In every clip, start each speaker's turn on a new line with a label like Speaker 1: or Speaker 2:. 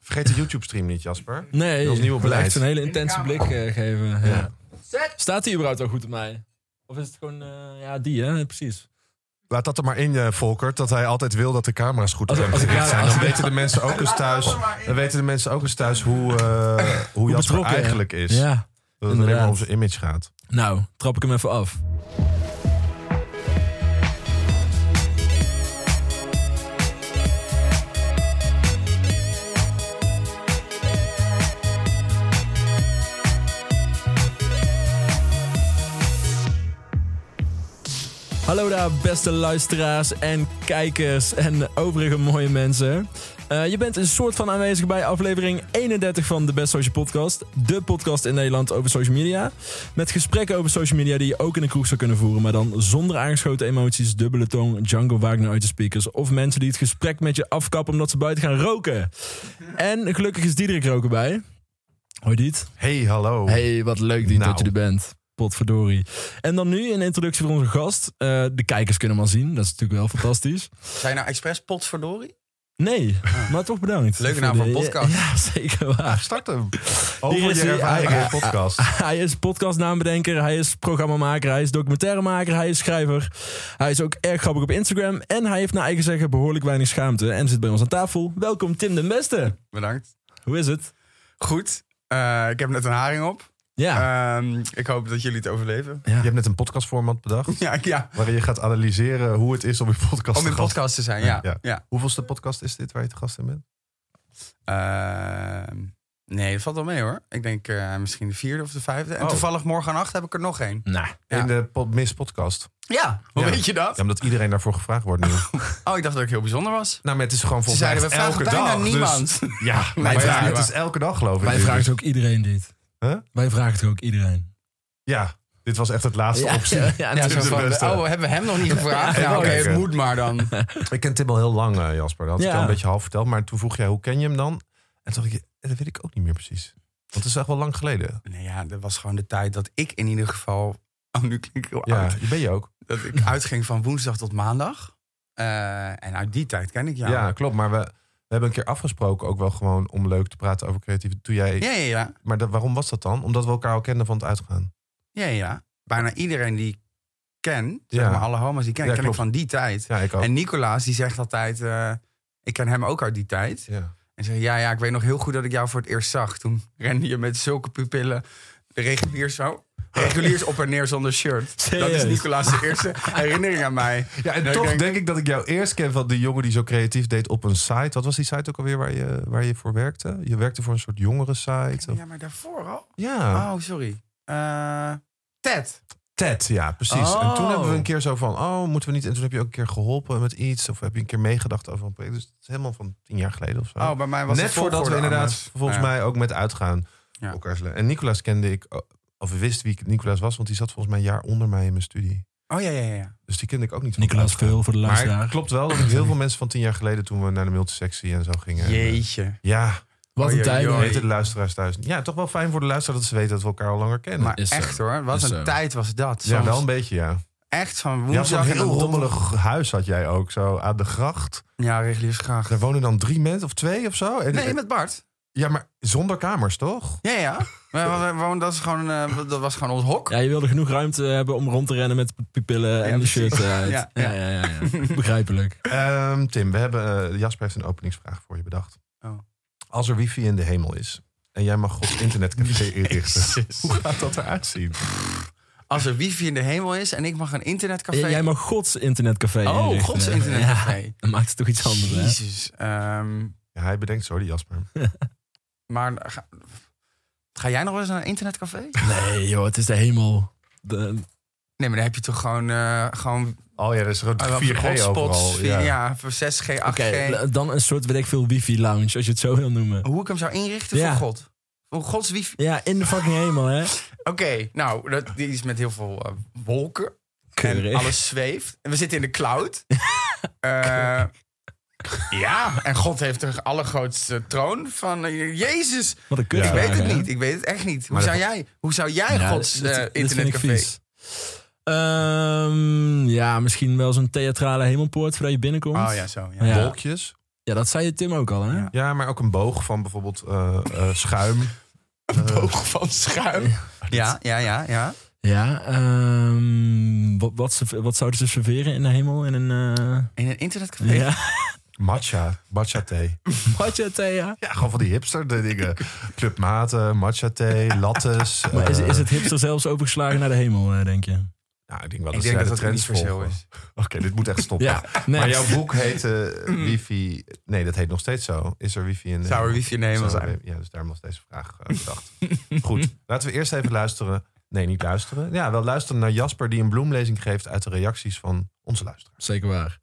Speaker 1: Vergeet de YouTube-stream niet, Jasper.
Speaker 2: Nee,
Speaker 1: Dat is nieuw beleid.
Speaker 2: echt een hele intense blik eh, geven. Ja.
Speaker 1: Ja.
Speaker 2: Staat hij überhaupt al goed op mij? Of is het gewoon, eh, ja, die, hè? Precies.
Speaker 1: Laat dat er maar in, eh, Volkert, dat hij altijd wil dat de camera's goed
Speaker 2: Als-
Speaker 1: zijn.
Speaker 2: als ik- ja,
Speaker 1: zijn.
Speaker 2: als
Speaker 1: Dan
Speaker 2: ik-
Speaker 1: weten de mensen ook eens thuis, dan weten de mensen ook eens thuis hoe, eh, hoe Jasper
Speaker 2: betrokken,
Speaker 1: eigenlijk is.
Speaker 2: Ja.
Speaker 1: dat het alleen maar
Speaker 2: inderdaad.
Speaker 1: om zijn image gaat.
Speaker 2: Nou, trap ik hem even af. Hallo daar, beste luisteraars en kijkers en overige mooie mensen. Eh, je bent een soort van aanwezig bij aflevering 31 van de Best Social Podcast. De podcast in Nederland over social media. Met gesprekken over social media die je ook in de kroeg zou kunnen voeren. Maar dan zonder aangeschoten emoties, dubbele tong, Django Wagner uit de speakers. Of mensen die het gesprek met je afkappen omdat ze buiten gaan roken. En gelukkig is Diederik er ook bij. Hoi Diet.
Speaker 1: Hey, hallo.
Speaker 2: Hey, wat leuk die,
Speaker 1: Nou.
Speaker 2: dat je er bent. Potverdorie. En dan nu een introductie voor onze gast. Eh, de kijkers kunnen hem al zien. Dat is natuurlijk wel fantastisch.
Speaker 3: Zijn nou expres potverdorie? Ah.
Speaker 2: Nee, maar toch bedankt.
Speaker 3: Leuke naam voor een
Speaker 2: de-
Speaker 3: podcast.
Speaker 2: Ja, zeker waar.
Speaker 1: Start hem. Over
Speaker 2: is
Speaker 1: je
Speaker 2: hij.
Speaker 1: ervaring in de podcast.
Speaker 2: Hij is podcastnaambedenker, hij is programmamaker, hij is documentairemaker, hij is schrijver. Hij is ook erg grappig op Instagram en hij heeft naar eigen zeggen behoorlijk weinig schaamte en zit bij ons aan tafel. Welkom Tim den Beste.
Speaker 3: Bedankt.
Speaker 2: Hoe is het?
Speaker 3: Goed. Eh, ik heb net een haring op.
Speaker 1: Ah.
Speaker 2: Ja,
Speaker 3: Ehm, ik hoop dat jullie het overleven.
Speaker 1: Je hebt net een podcastformat bedacht.
Speaker 3: Ja, ja.
Speaker 1: Waarin je gaat analyseren hoe het is om in podcast
Speaker 3: Om
Speaker 1: te
Speaker 3: in
Speaker 1: gast
Speaker 3: podcast te zijn, ja.
Speaker 1: Ja.
Speaker 3: ja.
Speaker 1: Hoeveelste podcast is dit waar je te gast in bent?
Speaker 3: Ehm, nee, dat valt wel mee hoor. Ik denk eh, misschien de vierde of de vijfde. En
Speaker 1: Oh.
Speaker 3: toevallig morgennacht heb ik er nog één.
Speaker 2: nou,
Speaker 3: Ja.
Speaker 1: In de pod- Miss Podcast.
Speaker 3: Ja, hoe
Speaker 1: Ja.
Speaker 3: weet je dat?
Speaker 1: Ja, omdat iedereen daarvoor gevraagd wordt nu. nou,
Speaker 3: Oh, ik dacht dat ik heel bijzonder was.
Speaker 1: maar het is gewoon
Speaker 3: Ze
Speaker 1: volgens mij
Speaker 3: zeiden, we
Speaker 1: echt
Speaker 3: vragen
Speaker 1: elke
Speaker 3: bijna
Speaker 1: dag. dus-
Speaker 3: niemand.
Speaker 1: ja, maar
Speaker 3: dat is
Speaker 1: ja,
Speaker 3: niet
Speaker 1: het
Speaker 3: waar.
Speaker 1: is elke dag geloof ik.
Speaker 2: wij
Speaker 1: Dus-
Speaker 2: vragen het ook iedereen dit.
Speaker 1: Huh?
Speaker 2: Wij vragen het ook iedereen.
Speaker 1: Ja, dit was echt het laatste optie.
Speaker 3: Ja,
Speaker 2: natuurlijk.
Speaker 3: zo
Speaker 1: is de
Speaker 3: van,
Speaker 1: beste.
Speaker 3: oh, hebben we hem nog niet gevraagd?
Speaker 1: Ja,
Speaker 3: Nou, oké,
Speaker 1: oké.
Speaker 3: het moet maar dan.
Speaker 1: Ik ken Tim al heel lang, eh, Jasper. Dat had ik
Speaker 2: Ja.
Speaker 1: al een beetje half verteld. Maar toen vroeg jij, hoe ken je hem dan? En toen dacht ik, eh, dat weet ik ook niet meer precies. Want het is echt wel lang geleden.
Speaker 3: Nee, ja, dat was gewoon de tijd dat ik in ieder geval... Oh, nu klink ik heel
Speaker 1: Ja,
Speaker 3: oud.
Speaker 1: je ben je ook.
Speaker 3: dat ik uitging van woensdag tot maandag. Eh, en uit die tijd ken ik
Speaker 1: Ja,
Speaker 3: jou. Ja,
Speaker 1: klopt. Maar we, we hebben een keer afgesproken ook wel gewoon om leuk te praten over creatief. Toen jij,
Speaker 3: ja, ja. ja,
Speaker 1: Maar dat- waarom was dat dan? Omdat we elkaar al kenden van het uitgaan.
Speaker 3: ja, ja. Bijna iedereen die ik ken, zeg
Speaker 1: Ja.
Speaker 3: maar alle homo's die ik ken,
Speaker 1: Ja,
Speaker 3: ken
Speaker 1: klopt.
Speaker 3: ik van die tijd.
Speaker 1: Ja, ik ook.
Speaker 3: En Nicolaas die zegt altijd, eh, ik ken hem ook uit die tijd.
Speaker 1: ja.
Speaker 3: En zegt, ja, ja, ik weet nog heel goed dat ik jou voor het eerst zag. Toen rende je met zulke pupillen de reguliers zo... Reguliers op en neer zonder shirt. Dat
Speaker 2: Serieus?
Speaker 3: is Nicolaas' de eerste herinnering aan mij.
Speaker 1: Ja, en
Speaker 3: ik
Speaker 1: toch denk...
Speaker 3: denk-
Speaker 1: ik dat ik jou eerst ken van die jongen die zo creatief deed op een site. Wat was die site ook alweer waar je, waar je voor werkte? Je werkte voor een soort jongere site. of-
Speaker 3: Ja, maar daarvoor al?
Speaker 1: Ja,
Speaker 3: Oh, sorry. Eh, Ted.
Speaker 1: TED, ja, precies. En toen hebben we een keer zo van, oh, moeten we niet... En toen heb je ook een keer geholpen met iets. Of heb je een keer meegedacht over een project. Dus het is helemaal van tien jaar geleden of zo.
Speaker 3: Oh, bij mij was
Speaker 1: Net
Speaker 3: het
Speaker 1: voordat we
Speaker 3: volgorde
Speaker 1: inderdaad
Speaker 3: anders.
Speaker 1: volgens
Speaker 3: Ja.
Speaker 1: mij ook met uitgaan.
Speaker 3: Ja.
Speaker 1: elkaar zullen- En Nicolaas kende ik, o- of wist wie Nicolaas was, want die zat volgens mij een jaar onder mij in mijn studie.
Speaker 3: Oh ja, ja, ja, ja.
Speaker 1: Dus die kende ik ook niet. van
Speaker 2: Nicolaas
Speaker 1: uitgaan.
Speaker 2: Veul voor de
Speaker 1: Maar
Speaker 2: luisteraar.
Speaker 1: het klopt wel dat ik heel veel mensen van tien jaar geleden toen we naar de multisectie en zo gingen. eh,
Speaker 3: Jeetje.
Speaker 1: Ja,
Speaker 2: Wat een
Speaker 3: Oei, oei,
Speaker 2: tijd.
Speaker 3: oei.
Speaker 2: man.
Speaker 1: weten de luisteraars thuis. niet. Ja, toch wel fijn voor de luisteraar dat ze weten dat we elkaar al langer kennen.
Speaker 3: Maar
Speaker 2: Is zo.
Speaker 3: echt hoor, wat
Speaker 2: Is
Speaker 3: een
Speaker 2: zo.
Speaker 3: tijd was dat.
Speaker 1: ja,
Speaker 3: Soms
Speaker 1: wel een beetje, ja.
Speaker 3: Echt van
Speaker 1: Je had zo'n
Speaker 3: woensdag en
Speaker 1: heel
Speaker 3: dan donderdag.
Speaker 1: rommelig huis had jij ook, zo aan de gracht.
Speaker 3: Ja, reguliers graag.
Speaker 1: Daar wonen dan drie mensen of twee of zo. En,
Speaker 3: Nee, met Bart.
Speaker 1: Ja, maar zonder kamers, toch?
Speaker 3: Ja, ja. We- we- we- dat, is gewoon, eh, dat was gewoon ons hok.
Speaker 2: Ja, je wilde genoeg ruimte hebben om rond te rennen met pupillen en de
Speaker 3: precies.
Speaker 2: shirt uit. Ja,
Speaker 3: Ja,
Speaker 2: ja, ja. ja. Begrijpelijk.
Speaker 1: Ehm, Tim, we hebben, eh, Jasper heeft een openingsvraag voor je bedacht.
Speaker 3: Oh.
Speaker 1: Als er wifi in de hemel is en jij mag Gods internetcafé inrichten, hoe gaat dat eruit zien?
Speaker 3: Als er wifi in de hemel is en ik mag een internetcafé.
Speaker 2: J- Jij mag Gods internetcafé
Speaker 3: oh,
Speaker 2: inrichten.
Speaker 3: gods internetcafé.
Speaker 2: Ja, dan maakt het toch iets anders, hè?
Speaker 3: Jezus. ehm,
Speaker 1: Ja, hij bedenkt zo, die Jasper.
Speaker 3: maar ga, ga jij nog wel eens naar een internetcafé?
Speaker 2: Nee, joh, het is de hemel. De,
Speaker 3: Nee, maar dan heb je toch gewoon, eh gewoon
Speaker 1: Oh ja, dat is gewoon
Speaker 3: eh,
Speaker 1: 4G overal.
Speaker 3: hotspots.
Speaker 1: ja.
Speaker 3: Ja. ja, 6G, 8G.
Speaker 2: Oké, l- dan een soort, weet ik veel, wifi-lounge, als je het zo wil noemen.
Speaker 3: Hoe ik hem zou inrichten
Speaker 2: Ja.
Speaker 3: voor God. Voor Gods wifi.
Speaker 2: Ja, in de fucking hemel, hè?
Speaker 3: Oké, nou, dat, die is met heel veel eh, wolken.
Speaker 2: Keurig.
Speaker 3: En alles zweeft. En we zitten in de cloud. Eh, ja, en God heeft de allergrootste troon van... eh, Jezus,
Speaker 2: Wat een kut.
Speaker 1: Ja.
Speaker 3: ik weet het
Speaker 2: hè?
Speaker 3: niet. Ik weet het echt niet. Hoe
Speaker 1: Maar
Speaker 3: zou
Speaker 1: dat-
Speaker 3: jij, hoe zou jij
Speaker 2: Ja,
Speaker 3: Gods
Speaker 2: dat-
Speaker 3: eh,
Speaker 2: dat vind ik
Speaker 3: internetcafé...
Speaker 2: vies. Ehm, ja, misschien wel zo'n theatrale hemelpoort voordat je binnenkomt.
Speaker 3: Oh ja, zo. Ja.
Speaker 2: Ja.
Speaker 1: Wolkjes,
Speaker 2: Ja, dat zei je Tim ook al, hè?
Speaker 3: Ja.
Speaker 1: Ja, maar ook een boog van bijvoorbeeld eh, eh, schuim. Eh,
Speaker 3: Boog van schuim. Ja, ja, ja, ja.
Speaker 2: Ja, ehm, wat, wat, serve- wat zouden ze serveren in de hemel? In een... eh,
Speaker 3: In een internetcafé.
Speaker 2: ja,
Speaker 1: matcha, matcha thee.
Speaker 2: matcha thee, ja.
Speaker 1: Ja, gewoon van die hipster de dingen. Clubmaten, matcha thee, lattes.
Speaker 2: Maar is,
Speaker 1: eh,
Speaker 2: is het hipster zelfs overgeslagen naar de hemel, eh, denk je?
Speaker 1: Nou, ik denk wel
Speaker 3: Ik
Speaker 1: dat
Speaker 3: denk
Speaker 1: zij
Speaker 3: dat
Speaker 1: de
Speaker 3: dat er
Speaker 1: trends
Speaker 3: niet verschil
Speaker 1: volgen.
Speaker 3: is.
Speaker 1: Oké, dit moet echt stoppen.
Speaker 2: Ja, nee.
Speaker 1: Maar jouw boek heet eh, Wifi... Nee, dat heet nog steeds zo. Is er wifi in de
Speaker 3: Mm. Zou er
Speaker 1: hemel?
Speaker 3: wifi in de hemel
Speaker 1: Zou er-
Speaker 3: zijn?
Speaker 1: Ja, dus daarom was deze vraag eh, bedacht. Goed, laten we eerst even luisteren. Nee, niet luisteren. Ja, wel luisteren naar Jasper die een bloemlezing geeft... uit de reacties van onze luisteraars.
Speaker 2: Zeker waar.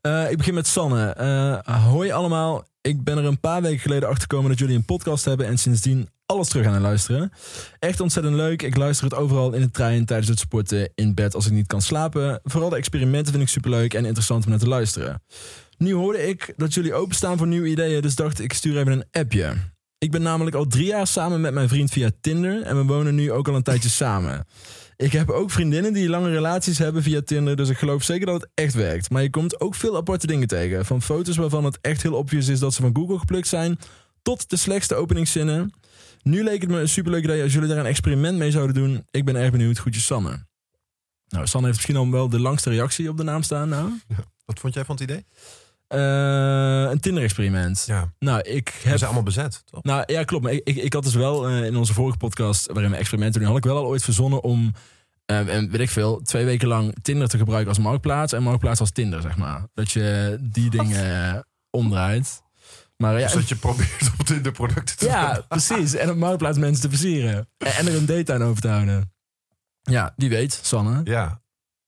Speaker 2: Eh, ik begin met Sanne. Eh, hoi allemaal. Ik ben er een paar weken geleden achter gekomen dat jullie een podcast hebben en sindsdien alles terug aan het luisteren. Echt ontzettend leuk. Ik luister het overal in de trein, tijdens het sporten, in bed als ik niet kan slapen. Vooral de experimenten vind ik superleuk en interessant om naar te luisteren. Nu hoorde ik dat jullie openstaan voor nieuwe ideeën, dus dacht ik stuur even een appje. Ik ben namelijk al drie jaar samen met mijn vriend via Tinder en we wonen nu ook al een tijdje samen. Ik heb ook vriendinnen die lange relaties hebben via Tinder, dus ik geloof zeker dat het echt werkt. Maar je komt ook veel aparte dingen tegen. Van foto's waarvan het echt heel obvious is dat ze van Google geplukt zijn, tot de slechtste openingszinnen. Nu leek het me een superleuk idee als jullie daar een experiment mee zouden doen. Ik ben erg benieuwd. Groetjes Sanne. Nou, Sanne heeft misschien al wel de langste reactie op de naam staan nou.
Speaker 1: Wat vond jij van het idee?
Speaker 2: Eh, een Tinder-experiment.
Speaker 1: Ja,
Speaker 2: Nou, ik
Speaker 1: we
Speaker 2: heb...
Speaker 1: zijn allemaal bezet, toch?
Speaker 2: Nou ja, klopt. Maar ik, ik, ik had dus wel eh, in onze vorige podcast, waarin we experimenten doen, had ik wel al ooit verzonnen om, eh, en weet ik veel, twee weken lang Tinder te gebruiken als marktplaats en marktplaats als Tinder, zeg maar. Dat je die dingen eh, omdraait. Maar eh,
Speaker 1: Dus
Speaker 2: ja,
Speaker 1: dat je probeert op Tinder producten te
Speaker 2: ja, precies. En op marktplaats mensen te versieren. En, en er een date aan over te houden. Ja, die weet, Sanne.
Speaker 1: Ja.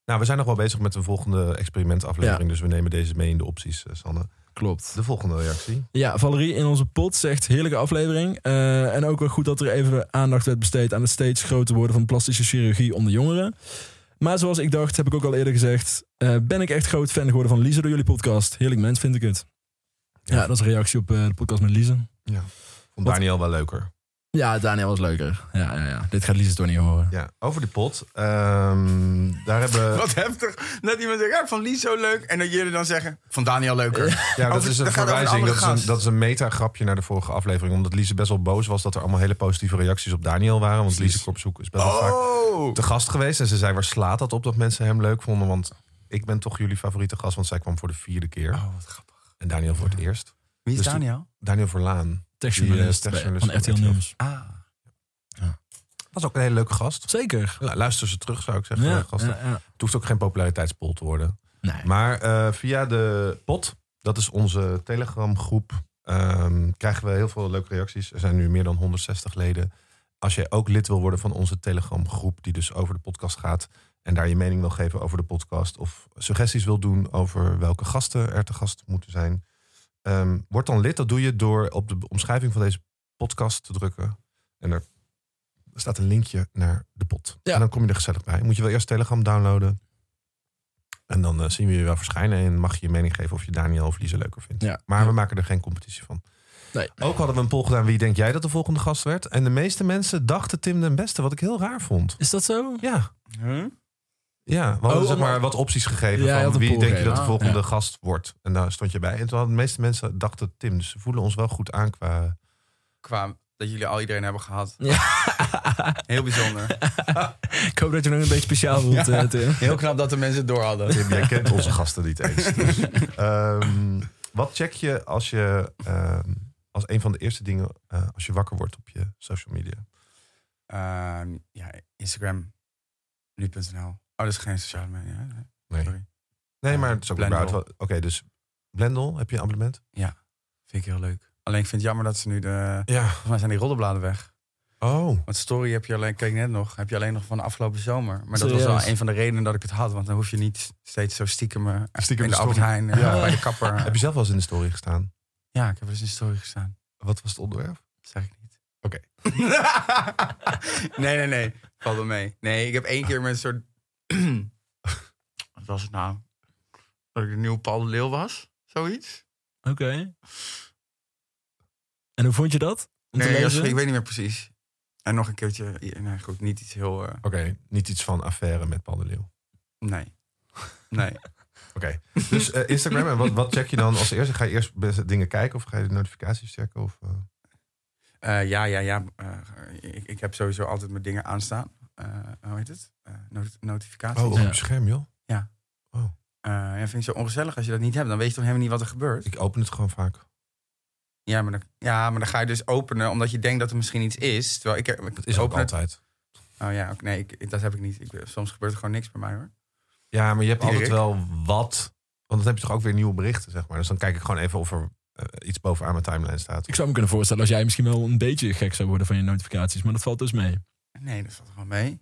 Speaker 1: Nou, we zijn nog wel bezig met een volgende experimentaflevering. Dus we nemen deze mee in de opties, eh, Sanne.
Speaker 2: Klopt.
Speaker 1: De volgende reactie.
Speaker 2: Ja, Valerie in onze pot zegt heerlijke aflevering. Eh, en ook wel goed dat er even aandacht werd besteed aan het steeds groter worden van plastische chirurgie onder jongeren. Maar zoals ik dacht, heb ik ook al eerder gezegd, eh, ben ik echt groot fan geworden van Lise door jullie podcast. Heerlijk mens vind ik het. Ja, dat is een reactie op eh, de podcast met Lise.
Speaker 1: Vond
Speaker 2: Wat-
Speaker 1: Daniel wel leuker.
Speaker 2: Ja, Daniel was leuker. Ja, ja, ja. Dit gaat Lise toch niet horen.
Speaker 1: Ja, over die pot. Ehm, daar hebben
Speaker 3: Wat heftig. Dat iemand zegt, ja, van Lies zo leuk. En dat jullie dan zeggen, van Daniel leuker.
Speaker 1: Ja, dat
Speaker 3: Over-
Speaker 1: is een
Speaker 3: dat gaat over een
Speaker 1: verwijzing.
Speaker 3: andere
Speaker 1: Dat is een,
Speaker 3: gast.
Speaker 1: dat is een meta-grapje naar de vorige aflevering. Omdat Lise best wel boos was dat er allemaal hele positieve reacties op Daniel waren. Want Lise Kopzoek is best wel vaak
Speaker 3: Oh.
Speaker 1: te gast geweest. En ze zei, waar slaat dat op dat mensen hem leuk vonden? Want ik ben toch jullie favoriete gast. Want zij kwam voor de vierde keer.
Speaker 3: Oh, wat grappig.
Speaker 1: En Daniel voor het eerst.
Speaker 3: Wie is
Speaker 1: Dus toen-
Speaker 3: Daniel?
Speaker 1: Daniel Verlaan.
Speaker 2: Techjournalist
Speaker 1: Die, eh,
Speaker 2: bij-
Speaker 1: techjournalist van
Speaker 2: van RTL
Speaker 1: RTL.
Speaker 2: Nieuws.
Speaker 3: Ah.
Speaker 1: Was ook een hele leuke gast.
Speaker 2: Zeker.
Speaker 1: Nou, luister ze terug, zou ik zeggen.
Speaker 2: Ja,
Speaker 1: gasten.
Speaker 2: ja, ja.
Speaker 1: Het hoeft ook geen populariteitspol te worden.
Speaker 2: Nee.
Speaker 1: Maar eh, via de pot, dat is onze telegramgroep, ehm, krijgen we heel veel leuke reacties. Er zijn nu meer dan 160 leden. Als jij ook lid wil worden van onze telegramgroep, die dus over de podcast gaat. En daar je mening wil geven over de podcast. Of suggesties wil doen over welke gasten er te gast moeten zijn. ehm, word dan lid. Dat doe je door op de omschrijving van deze podcast te drukken. En er staat een linkje naar de pot.
Speaker 2: Ja.
Speaker 1: En dan kom je er gezellig bij. Moet je wel eerst Telegram downloaden. En dan eh, zien we je wel verschijnen. En mag je je mening geven of je Daniel of Lise leuker vindt.
Speaker 2: Ja.
Speaker 1: Maar we maken er geen competitie van.
Speaker 2: Nee.
Speaker 1: Ook hadden we een poll gedaan. Wie denk jij dat de volgende gast werd? En de meeste mensen dachten Tim den Beste. Wat ik heel raar vond.
Speaker 2: Is dat zo?
Speaker 1: Ja.
Speaker 3: Huh?
Speaker 1: Ja, we hadden
Speaker 2: Oh,
Speaker 1: zeg
Speaker 2: om-
Speaker 1: maar wat opties gegeven
Speaker 2: Ja, je had
Speaker 1: van
Speaker 2: een
Speaker 1: wie
Speaker 2: poll
Speaker 1: denk je
Speaker 2: gegeven. Ah,
Speaker 1: dat de volgende
Speaker 2: Ja.
Speaker 1: gast wordt. En daar stond je bij. En toen hadden de meeste mensen dachten Tim. Dus ze voelen ons wel goed aan qua...
Speaker 3: Qua dat jullie al iedereen hebben gehad.
Speaker 2: Ja.
Speaker 3: Heel bijzonder.
Speaker 2: Ik hoop dat je nog een beetje speciaal voelt, eh, Tim.
Speaker 3: Heel knap dat de mensen het door hadden.
Speaker 1: Tim, jij kent onze gasten niet eens. Dus, ehm, wat check je als je... ehm, als een van de eerste dingen eh, als je wakker wordt op je social media.
Speaker 3: Ehm, ja, Instagram. Nu.nl. Oh, dat is geen sociale media. hè?
Speaker 1: Nee,
Speaker 3: Sorry.
Speaker 1: nee
Speaker 3: Eh,
Speaker 1: maar het is ook
Speaker 3: Blendel.
Speaker 1: überhaupt wel- Oké, dus Blendel, heb je een abonnement?
Speaker 3: Vind ik heel leuk. Alleen ik vind het jammer dat ze nu de...
Speaker 1: Ja.
Speaker 3: Volgens mij zijn die roddelbladen weg.
Speaker 1: Oh.
Speaker 3: Want story heb je alleen, kijk net nog, heb je alleen nog van de afgelopen zomer. Maar dat was
Speaker 2: Serieus?
Speaker 3: wel een van de redenen dat ik het had. Want dan hoef je niet steeds zo stiekem, eh,
Speaker 1: Stiekem
Speaker 3: in de
Speaker 1: de
Speaker 3: Albert
Speaker 1: story.
Speaker 3: Heijn, eh,
Speaker 1: Ja.
Speaker 3: bij de kapper.
Speaker 1: Heb je zelf wel eens in de story gestaan?
Speaker 3: Ja, ik heb er eens in de story gestaan.
Speaker 1: Wat was het onderwerp?
Speaker 3: Dat zeg ik niet.
Speaker 1: Oké.
Speaker 3: nee, nee, nee. Valt wel mee. Nee, ik heb één keer met een soort... Wat was het nou? Dat ik de nieuwe Paul de Leeuw was? Zoiets?
Speaker 2: Oké. En hoe vond je dat? Om te
Speaker 3: Nee,
Speaker 2: lezen?
Speaker 3: Jasper, ik weet niet meer precies. En nog een keertje... Nee, goed, niet iets heel... eh,
Speaker 1: Oké, niet iets van affaire met Paul de Leeuw.
Speaker 3: Nee. Nee.
Speaker 1: Oké, dus eh, Instagram. En wat, wat check je dan als eerste? Ga je eerst best- dingen kijken of ga je de notificaties checken? Of, eh,
Speaker 3: Eh, ja, ja, ja. eh, ik, ik heb sowieso altijd mijn dingen aanstaan. Eh, hoe heet het? Eh, not- notificaties.
Speaker 1: Oh, op
Speaker 2: Ja.
Speaker 1: het scherm, joh.
Speaker 3: Eh, ja, vind ik zo ongezellig als je dat niet hebt. Dan weet je toch helemaal niet wat er gebeurt.
Speaker 1: Ik open het gewoon vaak.
Speaker 3: Ja, maar dan, ja, maar dan ga je dus openen omdat je denkt dat er misschien iets is. Terwijl ik, ik
Speaker 1: Dat is ook
Speaker 3: open het-
Speaker 1: altijd.
Speaker 3: Oh ja, ook- nee, ik, ik- dat heb ik niet. Ik, soms gebeurt er gewoon niks bij mij hoor.
Speaker 1: Ja, maar je hebt altijd
Speaker 3: Dirk?
Speaker 1: wel wat. Want dan heb je toch ook weer nieuwe berichten, zeg maar. Dus dan kijk ik gewoon even of er eh, iets bovenaan mijn timeline staat.
Speaker 2: Ik zou me kunnen voorstellen als jij misschien wel een beetje gek zou worden van je notificaties. Maar dat valt dus mee.
Speaker 3: Nee, dat valt gewoon mee.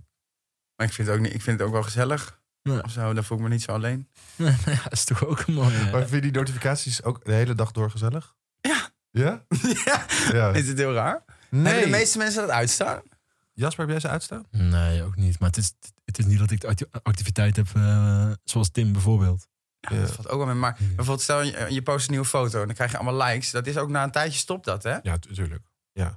Speaker 3: Maar ik vind het ook, niet, ik vind het ook wel gezellig.
Speaker 2: Ja.
Speaker 3: Of zo, dan voel ik me niet zo alleen.
Speaker 2: ja, dat is toch ook een mooie.
Speaker 1: Maar vind je die notificaties ook de hele dag door gezellig?
Speaker 3: Ja.
Speaker 1: Ja?
Speaker 3: ja,
Speaker 1: Ja.
Speaker 3: is het heel raar? Hebben
Speaker 1: Nee.
Speaker 3: de meeste mensen dat uitstaan?
Speaker 1: Jasper, heb jij ze uitstaan?
Speaker 2: Nee, ook niet. Maar het is, het is niet dat ik de acti- activiteit heb eh, zoals Tim bijvoorbeeld.
Speaker 3: Ja, dat valt ook wel mee. Maar bijvoorbeeld stel je, je post een nieuwe foto en dan krijg je allemaal likes. Dat is ook na een tijdje stopt dat, hè?
Speaker 1: Ja, natuurlijk.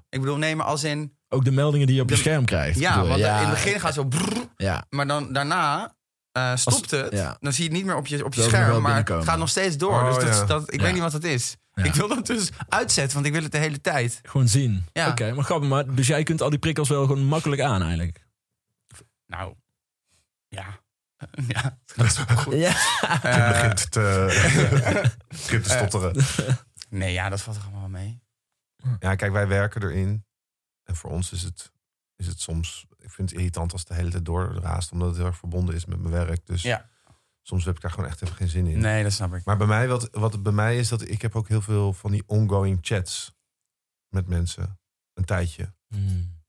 Speaker 3: Ik bedoel, neem maar als in...
Speaker 2: Ook de meldingen die je op je
Speaker 3: De-
Speaker 2: scherm krijgt.
Speaker 3: Ja,
Speaker 2: bedoel
Speaker 3: want
Speaker 2: je.
Speaker 3: in het begin gaat zo... brrr,
Speaker 2: Ja,
Speaker 3: maar dan daarna eh, stopt het.
Speaker 2: ja.
Speaker 3: Dan zie je het niet meer op je, op je
Speaker 2: Terwijl ze nog wel
Speaker 3: scherm, maar het
Speaker 2: binnenkomen.
Speaker 3: gaat nog steeds door.
Speaker 1: Oh,
Speaker 3: dus dat,
Speaker 1: ja.
Speaker 3: dat, ik
Speaker 2: Ja.
Speaker 3: weet niet wat dat is.
Speaker 2: Ja.
Speaker 3: Ik wil dat dus uitzetten, want ik wil het de hele tijd.
Speaker 2: gewoon zien.
Speaker 3: Ja.
Speaker 2: Oké, maar grappig. Maar, dus jij kunt al die prikkels wel gewoon makkelijk aan eigenlijk.
Speaker 3: Nou, ja. ja.
Speaker 2: Ja.
Speaker 1: Het
Speaker 3: Eh,
Speaker 1: begint te, begint te stotteren.
Speaker 3: nee, ja, dat valt er allemaal mee.
Speaker 1: Ja, kijk, wij werken erin. En voor ons is het, is het soms... Ik vind het irritant als het de hele tijd doorraast. Omdat het heel erg verbonden is met mijn werk. Dus
Speaker 3: Ja.
Speaker 1: soms heb ik daar gewoon echt even geen zin in.
Speaker 3: Nee, dat snap ik.
Speaker 1: Maar bij mij, wat, wat het bij mij is, dat ik heb ook heel veel van die ongoing chats met mensen. Een tijdje.
Speaker 2: Hmm.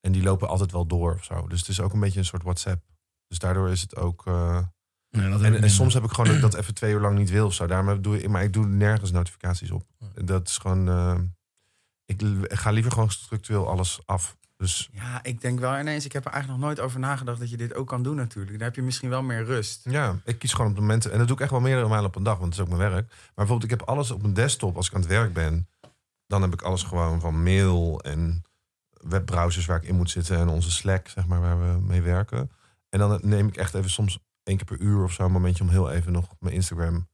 Speaker 1: En die lopen altijd wel door of zo. Dus het is ook een beetje een soort WhatsApp. Dus daardoor is het ook... eh,
Speaker 2: Nee, dat heb ik
Speaker 1: en, en
Speaker 2: niet.
Speaker 1: soms heb ik gewoon dat ik dat even twee uur lang niet wil of zo. Daarom doe ik, maar ik doe nergens notificaties op. Dat is gewoon... eh, ik l- ga liever gewoon structureel alles af. Dus
Speaker 3: Ja, ik denk wel ineens, ik heb er eigenlijk nog nooit over nagedacht dat je dit ook kan doen natuurlijk. Dan heb je misschien wel meer rust.
Speaker 1: ja, ik kies gewoon op de momenten. En dat doe ik echt wel meerdere malen op een dag, want het is ook mijn werk. Maar bijvoorbeeld, ik heb alles op mijn desktop als ik aan het werk ben. Dan heb ik alles gewoon van mail en webbrowsers waar ik in moet zitten. En onze Slack, zeg maar, waar we mee werken. En dan neem ik echt even soms één keer per uur of zo een momentje om heel even nog mijn Instagram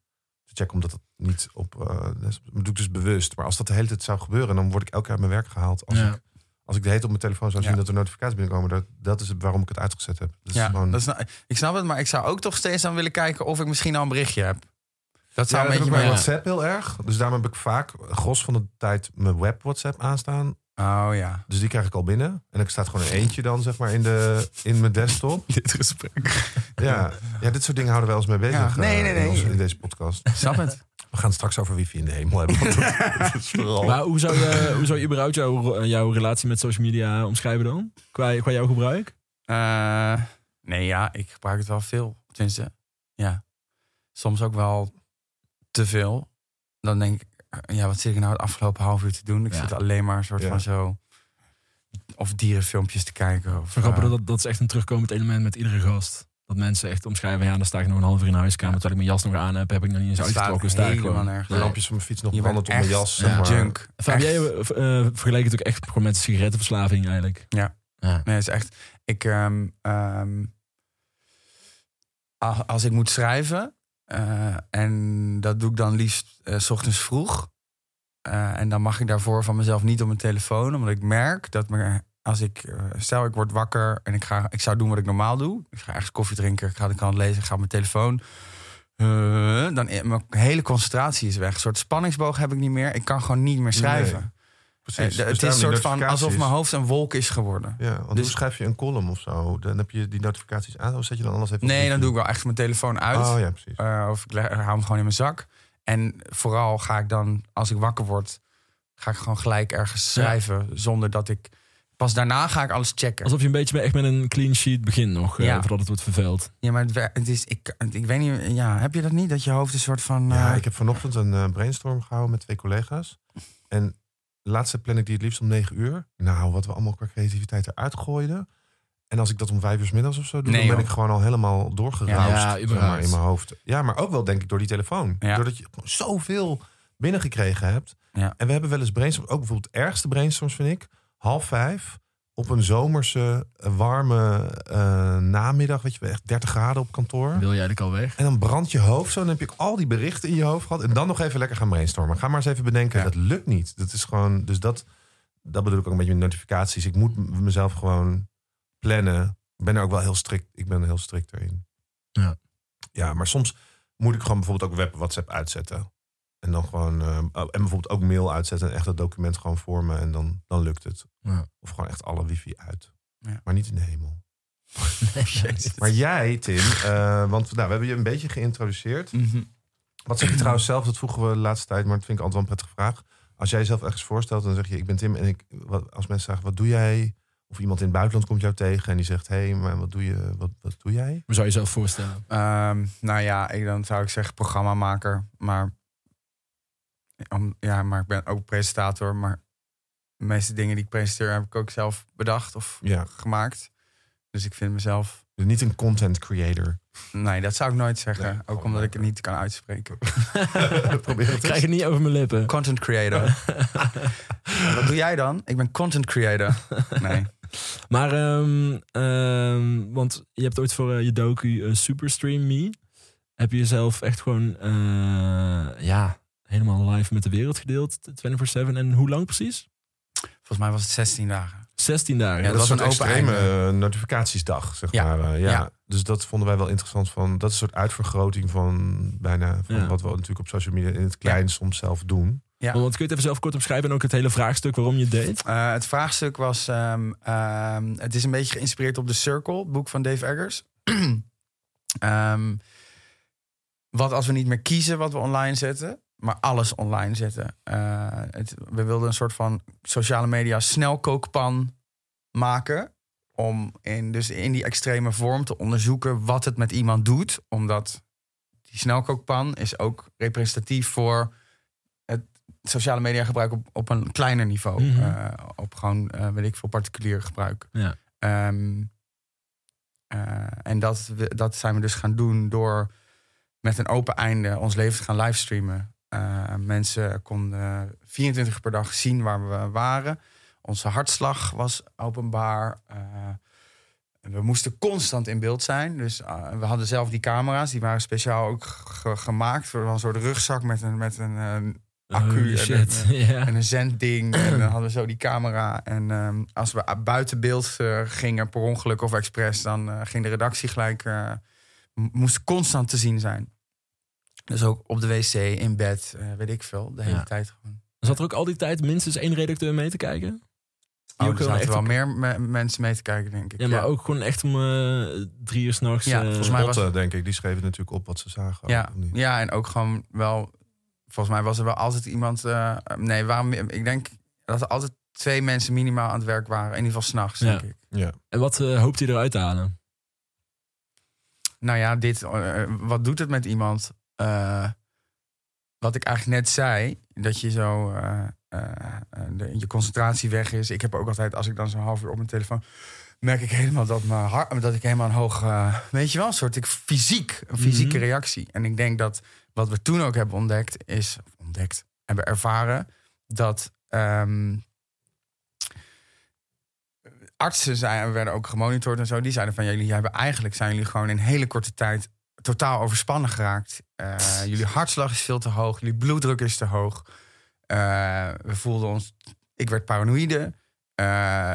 Speaker 1: te checken. Omdat dat niet op... eh, desktop- dat doe ik dus bewust. Maar als dat de hele tijd zou gebeuren, dan word ik elke keer uit mijn werk gehaald. Als,
Speaker 2: Ja.
Speaker 1: ik, als ik de hele tijd op mijn telefoon zou zien
Speaker 3: Ja.
Speaker 1: dat er notificaties binnenkomen. Dat, dat is waarom ik het uitgezet heb. Dat is
Speaker 3: ja,
Speaker 1: gewoon...
Speaker 3: dat is nou- ik snap het, maar ik zou ook toch steeds aan willen kijken of ik misschien al een berichtje heb.
Speaker 1: Ja, dat
Speaker 3: Dat zou een
Speaker 1: heb ik bij
Speaker 3: beetje
Speaker 2: maar-
Speaker 3: mijn...
Speaker 1: WhatsApp heel erg. Dus daarom heb ik vaak gros van de tijd mijn web WhatsApp aanstaan.
Speaker 3: Oh ja.
Speaker 1: Dus die krijg ik al binnen. En ik staat gewoon een eentje dan, zeg maar, in, de, in mijn desktop.
Speaker 3: Dit gesprek.
Speaker 1: Ja. ja, dit soort dingen houden we wel eens mee bezig.
Speaker 3: Ja. Nee,
Speaker 1: eh,
Speaker 3: nee,
Speaker 1: In,
Speaker 3: nee.
Speaker 1: onze- in deze podcast.
Speaker 3: Snap het?
Speaker 1: We gaan het straks over wifi in de hemel hebben. want dat- dat is vooral-
Speaker 2: Maar hoe zou je, hoe zou je überhaupt jouw, jouw relatie met social media omschrijven dan? Qua, qua jouw gebruik?
Speaker 3: Eh, nee, ja, ik gebruik het wel veel. Tenminste, ja. Soms ook wel te veel. Dan denk ik, eh, ja, wat zit ik nou het afgelopen half uur te doen? Ik
Speaker 2: Ja.
Speaker 3: zit alleen maar een soort
Speaker 1: Ja.
Speaker 3: van zo... Of dierenfilmpjes te kijken. Of,
Speaker 2: Zo grappig,
Speaker 3: eh,
Speaker 2: dat, dat is echt een terugkomend element met iedere gast. Dat mensen echt omschrijven, ja, dan sta ik nog een half uur in de huiskamer... terwijl ik mijn jas nog aan heb, heb ik nog niet eens
Speaker 3: Staat
Speaker 2: uitgetrokken. Sta ik
Speaker 3: helemaal
Speaker 2: gewoon.
Speaker 3: nergens.
Speaker 1: de lampjes van mijn fiets nog
Speaker 3: Je
Speaker 1: brandend
Speaker 3: bent
Speaker 1: op mijn
Speaker 3: echt
Speaker 1: jas.
Speaker 2: ja,
Speaker 1: Zeg maar.
Speaker 3: junk.
Speaker 2: Enfin,
Speaker 3: Echt.
Speaker 2: jij eh, v- eh, vergeleek het ook echt gewoon met sigarettenverslaving eigenlijk.
Speaker 3: Ja.
Speaker 2: ja.
Speaker 3: Nee, het is echt. Ik, ehm, ehm, a- als ik moet schrijven, eh, en dat doe ik dan liefst eh, s ochtends vroeg. eh, en dan mag ik daarvoor van mezelf niet op mijn telefoon, omdat ik merk dat me, als ik, eh, stel ik word wakker en ik, ga, ik zou doen wat ik normaal doe. Ik ga ergens koffie drinken, ik ga de krant lezen, ik ga op mijn telefoon. eh, dan i- mijn hele concentratie is weg. Een soort spanningsboog heb ik niet meer. Ik kan gewoon niet meer schrijven. Eh,
Speaker 1: Precies.
Speaker 3: d-
Speaker 1: Dus
Speaker 3: het is
Speaker 1: daarom
Speaker 3: een
Speaker 1: die
Speaker 3: soort van alsof
Speaker 1: notificaties.
Speaker 3: mijn hoofd een wolk is geworden.
Speaker 1: Ja, want
Speaker 3: Dus-
Speaker 1: hoe schrijf je een column of zo? Dan heb je die notificaties aan of zet je dan alles even op
Speaker 3: Nee, dan
Speaker 1: wifi?
Speaker 3: doe ik wel echt mijn telefoon uit.
Speaker 1: Oh ja, precies.
Speaker 3: Eh, of ik le- hou hem gewoon in mijn zak. En vooral ga ik dan, als ik wakker word, ga ik gewoon gelijk ergens
Speaker 2: Ja.
Speaker 3: schrijven. Zonder dat ik. Pas daarna ga ik alles checken.
Speaker 2: Alsof je een beetje met- echt met een clean sheet begint nog, eh,
Speaker 3: Ja.
Speaker 2: voordat het wordt vervuild.
Speaker 3: Ja, maar het, wer- het is. Ik, ik weet niet. Ja, heb je dat niet? Dat je hoofd een soort van.
Speaker 1: Ja,
Speaker 3: eh,
Speaker 1: ik heb vanochtend een eh, brainstorm gehouden met twee collega's. En de laatste plan ik die het liefst om negen uur. Nou, wat we allemaal qua creativiteit eruit gooiden. En als ik dat om vijf uur 's middags of zo doe,
Speaker 3: Nee,
Speaker 1: dan ben
Speaker 3: joh.
Speaker 1: ik gewoon al helemaal
Speaker 2: Ja,
Speaker 1: doorgeraust.
Speaker 2: ja,
Speaker 1: zeg maar,
Speaker 2: überhaupt.
Speaker 1: in mijn hoofd. Ja, maar ook wel denk ik door die telefoon.
Speaker 3: Ja.
Speaker 1: Doordat je gewoon zoveel binnengekregen hebt.
Speaker 3: Ja.
Speaker 1: En we hebben wel eens brainstorms, ook bijvoorbeeld ergste brainstorms vind ik. Half vijf, op een zomerse, eh, warme eh, namiddag, weet je, wel, echt 30 graden op
Speaker 3: Hm?
Speaker 1: kantoor.
Speaker 2: Wil jij al weg?
Speaker 1: En dan brandt je hoofd zo. Dan heb je ook al die berichten in je hoofd gehad. En dan nog even lekker gaan brainstormen. Ga maar eens even bedenken.
Speaker 3: Ja.
Speaker 1: Dat lukt niet. Dat is gewoon. Dus dat, dat bedoel ik ook een beetje met notificaties. Ik moet m- mezelf gewoon plannen. Ik ben er ook wel heel strikt. Ik ben er heel strikt erin.
Speaker 2: Ja.
Speaker 1: Ja, maar soms moet ik gewoon bijvoorbeeld ook web WhatsApp uitzetten. En dan gewoon. eh, oh, en bijvoorbeeld ook mail uitzetten. En echt dat document gewoon vormen. En dan, dan lukt het.
Speaker 2: Ja.
Speaker 1: Of gewoon echt alle wifi uit.
Speaker 3: Ja.
Speaker 1: Maar niet in de hemel. Maar jij, Tim, eh, want nou, we hebben je een beetje geïntroduceerd.
Speaker 3: Mhm.
Speaker 1: Wat zeg je trouwens zelf? Dat vroegen we de laatste tijd, maar dat vind ik altijd wel een prettige vraag. Als jij jezelf ergens voorstelt, dan zeg je: Ik ben Tim. En ik, wat, als mensen vragen: Wat doe jij? Of iemand in het buitenland komt jou tegen en die zegt: Hé, hey, maar wat doe, je, wat, wat doe jij?
Speaker 2: Hoe zou je jezelf voorstellen?
Speaker 3: Ehm, nou ja, ik, dan zou ik zeggen programmamaker. Maar, om- ja, maar ik ben ook presentator. Maar de meeste dingen die ik presenteer heb ik ook zelf bedacht of
Speaker 1: Ja,
Speaker 3: gemaakt. Dus ik vind mezelf...
Speaker 1: dus niet een content creator.
Speaker 3: Nee, dat zou ik nooit zeggen.
Speaker 1: Nee,
Speaker 3: ook omdat
Speaker 1: gewoon
Speaker 3: ik het niet kan uitspreken.
Speaker 1: Probeer het
Speaker 2: Ik krijg het niet over mijn lippen.
Speaker 3: Content creator. Wat doe jij dan? Ik ben content creator. Nee.
Speaker 2: Maar, ehm, ehm, want je hebt ooit voor eh, je docu eh, Superstream Me. Heb je jezelf echt gewoon, eh, ja, helemaal live met de wereld gedeeld. 24-7. En hoe lang precies?
Speaker 3: Volgens mij was het 16 dagen.
Speaker 2: 16 dagen.
Speaker 3: Ja,
Speaker 1: dat, was
Speaker 3: dat was
Speaker 1: een
Speaker 3: een open
Speaker 1: extreme
Speaker 3: einde.
Speaker 1: eh, notificatiesdag, zeg
Speaker 3: Ja.
Speaker 1: maar. eh, ja.
Speaker 3: Ja.
Speaker 1: Dus dat vonden wij wel interessant. Van, dat is een soort uitvergroting van bijna van
Speaker 2: Ja.
Speaker 1: wat we natuurlijk op social media in het klein soms zelf doen.
Speaker 3: Ja.
Speaker 2: Want kun je het even zelf kort omschrijven en ook het hele vraagstuk waarom je het deed?
Speaker 3: Eh, het vraagstuk was: ehm, ehm, het is een beetje geïnspireerd op The Circle, het boek van Dave Eggers. Ehm, wat als we niet meer kiezen wat we online zetten, maar alles online zetten? Eh, het- we wilden een soort van sociale media snelkookpan maken. Om in, dus in die extreme vorm te onderzoeken wat het met iemand doet. Omdat die snelkookpan is ook representatief voor sociale media gebruik op, op een kleiner niveau.
Speaker 2: Mhm.
Speaker 3: Eh, op gewoon, eh weet ik veel, particulier gebruik.
Speaker 2: Ja.
Speaker 3: Ehm, eh, en dat, we- dat zijn we dus gaan doen door met een open einde ons leven te gaan livestreamen. Eh, mensen konden 24 uur per dag zien waar we waren. Onze hartslag was openbaar. Eh, we moesten constant in beeld zijn. Dus eh, we hadden zelf die camera's. Die waren speciaal ook ge- gemaakt. voor een soort rugzak met een, met een eh, Accu
Speaker 2: Holy
Speaker 3: en
Speaker 2: Oh, shit. ja.
Speaker 3: en een zendding. en dan hadden we zo die camera. En ehm, als we a- buiten beeld eh, gingen, per ongeluk of expres, dan eh, ging de redactie gelijk. eh, m- moest constant te zien zijn. Dus ook op de wc, in bed, eh, weet ik veel. De hele
Speaker 2: Ja.
Speaker 3: tijd gewoon.
Speaker 2: Zat er ook al die tijd minstens één redacteur mee te kijken?
Speaker 3: Oh,
Speaker 2: ook
Speaker 3: er
Speaker 2: wel
Speaker 3: zaten
Speaker 2: echt
Speaker 3: wel
Speaker 2: een-
Speaker 3: meer me- mensen mee te kijken, denk ik.
Speaker 2: Ja, maar ook gewoon echt om eh, drie uur s'nachts.
Speaker 3: Ja,
Speaker 2: eh,
Speaker 3: volgens mij- was-
Speaker 1: Botten, denk ik, die schreven natuurlijk op wat ze
Speaker 2: Oh,
Speaker 1: zagen.
Speaker 3: Ja,
Speaker 1: Of niet?
Speaker 3: ja, en ook gewoon wel... Volgens mij was er wel altijd iemand... eh, nee, waarom, ik denk dat er altijd twee mensen minimaal aan het werk waren. In ieder geval s'nachts,
Speaker 2: Ja.
Speaker 3: denk ik.
Speaker 1: ja.
Speaker 2: En wat eh, hoopt hij eruit te halen?
Speaker 3: nou ja, dit, eh, wat doet het met iemand? Eh, wat ik eigenlijk net zei, dat je zo eh, eh, eh, de- je concentratie weg is. Ik heb ook altijd, als ik dan zo'n half uur op mijn telefoon, merk ik helemaal dat, mijn hart, dat ik helemaal een hoog, eh, weet je wel, een soort ik, fysiek, een fysieke
Speaker 2: Mhm.
Speaker 3: reactie. En ik denk dat wat we toen ook hebben ontdekt is, ontdekt, hebben ervaren, dat ehm, artsen zijn, werden ook gemonitord en zo. Die zeiden van jullie hebben eigenlijk zijn jullie gewoon in hele korte tijd totaal overspannen geraakt. Eh, jullie hartslag is veel te hoog, jullie bloeddruk is te hoog. Eh, we voelden ons, ik werd paranoïde. Eh,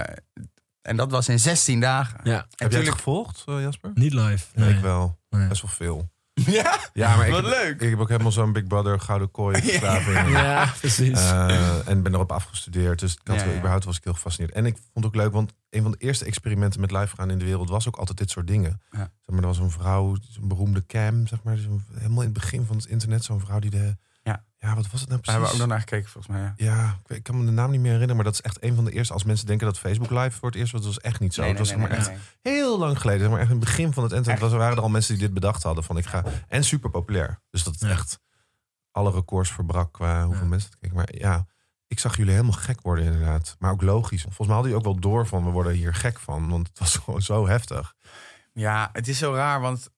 Speaker 3: en dat was in 16 dagen.
Speaker 2: Ja.
Speaker 3: En
Speaker 1: Heb jij het
Speaker 3: tuurlijk-
Speaker 1: gevolgd, eh, Jasper?
Speaker 2: Niet live.
Speaker 1: Ja,
Speaker 2: Nee.
Speaker 1: ik wel.
Speaker 2: Nee.
Speaker 1: Best wel veel.
Speaker 3: Ja,
Speaker 1: Ja, maar ik,
Speaker 3: wat
Speaker 1: heb,
Speaker 3: leuk.
Speaker 1: ik heb ook helemaal zo'n Big Brother gouden kooi verslaving.
Speaker 2: Ja, precies.
Speaker 1: Eh, en ben erop afgestudeerd. Dus ik had
Speaker 3: Ja,
Speaker 1: wel-
Speaker 3: ja.
Speaker 1: überhaupt was ik heel gefascineerd. En ik vond het ook leuk, want een van de eerste experimenten met live gaan in de wereld was ook altijd dit soort dingen.
Speaker 3: Ja.
Speaker 1: Zeg maar, er was een vrouw, een beroemde cam, zeg maar, zo'n- helemaal in het begin van het internet, zo'n vrouw die de.
Speaker 3: Ja.
Speaker 1: ja, wat was het nou
Speaker 3: Daar hebben we ook
Speaker 1: precies?
Speaker 3: nog naar gekeken volgens mij. Ja.
Speaker 1: Ja, ik, weet- ik kan me de naam niet meer herinneren, maar dat is echt een van de eerste. Als mensen denken dat Facebook Live voor het eerst was, dat was echt niet zo.
Speaker 3: Nee,
Speaker 1: het was
Speaker 3: nee,
Speaker 1: zeg maar
Speaker 3: nee,
Speaker 1: echt
Speaker 3: nee, nee.
Speaker 1: heel lang geleden, zeg maar echt in het begin van het internet, was, waren er al mensen die dit bedacht hadden. Van ik ga, en super populair. Dus dat het
Speaker 2: Ja.
Speaker 1: echt alle records verbrak qua hoeveel
Speaker 2: Ja.
Speaker 1: mensen het keken. Maar ja, ik zag jullie helemaal gek worden inderdaad. Maar ook logisch. Volgens mij hadden jullie ook wel door van we worden hier gek van. Want het was gewoon zo heftig.
Speaker 3: Ja, het is zo raar, want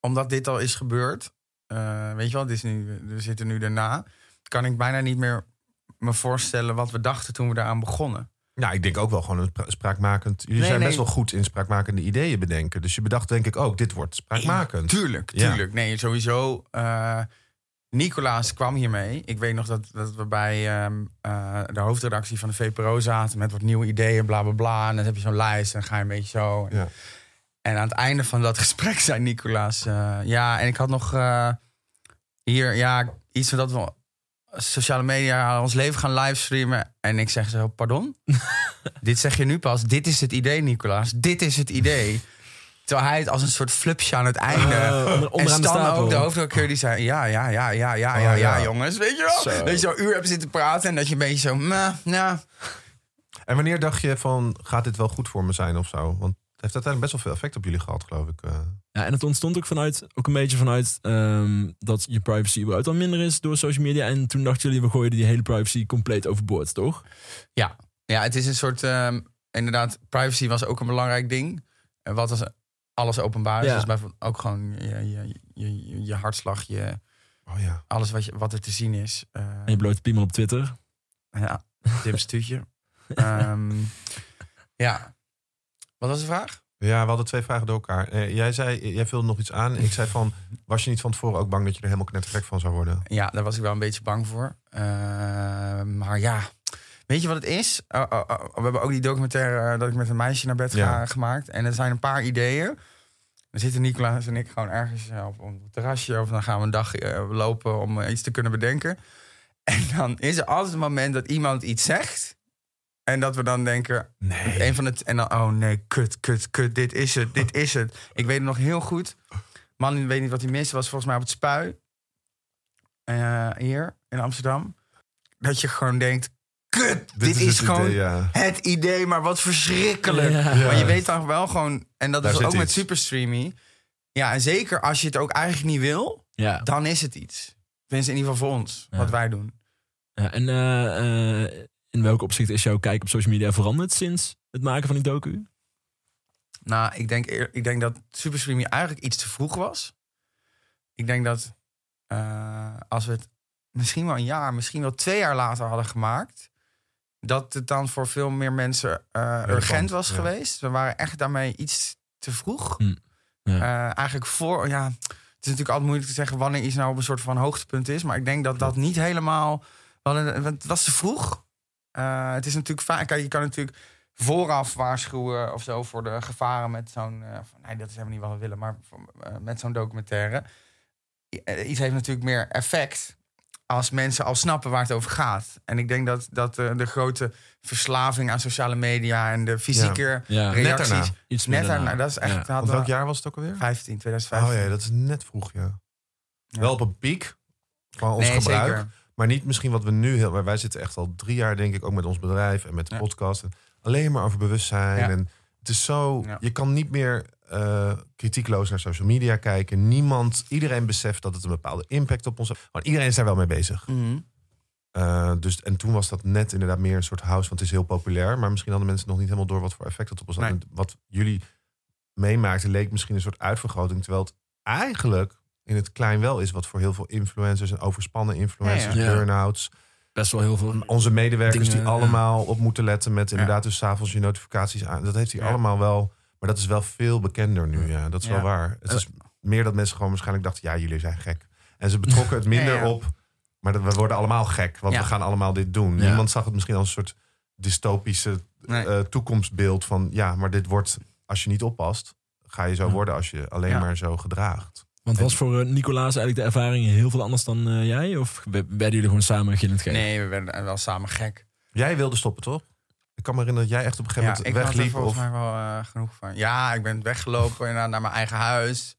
Speaker 3: omdat dit al is gebeurd, eh, weet je wel, dit is nu, we zitten nu daarna, kan ik bijna niet meer me voorstellen wat we dachten toen we daaraan begonnen.
Speaker 1: Nou, ik denk ook wel gewoon een spra- spraakmakend. Jullie
Speaker 3: Nee,
Speaker 1: zijn
Speaker 3: nee.
Speaker 1: best wel goed in spraakmakende ideeën bedenken. Dus je bedacht denk ik ook, dit wordt spraakmakend.
Speaker 3: Tuurlijk,
Speaker 1: Ja.
Speaker 3: tuurlijk. Nee, sowieso. eh, Nicolaas kwam hiermee. Ik weet nog dat, dat we bij ehm, eh, de hoofdredactie van de VPRO zaten... met wat nieuwe ideeën, bla, bla, bla. En dan heb je zo'n lijst en dan ga je een beetje zo.
Speaker 1: Ja.
Speaker 3: En aan het einde van dat gesprek zei Nicolaas... eh, ja, en ik had nog eh, hier ja, iets van dat we sociale media ons leven gaan livestreamen. En ik zeg zo, pardon? dit zeg je nu pas. Dit is het idee, Nicolaas. Dit is het idee. Terwijl hij het als een soort flupsje aan het einde...
Speaker 2: Eh, onder-
Speaker 3: En
Speaker 2: onderaan de
Speaker 3: Stan
Speaker 2: stapel.
Speaker 3: ook, de hoofdredacteur, die zei... Ja, ja, ja, ja, ja, ja,
Speaker 1: Oh,
Speaker 3: ja,
Speaker 1: ja.
Speaker 3: jongens. Weet je wel?
Speaker 2: Zo.
Speaker 3: Dat je zo'n uur hebt zitten praten en dat je een beetje zo... meh, nou,
Speaker 1: En wanneer dacht je van, gaat dit wel goed voor me zijn of zo? Want het heeft uiteindelijk best wel veel effect op jullie gehad, geloof ik. eh.
Speaker 2: Ja, en het ontstond ook vanuit, ook een beetje vanuit ehm, dat je privacy überhaupt al minder is door social media. En toen dachten jullie, we gooien die hele privacy compleet overboord, toch?
Speaker 3: Ja, het is een soort... ehm, inderdaad, privacy was ook een belangrijk ding. En wat als alles openbaar is.
Speaker 2: Ja.
Speaker 3: Dus bijvoorbeeld ook gewoon je, je, je, je, je hartslag, je,
Speaker 1: Oh ja.
Speaker 3: alles wat, je, wat er te zien is. Eh,
Speaker 2: En je bloot piemel op Twitter.
Speaker 3: ja, Tim Stuutje. Ehm, ja. Wat was de vraag?
Speaker 1: Ja, we hadden twee vragen door elkaar. Eh, jij zei, jij vulde nog iets aan. Ik zei van, was je niet van tevoren ook bang dat je er helemaal knettergek van zou worden?
Speaker 3: Ja, daar was ik wel een beetje bang voor. Eh, maar ja, weet je wat het is? Oh, oh, oh, we hebben ook die documentaire eh, dat ik met een meisje naar bed ga
Speaker 1: Ja.
Speaker 3: gemaakt. En er zijn een paar ideeën. Dan zitten Nicolaas en ik gewoon ergens eh, op, op het terrasje... of dan gaan we een dag eh, lopen om eh, iets te kunnen bedenken. En dan is er altijd een moment dat iemand iets zegt... en dat we dan denken,
Speaker 1: Nee.
Speaker 3: een van het en dan, oh nee, kut, kut, kut, dit is het, dit is het. Ik weet het nog heel goed. Man, weet niet wat hij miste, was volgens mij op het spui. Eh, hier in Amsterdam. Dat je gewoon denkt, kut, dit, is,
Speaker 1: het
Speaker 3: gewoon
Speaker 1: idee, ja.
Speaker 3: het idee, maar wat verschrikkelijk.
Speaker 2: Ja.
Speaker 1: Ja.
Speaker 3: Maar je weet dan wel gewoon, en dat
Speaker 1: Daar
Speaker 3: is
Speaker 1: zit
Speaker 3: ook met
Speaker 1: iets.
Speaker 3: Superstreamy. Ja, en zeker als je het ook eigenlijk niet wil,
Speaker 2: Ja.
Speaker 3: dan is het iets. Tenminste, in ieder geval voor ons,
Speaker 2: Ja.
Speaker 3: wat wij doen.
Speaker 2: Ja, en eh, eh, in welk opzicht is jouw kijk op social media veranderd sinds het maken van die docu?
Speaker 3: Nou, ik denk, eer- ik denk dat Super Streamy eigenlijk iets te vroeg was. Ik denk dat eh, als we het misschien wel een jaar, misschien wel twee jaar later hadden gemaakt, dat het dan voor veel meer mensen eh, urgent was
Speaker 1: ja.
Speaker 3: geweest. We waren echt daarmee iets te vroeg.
Speaker 2: Hm, ja.
Speaker 3: Eh, eigenlijk voor, ja, het is natuurlijk altijd moeilijk te zeggen wanneer iets nou op een soort van hoogtepunt is, maar ik denk dat dat niet helemaal, we hadden- want het was te vroeg. Eh, het is natuurlijk vaak, kijk, je kan natuurlijk vooraf waarschuwen of zo voor de gevaren met zo'n, eh, van, nee, dat is helemaal niet wat we willen, maar van, eh, met zo'n documentaire. I- eh, Iets heeft natuurlijk meer effect als mensen al snappen waar het over gaat. En ik denk dat, dat eh, de grote verslaving aan sociale media en de fysieke
Speaker 2: Ja,
Speaker 3: reacties.
Speaker 1: Net daarna.
Speaker 2: iets
Speaker 3: Net
Speaker 2: meer daarna.
Speaker 3: daarna, dat is echt.
Speaker 2: Ja.
Speaker 1: Want
Speaker 3: hadden we
Speaker 1: welk jaar was het ook alweer?
Speaker 3: 15, 2015.
Speaker 1: Oh ja, dat is net vroeg, ja.
Speaker 3: Ja.
Speaker 1: Wel op een piek van ons
Speaker 3: nee,
Speaker 1: gebruik.
Speaker 3: zeker.
Speaker 1: Maar niet misschien wat we nu heel. Maar wij zitten echt al drie jaar, denk ik, ook met ons bedrijf en met de
Speaker 3: Ja.
Speaker 1: podcast. En alleen maar over bewustzijn.
Speaker 3: Ja.
Speaker 1: En het is zo.
Speaker 3: Ja.
Speaker 1: Je kan niet meer eh, kritiekloos naar social media kijken. Niemand, iedereen beseft dat het een bepaalde impact op ons heeft. Maar iedereen is daar wel mee bezig.
Speaker 3: Mhm.
Speaker 1: Eh, dus, en toen was dat net inderdaad meer een soort house, want het is heel populair. Maar misschien hadden mensen nog niet helemaal door wat voor effect dat op ons had.
Speaker 3: Nee.
Speaker 1: En Wat jullie meemaakten leek misschien een soort uitvergroting. Terwijl het eigenlijk in het klein wel is wat voor heel veel influencers en overspannen influencers,
Speaker 2: Ja, ja. Ja.
Speaker 1: burn-outs.
Speaker 2: Best wel heel veel.
Speaker 1: Onze medewerkers
Speaker 2: Dingen,
Speaker 1: die
Speaker 2: ja.
Speaker 1: allemaal op moeten letten met
Speaker 3: Ja.
Speaker 1: inderdaad dus s'avonds je notificaties aan. Dat heeft hij
Speaker 3: Ja.
Speaker 1: allemaal wel. Maar dat is wel veel bekender nu. Ja, dat is wel
Speaker 3: Ja.
Speaker 1: waar. Het is meer dat mensen gewoon waarschijnlijk dachten, ja, jullie zijn gek. En ze betrokken het minder
Speaker 3: Ja, ja.
Speaker 1: op. Maar dat, we worden allemaal gek, want
Speaker 3: Ja.
Speaker 1: we gaan allemaal dit doen.
Speaker 2: Ja.
Speaker 1: Niemand zag het misschien als een soort dystopische
Speaker 3: Nee.
Speaker 1: eh, toekomstbeeld van, ja, maar dit wordt, als je niet oppast, ga je zo
Speaker 2: Ja.
Speaker 1: worden als je alleen
Speaker 3: Ja.
Speaker 1: maar zo gedraagt.
Speaker 2: Want was voor eh, Nicolaas eigenlijk de ervaring heel veel anders dan eh, jij? Of we- werden jullie gewoon samen gillend gek?
Speaker 3: nee, we werden wel samen gek.
Speaker 1: Jij wilde stoppen, toch? Ik kan me herinneren dat jij echt op een
Speaker 3: Ja,
Speaker 1: gegeven
Speaker 3: ik
Speaker 1: moment
Speaker 3: had er
Speaker 1: wegliep.
Speaker 3: volgens
Speaker 1: Of,
Speaker 3: mij wel eh, genoeg van. Ja, ik ben weggelopen inderdaad, naar mijn eigen huis.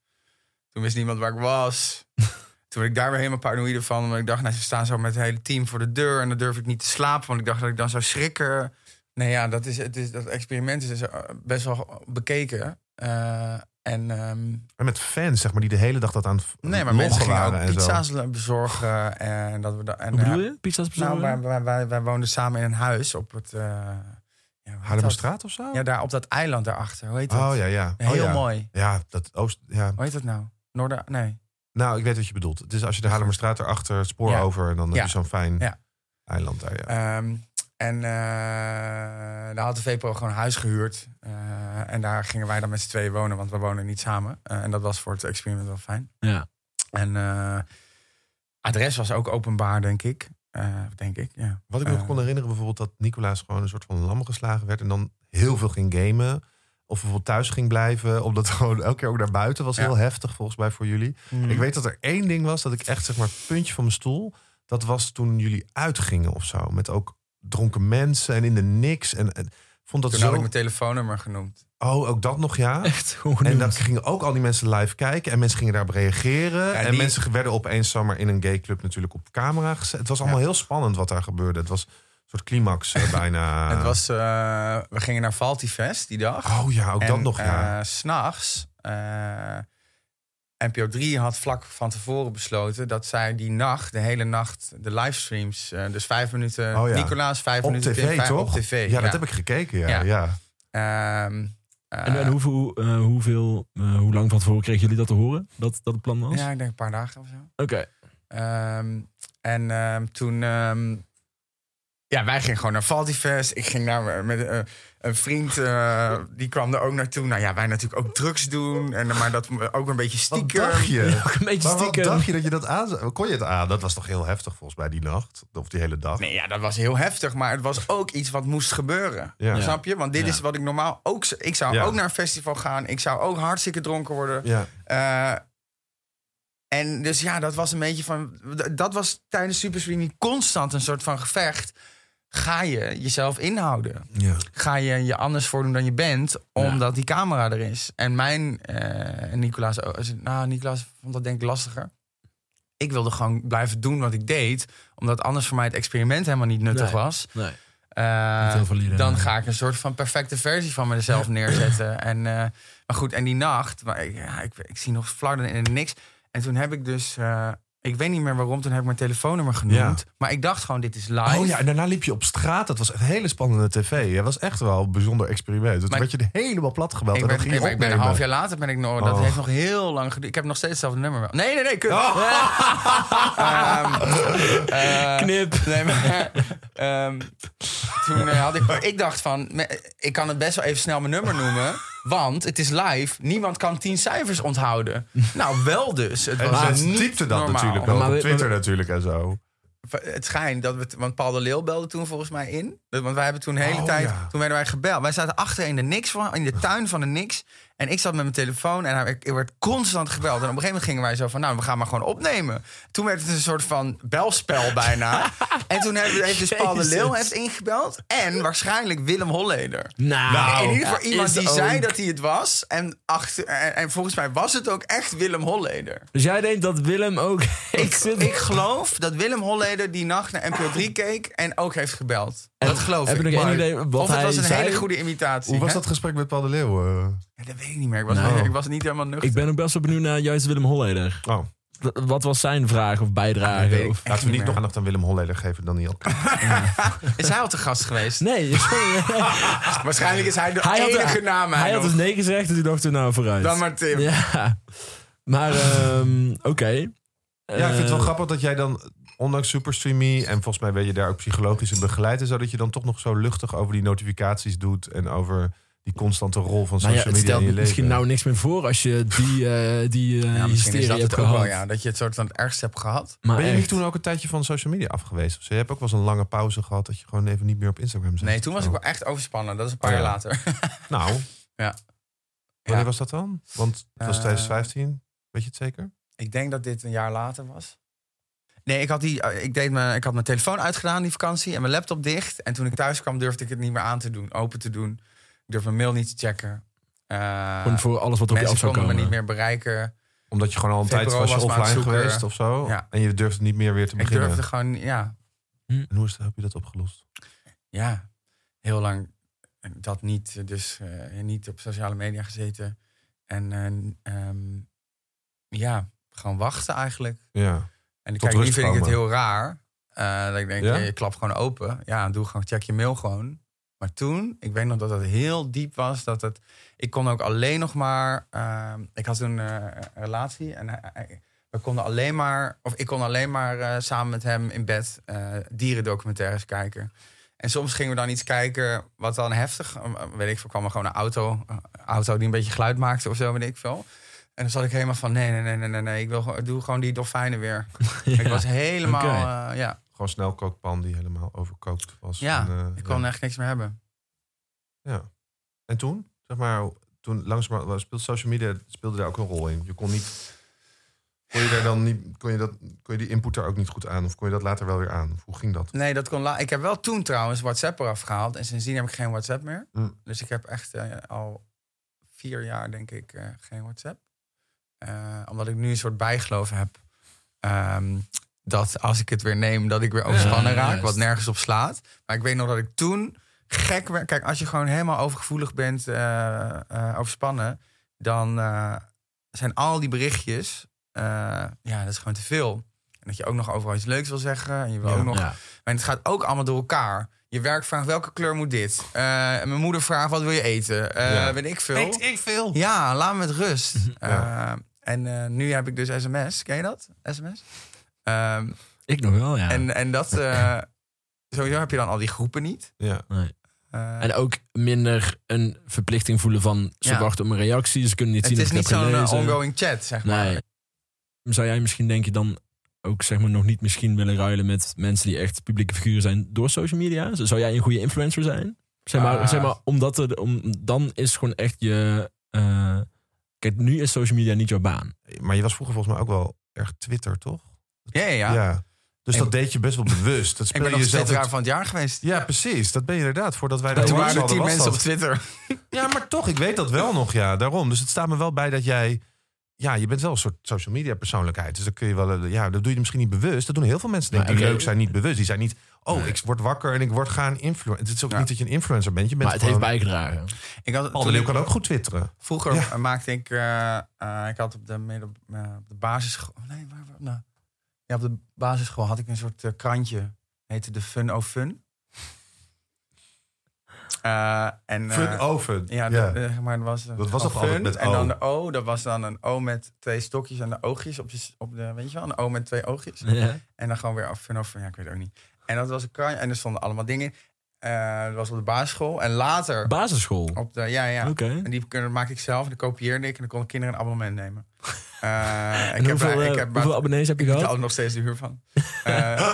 Speaker 3: Toen wist niemand waar ik was. Toen werd ik daar weer helemaal paranoïde van. Omdat ik dacht, nou, ze staan zo met het hele team voor de deur. En dan durf ik niet te slapen, want ik dacht dat ik dan zou schrikken. Nee, ja, dat, is, het is, dat experiment is dus, eh, best wel bekeken. Eh, en ehm,
Speaker 1: En met fans, zeg maar, die de hele dag dat aan het
Speaker 3: nee, maar
Speaker 1: loggen
Speaker 3: mensen gingen
Speaker 1: waren en
Speaker 3: ook
Speaker 1: zo.
Speaker 3: pizza's bezorgen. En dat we da- en,
Speaker 2: Hoe bedoel
Speaker 3: eh,
Speaker 2: je? Pizza's
Speaker 3: Nou,
Speaker 2: bezorgen?
Speaker 3: wij, wij, wij, wij woonden samen in een huis op het... eh, ja, hoe heet dat?
Speaker 1: Haarlemmerstraat of zo?
Speaker 3: Ja, daar op dat eiland daarachter. Hoe heet dat?
Speaker 1: oh ja, ja. Oh,
Speaker 3: Heel
Speaker 1: ja.
Speaker 3: mooi.
Speaker 1: Ja, dat oost... Ja.
Speaker 3: Hoe heet dat nou? Noorder... Nee.
Speaker 1: Nou, ik weet wat je bedoelt. Het is als je de Haarlemmerstraat erachter het spoor
Speaker 3: Ja.
Speaker 1: over... en dan
Speaker 3: Ja.
Speaker 1: heb je zo'n fijn
Speaker 3: Ja.
Speaker 1: eiland daar, ja.
Speaker 3: Ehm, En eh, daar had de VPRO gewoon een huis gehuurd. Eh, en daar gingen wij dan met z'n tweeën wonen, want we wonen niet samen. Eh, en dat was voor het experiment wel fijn.
Speaker 2: Ja.
Speaker 3: En eh, adres was ook openbaar, denk ik. Eh, denk ik, ja.
Speaker 1: Wat ik me nog
Speaker 3: Eh.
Speaker 1: kon herinneren, bijvoorbeeld dat Nicolaas gewoon een soort van lam geslagen werd. En dan heel veel ging gamen. Of bijvoorbeeld thuis ging blijven. Omdat gewoon elke keer ook naar buiten was
Speaker 3: Ja.
Speaker 1: heel heftig volgens mij voor jullie.
Speaker 3: Mhm.
Speaker 1: Ik weet dat er één ding was dat ik echt zeg maar puntje van mijn stoel. Dat was toen jullie uitgingen of zo. Met ook dronken mensen en in de niks. En, en vond dat
Speaker 3: Toen
Speaker 1: zo.
Speaker 3: had ik mijn telefoonnummer genoemd.
Speaker 1: Oh, ook dat nog ja.
Speaker 2: Echt gewoon
Speaker 1: En
Speaker 2: genoemd.
Speaker 1: dan gingen ook al die mensen live kijken. En mensen gingen daarop reageren. en
Speaker 3: die-
Speaker 1: mensen werden opeens zomaar in een gay club natuurlijk op camera gezet. Het was allemaal
Speaker 3: Ja.
Speaker 1: heel spannend wat daar gebeurde. Het was een soort climax eh, bijna.
Speaker 3: Het was, eh, we gingen naar Valtifest die dag.
Speaker 1: Oh ja, ook dat
Speaker 3: En,
Speaker 1: nog ja.
Speaker 3: eh, S'nachts, eh NPO 3 had vlak van tevoren besloten dat zij die nacht, de hele nacht, de livestreams, eh, dus vijf minuten
Speaker 1: Oh ja.
Speaker 3: Nicolaas, vijf
Speaker 1: Op
Speaker 3: minuten
Speaker 1: tv
Speaker 3: Tim, vijf-
Speaker 1: toch?
Speaker 3: Op tv,
Speaker 1: ja, dat heb ik gekeken. Ja, ja.
Speaker 3: Ja. Ehm, eh,
Speaker 2: En, en hoeveel, eh, hoeveel, eh, hoe lang van tevoren kregen jullie dat te horen? Dat, dat het plan was?
Speaker 3: ja, ik denk een paar dagen of zo.
Speaker 2: Oké.
Speaker 3: Ehm, en ehm, toen... ehm, ja, wij gingen gewoon naar Valtivest. Ik ging naar met eh, een vriend, eh, die kwam er ook naartoe. Nou ja, wij natuurlijk ook drugs doen. En, maar dat ook een beetje
Speaker 1: Wat
Speaker 3: stiekem.
Speaker 1: dacht je?
Speaker 2: Ook een beetje
Speaker 1: Maar wat
Speaker 2: stiekem.
Speaker 1: dacht je dat je dat aan... Kon je het aan? Dat was toch heel heftig volgens mij die nacht? Of die hele dag?
Speaker 3: Nee, ja, dat was heel heftig, maar het was ook iets wat moest gebeuren.
Speaker 1: Ja.
Speaker 3: Snap je? Want dit
Speaker 2: Ja.
Speaker 3: is wat ik normaal ook... z- Ik zou
Speaker 1: Ja.
Speaker 3: ook naar een festival gaan. Ik zou ook hartstikke dronken worden.
Speaker 1: Ja.
Speaker 3: Eh, en dus ja, dat was een beetje van... d- Dat was tijdens Super Sweeney constant een soort van gevecht. Ga je jezelf inhouden?
Speaker 1: ja.
Speaker 3: Ga je je anders voordoen dan je bent, omdat die camera er is? En mijn... eh, en Nicolaas... ook- Nou, Nicolaas vond dat denk ik lastiger. Ik wilde gewoon blijven doen wat ik deed. Omdat anders voor mij het experiment helemaal niet nuttig
Speaker 2: Nee.
Speaker 3: was.
Speaker 2: Nee.
Speaker 3: Eh,
Speaker 2: Niet heel valide,
Speaker 3: dan
Speaker 2: nee.
Speaker 3: ga ik een soort van perfecte versie van mezelf neerzetten. En, eh, maar goed, en die nacht, maar ik, ja, ik, ik zie nog flarden en niks. En toen heb ik dus, eh, ik weet niet meer waarom, toen heb ik mijn telefoonnummer genoemd. Maar ik dacht gewoon, dit is live.
Speaker 1: Oh ja, en daarna liep je op straat. Dat was een hele spannende tv. Het was echt wel een bijzonder experiment. Dus Toen
Speaker 3: Maar-
Speaker 1: werd je er helemaal plat gebeld.
Speaker 3: ik,
Speaker 1: en
Speaker 3: ben,
Speaker 1: dat
Speaker 3: ik,
Speaker 1: ging je
Speaker 3: ben- ik ben een half
Speaker 1: opnemen.
Speaker 3: jaar later, ben ik nog, dat
Speaker 1: Oh.
Speaker 3: heeft nog heel lang geduurd. Ik heb nog steeds hetzelfde nummer wel. Nee, nee, nee, kut.
Speaker 1: Oh.
Speaker 3: Ehm, eh,
Speaker 2: Knip.
Speaker 3: Nee, maar ehm, toen eh, had ik... Ik dacht van, me- ik kan het best wel even snel mijn nummer noemen. Want het is live. Niemand kan tien cijfers onthouden. Nou, wel dus. Het
Speaker 1: En
Speaker 3: was
Speaker 1: ze
Speaker 3: niet
Speaker 1: typte dat
Speaker 3: normaal.
Speaker 1: natuurlijk wel
Speaker 2: Maar
Speaker 1: op
Speaker 2: we-
Speaker 1: Twitter natuurlijk en zo.
Speaker 3: Het schijnt dat we... t- Want Paul de Leeuw belde toen volgens mij in. Want wij hebben toen de hele
Speaker 1: Oh,
Speaker 3: tijd...
Speaker 1: ja.
Speaker 3: Toen werden wij gebeld. Wij zaten achter in de niks van, in de tuin van de niks. En ik zat met mijn telefoon en hij, ik werd constant gebeld. En op een gegeven moment gingen wij zo van... Nou, we gaan maar gewoon opnemen. Toen werd het een soort van belspel bijna. en toen hebben we dus Paul de
Speaker 2: Jezus.
Speaker 3: Leeuw heeft ingebeld. En waarschijnlijk Willem Holleder.
Speaker 2: Nou,
Speaker 3: in ieder geval
Speaker 2: ja,
Speaker 3: iemand
Speaker 2: is
Speaker 3: die
Speaker 2: ook.
Speaker 3: zei dat hij het was. En, achter, en, en volgens mij was het ook echt Willem Holleder.
Speaker 2: Dus jij denkt dat Willem ook... ik zit...
Speaker 3: Ik geloof dat Willem Holleder die nacht naar NPO 3 keek en ook heeft gebeld. dat geloof
Speaker 2: heb
Speaker 3: ik.
Speaker 2: je nog
Speaker 3: Maar-
Speaker 2: één idee wat
Speaker 3: of het
Speaker 2: hij
Speaker 3: was een
Speaker 2: zei?
Speaker 3: hele goede imitatie.
Speaker 1: Hoe was
Speaker 3: hè?
Speaker 1: dat gesprek met Paul de Leeuw? eh?
Speaker 3: Ja, dat weet ik niet meer. Ik was,
Speaker 2: Nou.
Speaker 3: ik was niet helemaal nuchter.
Speaker 2: ik ben ook best wel benieuwd naar juist Willem Holleder.
Speaker 1: Oh,
Speaker 2: W- Wat was zijn vraag of bijdrage?
Speaker 3: weet ik
Speaker 2: of...
Speaker 3: echt
Speaker 1: laten we
Speaker 3: niet
Speaker 1: niet nog
Speaker 3: meer.
Speaker 1: aandacht aan Willem Holleder geven dan niet al.
Speaker 3: Is hij al te gast geweest? Ah,
Speaker 2: Nee, sorry.
Speaker 3: Waarschijnlijk is hij de
Speaker 2: Nou, Hij had-
Speaker 3: enige naam.
Speaker 2: hij had
Speaker 3: nog.
Speaker 2: dus nee gezegd en toen dacht hij nou vooruit.
Speaker 3: Dan maar Tim.
Speaker 2: Ja, maar ehm, oké.
Speaker 1: Ja, ik vind
Speaker 3: Eh,
Speaker 1: het wel grappig dat jij dan, ondanks Superstreamy... en volgens mij ben je daar ook psychologisch in begeleid... en zo, dat je dan toch nog zo luchtig over die notificaties doet... en over die constante rol van
Speaker 2: Maar
Speaker 3: Nou
Speaker 2: ja,
Speaker 1: social
Speaker 2: het
Speaker 1: media
Speaker 2: stelt
Speaker 1: in je leven.
Speaker 2: misschien nou niks meer voor als je die, eh die eh
Speaker 3: Ja, misschien is
Speaker 2: hysterie
Speaker 3: dat
Speaker 2: hebt
Speaker 3: het ook
Speaker 2: gehad.
Speaker 3: wel, ja. Dat je het soort van het ergste hebt gehad.
Speaker 2: Maar
Speaker 1: ben je
Speaker 2: echt.
Speaker 1: niet toen ook een tijdje van social media af geweest? Of zo? je hebt ook wel eens een lange pauze gehad... dat je gewoon even niet meer op Instagram zat.
Speaker 3: Nee, toen was
Speaker 1: Zo.
Speaker 2: Oh.
Speaker 3: ik wel echt overspannen. Dat is een paar
Speaker 1: Oh, ja.
Speaker 3: jaar later.
Speaker 1: Nou,
Speaker 3: Ja.
Speaker 1: wanneer
Speaker 3: Ja.
Speaker 1: was dat dan? Want het was
Speaker 3: Eh,
Speaker 1: 2015, weet je het zeker?
Speaker 3: Ik denk dat dit een jaar later was. Nee, ik had, die, eh, ik, deed mijn, ik had mijn telefoon uitgedaan die vakantie en mijn laptop dicht. En toen ik thuis kwam durfde ik het niet meer aan te doen, open te doen. Ik durfde mijn mail niet te checken. Eh,
Speaker 2: Gewoon voor alles wat op je af
Speaker 3: mensen
Speaker 2: zou
Speaker 3: konden
Speaker 2: komen.
Speaker 3: me niet meer bereiken.
Speaker 1: Omdat je gewoon al een tijd
Speaker 3: Februari
Speaker 1: was je
Speaker 3: was maar aan het
Speaker 1: offline
Speaker 3: zoeken.
Speaker 1: geweest of zo...
Speaker 3: Ja.
Speaker 1: en je durfde niet meer weer te
Speaker 3: Ik
Speaker 1: beginnen.
Speaker 3: durfde gewoon, ja,
Speaker 1: En hoe is dat, heb je dat opgelost?
Speaker 3: ja, heel lang eh, dat niet. Dus eh, niet op sociale media gezeten. En eh, ehm, ja, gewoon wachten eigenlijk.
Speaker 1: Ja.
Speaker 3: En ik
Speaker 1: Tot
Speaker 3: kijk, nu
Speaker 1: rust
Speaker 3: vind ik het
Speaker 1: komen.
Speaker 3: heel raar. eh, dat ik denk,
Speaker 1: Ja?
Speaker 3: je klap gewoon open. Ja, doe gewoon, check je mail gewoon. Maar toen, ik weet nog dat het heel diep was. Dat het, ik kon ook alleen nog maar... ehm, ik had toen eh, een relatie en hij- hij- we konden alleen maar... Of ik kon alleen maar eh, samen met hem in bed eh, dierendocumentaires kijken. En soms gingen we dan iets kijken wat dan heftig... eh, weet ik veel, kwam er gewoon een auto, een auto die een beetje geluid maakte of zo, weet ik veel. En dan zat ik helemaal van, nee, nee, nee, nee, nee, nee. Ik wil, gewoon- doe gewoon die dolfijnen weer. Ik was helemaal,
Speaker 2: oké.
Speaker 3: eh, ja.
Speaker 1: Gewoon snelkookpan die helemaal overkookt was.
Speaker 3: Ja,
Speaker 1: en, eh,
Speaker 3: Ik kon
Speaker 1: ja.
Speaker 3: echt niks meer hebben.
Speaker 1: Ja. En toen? Zeg maar, toen langzamerhand speelde social media speelde daar ook een rol in. Je kon niet. Kon je, daar dan niet, kon, je dat, kon je die input daar ook niet goed aan? Of kon je dat later wel weer aan? Of hoe ging dat?
Speaker 3: Nee, dat kon la- Ik heb wel toen trouwens WhatsApp eraf gehaald. En sindsdien heb ik geen WhatsApp meer.
Speaker 1: Mm.
Speaker 3: Dus ik heb echt eh, al vier jaar, denk ik, eh, geen WhatsApp. Eh, omdat ik nu een soort bijgeloof heb. ehm, dat als ik het weer neem, dat ik weer overspannen
Speaker 2: Ja,
Speaker 3: raak.
Speaker 2: juist.
Speaker 3: Wat nergens op slaat. Maar ik weet nog dat ik toen gek werd. Kijk, als je gewoon helemaal overgevoelig bent, eh, eh, overspannen. Dan eh, zijn al die berichtjes. eh, ja, dat is gewoon te veel. En dat je ook nog overal iets leuks wil zeggen. En je wil
Speaker 1: Ja.
Speaker 3: ook nog
Speaker 2: Ja.
Speaker 3: maar het gaat ook allemaal door elkaar. Je werk vraagt welke kleur moet dit? Eh, en mijn moeder vraagt wat wil je eten? Eh,
Speaker 1: Ja.
Speaker 3: Weet ik veel.
Speaker 1: ik veel.
Speaker 3: Ja, laat me met rust.
Speaker 1: Ja.
Speaker 3: Eh, en eh, nu heb ik dus sms. Ken je dat? SMS? Ehm,
Speaker 2: Ik nog wel, ja.
Speaker 3: en, en dat... eh, sowieso heb je dan al die groepen niet.
Speaker 1: Ja.
Speaker 3: Eh,
Speaker 2: En ook minder een verplichting voelen van ze
Speaker 3: Ja.
Speaker 2: wachten op een reactie, ze kunnen niet
Speaker 3: het
Speaker 2: zien
Speaker 3: is
Speaker 2: of ik
Speaker 3: niet
Speaker 2: het
Speaker 3: zo'n
Speaker 2: heb
Speaker 3: eh,
Speaker 2: gelezen.
Speaker 3: ongoing chat, zeg maar.
Speaker 2: Nee. Zou jij misschien denk je dan ook zeg maar nog niet misschien willen ruilen met mensen die echt publieke figuren zijn door social media? Zo- Zou jij een goede influencer zijn? Zeg maar,
Speaker 3: Ah.
Speaker 2: zeg maar omdat er, om, dan is gewoon echt je... eh, kijk, nu is social media niet jouw baan.
Speaker 1: Maar je was vroeger volgens mij ook wel erg Twitter, toch?
Speaker 3: Ja, ja, ja.
Speaker 1: Dus
Speaker 3: Ik-
Speaker 1: dat deed je best wel bewust. Dat
Speaker 3: Ik
Speaker 1: speelde
Speaker 3: ben
Speaker 1: je
Speaker 3: nog
Speaker 1: jezelf.
Speaker 3: twitteraar van het jaar geweest.
Speaker 1: Ja, precies. Dat ben je inderdaad. Voordat wij daar
Speaker 3: Toen
Speaker 1: jongens
Speaker 3: waren er
Speaker 1: hadden,
Speaker 3: tien
Speaker 1: was
Speaker 3: mensen
Speaker 1: dat.
Speaker 3: op Twitter.
Speaker 1: Ja, maar toch, ik weet dat wel nog, ja, daarom. Dus het staat me wel bij dat jij... Ja, je bent wel een soort social media persoonlijkheid. Dus dat kun je wel... eh, Ja, dat doe je misschien niet bewust. Dat doen heel veel mensen, denk ik,
Speaker 2: Maar
Speaker 1: die
Speaker 2: oké.
Speaker 1: leuk zijn, niet bewust. Die zijn niet... Oh,
Speaker 2: Nee.
Speaker 1: ik word wakker en ik word gaan influencer. Het is ook
Speaker 3: Ja.
Speaker 1: niet dat je een influencer bent. Je bent
Speaker 2: Maar het heeft
Speaker 1: gewoon...
Speaker 2: bijgedragen.
Speaker 3: Ik had,
Speaker 1: Paul de
Speaker 3: toen
Speaker 1: Leeuw
Speaker 3: ik-
Speaker 1: kan ook goed twitteren.
Speaker 3: Vroeger
Speaker 1: Ja.
Speaker 3: eh, maakte ik, eh, eh, ik had op de, midden, eh, op de basisschool, oh, nee, waar, waar- nou, ja, op de basisschool had ik een soort eh, krantje, heette de Fun O Fun. Eh, en, eh,
Speaker 1: Fun oven.
Speaker 3: ja, de- de- zeg maar er was een
Speaker 1: Dat was
Speaker 3: O
Speaker 1: toch altijd
Speaker 3: Fun
Speaker 1: met
Speaker 3: en
Speaker 1: O?
Speaker 3: dan de O, dat was dan een O met twee stokjes en de oogjes op, je, s- op de, weet je wel, een O met twee oogjes.
Speaker 2: Ja.
Speaker 3: En dan gewoon weer oh, af en af. Ja, ik weet het ook niet. En dat was een krantje en er stonden allemaal dingen. Eh, dat was op de basisschool en later
Speaker 2: Basisschool.
Speaker 3: op de, ja, ja.
Speaker 2: Oké.
Speaker 3: En die kunnen- maakte ik zelf en die kopieerde ik. En dan konden kinderen een abonnement nemen. Eh,
Speaker 2: En hoeveel,
Speaker 3: bij-
Speaker 2: eh,
Speaker 3: ik heb bij-
Speaker 2: hoeveel abonnees heb je
Speaker 3: ik betaal
Speaker 2: gehad?
Speaker 3: er nog steeds de huur van. Eh,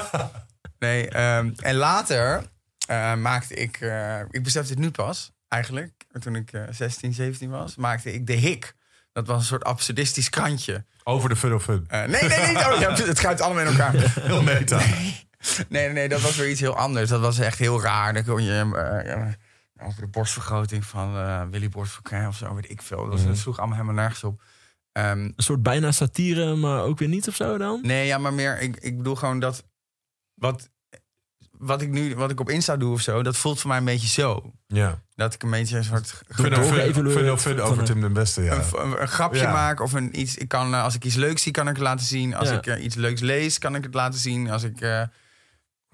Speaker 3: nee, ehm, en later eh, maakte ik... eh, ik besefte het nu pas, eigenlijk. Toen ik eh, 16, 17 was, maakte ik De Hik. Dat was een soort absurdistisch krantje.
Speaker 1: Over de fun of fun.
Speaker 3: Eh, nee, nee, nee. oh, ja, het gaat allemaal in elkaar.
Speaker 1: Heel meta.
Speaker 3: Nee, nee, nee, dat was weer iets heel anders. Dat was echt heel raar. Dan kon je eh, eh, over de borstvergroting van eh, Willy Borstverkijn of zo, weet ik veel.
Speaker 1: Mhm.
Speaker 3: Dat, was, dat sloeg allemaal helemaal nergens op. Ehm,
Speaker 2: Een soort bijna satire, maar ook weer niet of zo dan?
Speaker 3: nee, ja, maar meer, ik, ik bedoel gewoon dat wat, wat ik nu, wat ik op Insta doe of zo, dat voelt voor mij een beetje zo.
Speaker 1: Ja.
Speaker 3: Dat ik een beetje een soort g-
Speaker 1: Fun of fun,
Speaker 2: doorgeëvalueerd
Speaker 1: fun, of fun
Speaker 2: van
Speaker 1: over
Speaker 2: een-
Speaker 1: Tim den Beste, ja.
Speaker 3: een, v- een- een grapje
Speaker 1: Ja.
Speaker 3: maak of een iets. Ik kan, eh, als ik iets leuks zie, kan ik het laten zien. Als
Speaker 2: Ja.
Speaker 3: ik eh, iets leuks lees, kan ik het laten zien. Als ik. eh,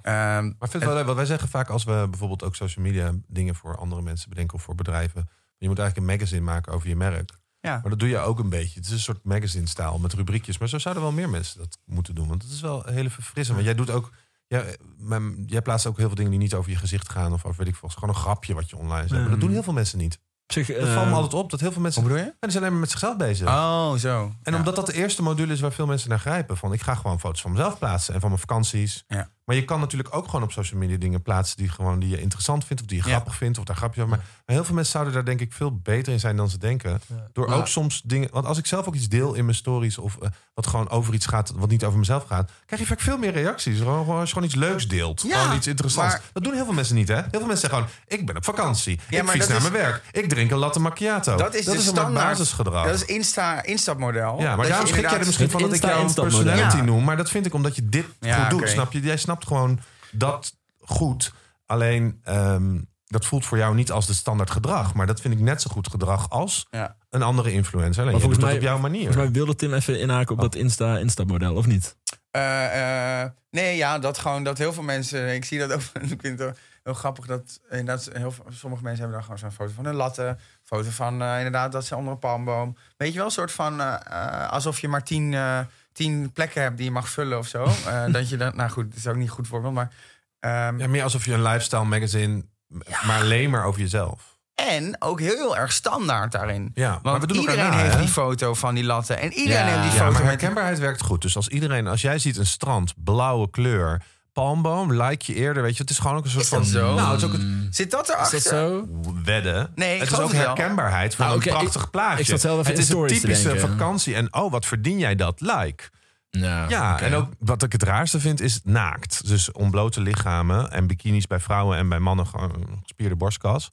Speaker 3: ehm,
Speaker 1: Maar vind wel, wat wij zeggen vaak als we bijvoorbeeld ook social media dingen voor andere mensen bedenken of voor bedrijven. Je moet eigenlijk een magazine maken over je merk.
Speaker 3: ja.
Speaker 1: Maar dat doe je ook een beetje. Het is een soort magazine-stijl met rubriekjes. Maar zo zouden wel meer mensen dat moeten doen. Want het is wel heel verfrissend. Want jij doet ook... Jij, mijn- jij plaatst ook heel veel dingen die niet over je gezicht gaan. Of over, weet ik veel. Het is Gewoon een grapje wat je online zet. Maar dat
Speaker 2: Mm.
Speaker 1: doen heel veel mensen niet.
Speaker 2: Zeg,
Speaker 1: Dat valt me altijd op. Dat heel veel mensen...
Speaker 3: Wat Eh. bedoel je?
Speaker 1: Ja, die zijn alleen maar met zichzelf bezig.
Speaker 3: Oh, zo.
Speaker 1: En
Speaker 3: Ja.
Speaker 1: omdat dat de eerste module is waar veel mensen naar grijpen. Van ik ga gewoon foto's van mezelf plaatsen. En van mijn vakanties.
Speaker 3: Ja.
Speaker 1: Maar je kan natuurlijk ook gewoon op social media dingen plaatsen. Die, gewoon, die je interessant vindt. Of die je
Speaker 3: Ja.
Speaker 1: grappig vindt. Of daar grapjes over. Maar heel veel mensen zouden daar denk ik veel beter in zijn dan ze denken. Door
Speaker 3: Maar-
Speaker 1: ook soms dingen. Want als ik zelf ook iets deel in mijn stories. of eh, wat gewoon over iets gaat. wat niet over mezelf gaat. krijg je vaak veel meer reacties. Gewoon, gewoon als je gewoon iets leuks deelt.
Speaker 3: Ja,
Speaker 1: gewoon iets interessants.
Speaker 3: maar-
Speaker 1: dat doen heel veel mensen niet, hè? Heel veel mensen zeggen gewoon. Ik ben op vakantie.
Speaker 3: Ja,
Speaker 1: ik
Speaker 3: maar
Speaker 1: fiets
Speaker 3: dat
Speaker 1: naar
Speaker 3: is-
Speaker 1: mijn werk. Ik drink een latte macchiato.
Speaker 3: Dat is de
Speaker 1: een
Speaker 3: standaard-
Speaker 1: basisgedrag.
Speaker 3: Dat is Insta, Insta-model.
Speaker 1: Ja,
Speaker 3: Dat
Speaker 1: maar
Speaker 3: je
Speaker 1: daarom schrik jij er
Speaker 3: inderdaad-
Speaker 1: misschien van dat ik
Speaker 2: Insta-
Speaker 1: jou een
Speaker 2: Insta-model.
Speaker 1: personality
Speaker 3: Ja.
Speaker 1: noem. Maar dat vind ik omdat je dit
Speaker 3: Ja,
Speaker 1: goed doet,
Speaker 3: oké.
Speaker 1: snap je? Jij snapt gewoon dat goed. Alleen, ehm, dat voelt voor jou niet als de standaard gedrag. Maar dat vind ik net zo goed gedrag als
Speaker 3: Ja.
Speaker 1: een andere influencer. Alleen,
Speaker 2: Maar
Speaker 1: je doet
Speaker 2: volgens
Speaker 1: dat
Speaker 2: mij-
Speaker 1: op jouw manier.
Speaker 2: Volgens mij wilde Tim even inhaken op dat Insta- Insta-model, of niet?
Speaker 3: Eh, eh, nee, ja, dat gewoon dat heel veel mensen. Ik zie dat ook. Ik vind het ook heel grappig dat inderdaad heel, veel- sommige mensen hebben dan gewoon zo'n foto van een latte, foto van eh, inderdaad dat ze onder een palmboom. Weet je wel, een soort van eh, eh, alsof je maar tien, eh, tien plekken hebt die je mag vullen of zo. Eh, dat je dan, nou goed, dat is ook niet goed voorbeeld, maar Ehm,
Speaker 1: Ja, meer alsof je een lifestyle magazine, m- maar alleen maar over jezelf.
Speaker 3: En ook heel, heel erg standaard daarin.
Speaker 1: Ja, maar
Speaker 3: Want
Speaker 1: we doen elkaar
Speaker 3: iedereen
Speaker 1: na,
Speaker 3: heeft
Speaker 1: hè?
Speaker 3: die foto van die latten. En iedereen
Speaker 2: Ja.
Speaker 3: heeft die
Speaker 2: Ja,
Speaker 1: Ja,
Speaker 3: foto.
Speaker 1: maar
Speaker 3: met-
Speaker 1: herkenbaarheid werkt goed. Dus als iedereen, als jij ziet een strand, blauwe kleur, palmboom, like je eerder, weet je, het is gewoon ook een soort
Speaker 3: Is
Speaker 1: van.
Speaker 3: dat zo?
Speaker 1: Nou, het is ook het
Speaker 3: Zit dat erachter?
Speaker 2: Mm. Is dat zo?
Speaker 1: wedden.
Speaker 3: Nee, ik
Speaker 1: het is
Speaker 3: geloof
Speaker 1: ook
Speaker 3: het wel.
Speaker 1: herkenbaarheid van
Speaker 2: Nou, oké,
Speaker 1: een prachtig
Speaker 2: ik-
Speaker 1: plaatje.
Speaker 2: ik zat zelf even
Speaker 1: het
Speaker 2: in
Speaker 1: is een
Speaker 2: stories te
Speaker 1: typische
Speaker 2: denken.
Speaker 1: vakantie en oh, wat verdien jij dat? Like.
Speaker 2: Nou,
Speaker 1: Ja,
Speaker 2: oké.
Speaker 1: en ook wat ik het raarste vind is naakt. Dus ontblote lichamen en bikinis bij vrouwen en bij mannen gewoon een gespierde borstkas.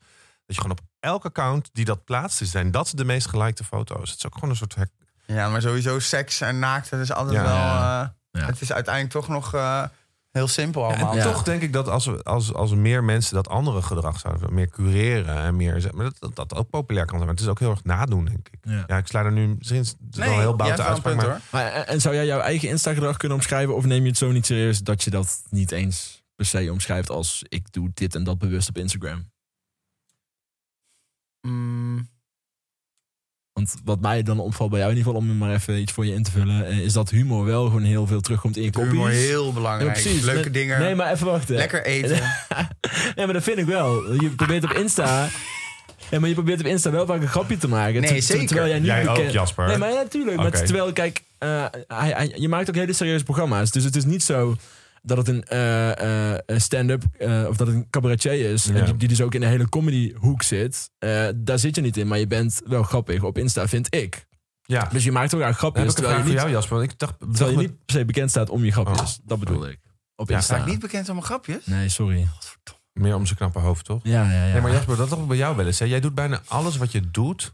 Speaker 1: Dat je gewoon op elk account die dat plaatst, is, zijn dat de meest gelikte foto's. Het is ook gewoon een soort... hek-
Speaker 3: Ja, maar sowieso seks en naakt, dat is altijd
Speaker 1: Ja.
Speaker 3: wel...
Speaker 2: Ja.
Speaker 3: eh,
Speaker 2: Ja.
Speaker 3: Het is uiteindelijk toch nog eh, heel simpel
Speaker 1: Ja,
Speaker 3: allemaal.
Speaker 1: en
Speaker 2: Ja.
Speaker 1: toch denk ik dat als, we- als, als meer mensen dat andere gedrag zouden meer cureren en meer... Maar dat, dat dat ook populair kan zijn. Maar het is ook heel erg nadoen, denk ik.
Speaker 2: Ja.
Speaker 1: Ja, ik sla er nu misschien is het wel heel
Speaker 3: jij
Speaker 1: bouwte
Speaker 3: hebt wel een
Speaker 1: uitspraak,
Speaker 3: punt,
Speaker 1: maar
Speaker 2: Maar,
Speaker 3: hoor.
Speaker 2: eh, en en zou jij jouw eigen Insta-gedrag kunnen omschrijven? Of neem je het zo niet serieus dat je dat niet eens per se omschrijft als ik doe dit en dat bewust op Instagram?
Speaker 3: Mm,
Speaker 2: Want wat mij dan opvalt bij jou in ieder geval, om maar even iets voor je in te vullen, eh, is dat humor wel gewoon heel veel terugkomt in je kopies.
Speaker 3: humor heel belangrijk.
Speaker 2: Ja, precies.
Speaker 3: Leuke
Speaker 2: Nee-
Speaker 3: dingen.
Speaker 2: Nee, maar even wachten.
Speaker 3: Lekker eten.
Speaker 2: Nee, maar dat vind ik wel. Je probeert op Insta... Ja, maar je probeert op Insta wel vaak een grapje te maken.
Speaker 3: Nee,
Speaker 2: Ter- ter-
Speaker 3: zeker.
Speaker 2: Terwijl jij niet
Speaker 1: Jij ook,
Speaker 2: bekend...
Speaker 1: Jasper.
Speaker 2: eh, Nee, maar ja, natuurlijk. Maar
Speaker 1: Oké.
Speaker 2: terwijl, kijk, eh, hij, hij- je maakt ook hele serieuze programma's. Dus het is niet zo dat het een eh, eh, een stand-up eh, of dat het een cabaretier is.
Speaker 1: Ja.
Speaker 2: En die, die dus ook in de hele comedyhoek zit. Eh, daar zit je niet in, maar je bent wel grappig op Insta, vind ik.
Speaker 1: Ja.
Speaker 2: Dus je maakt ook aan grapjes.
Speaker 1: Heb ik een
Speaker 2: terwijl,
Speaker 1: vraag
Speaker 2: je
Speaker 1: voor
Speaker 2: niet,
Speaker 1: jou, Jasper? Want Ik dacht,
Speaker 2: terwijl je
Speaker 1: dacht
Speaker 2: niet per se bekend staat om je grapjes. dat bedoel ik. Op
Speaker 1: Oh. Ja,
Speaker 2: Insta.
Speaker 3: Sta ik niet bekend om mijn grapjes?
Speaker 2: Nee, sorry.
Speaker 1: me- meer om zijn knappe hoofd, toch?
Speaker 2: Ja, ja, ja.
Speaker 1: Nee, maar Jasper, dat is toch bij jou wel eens. Hè? Jij doet bijna alles wat je doet.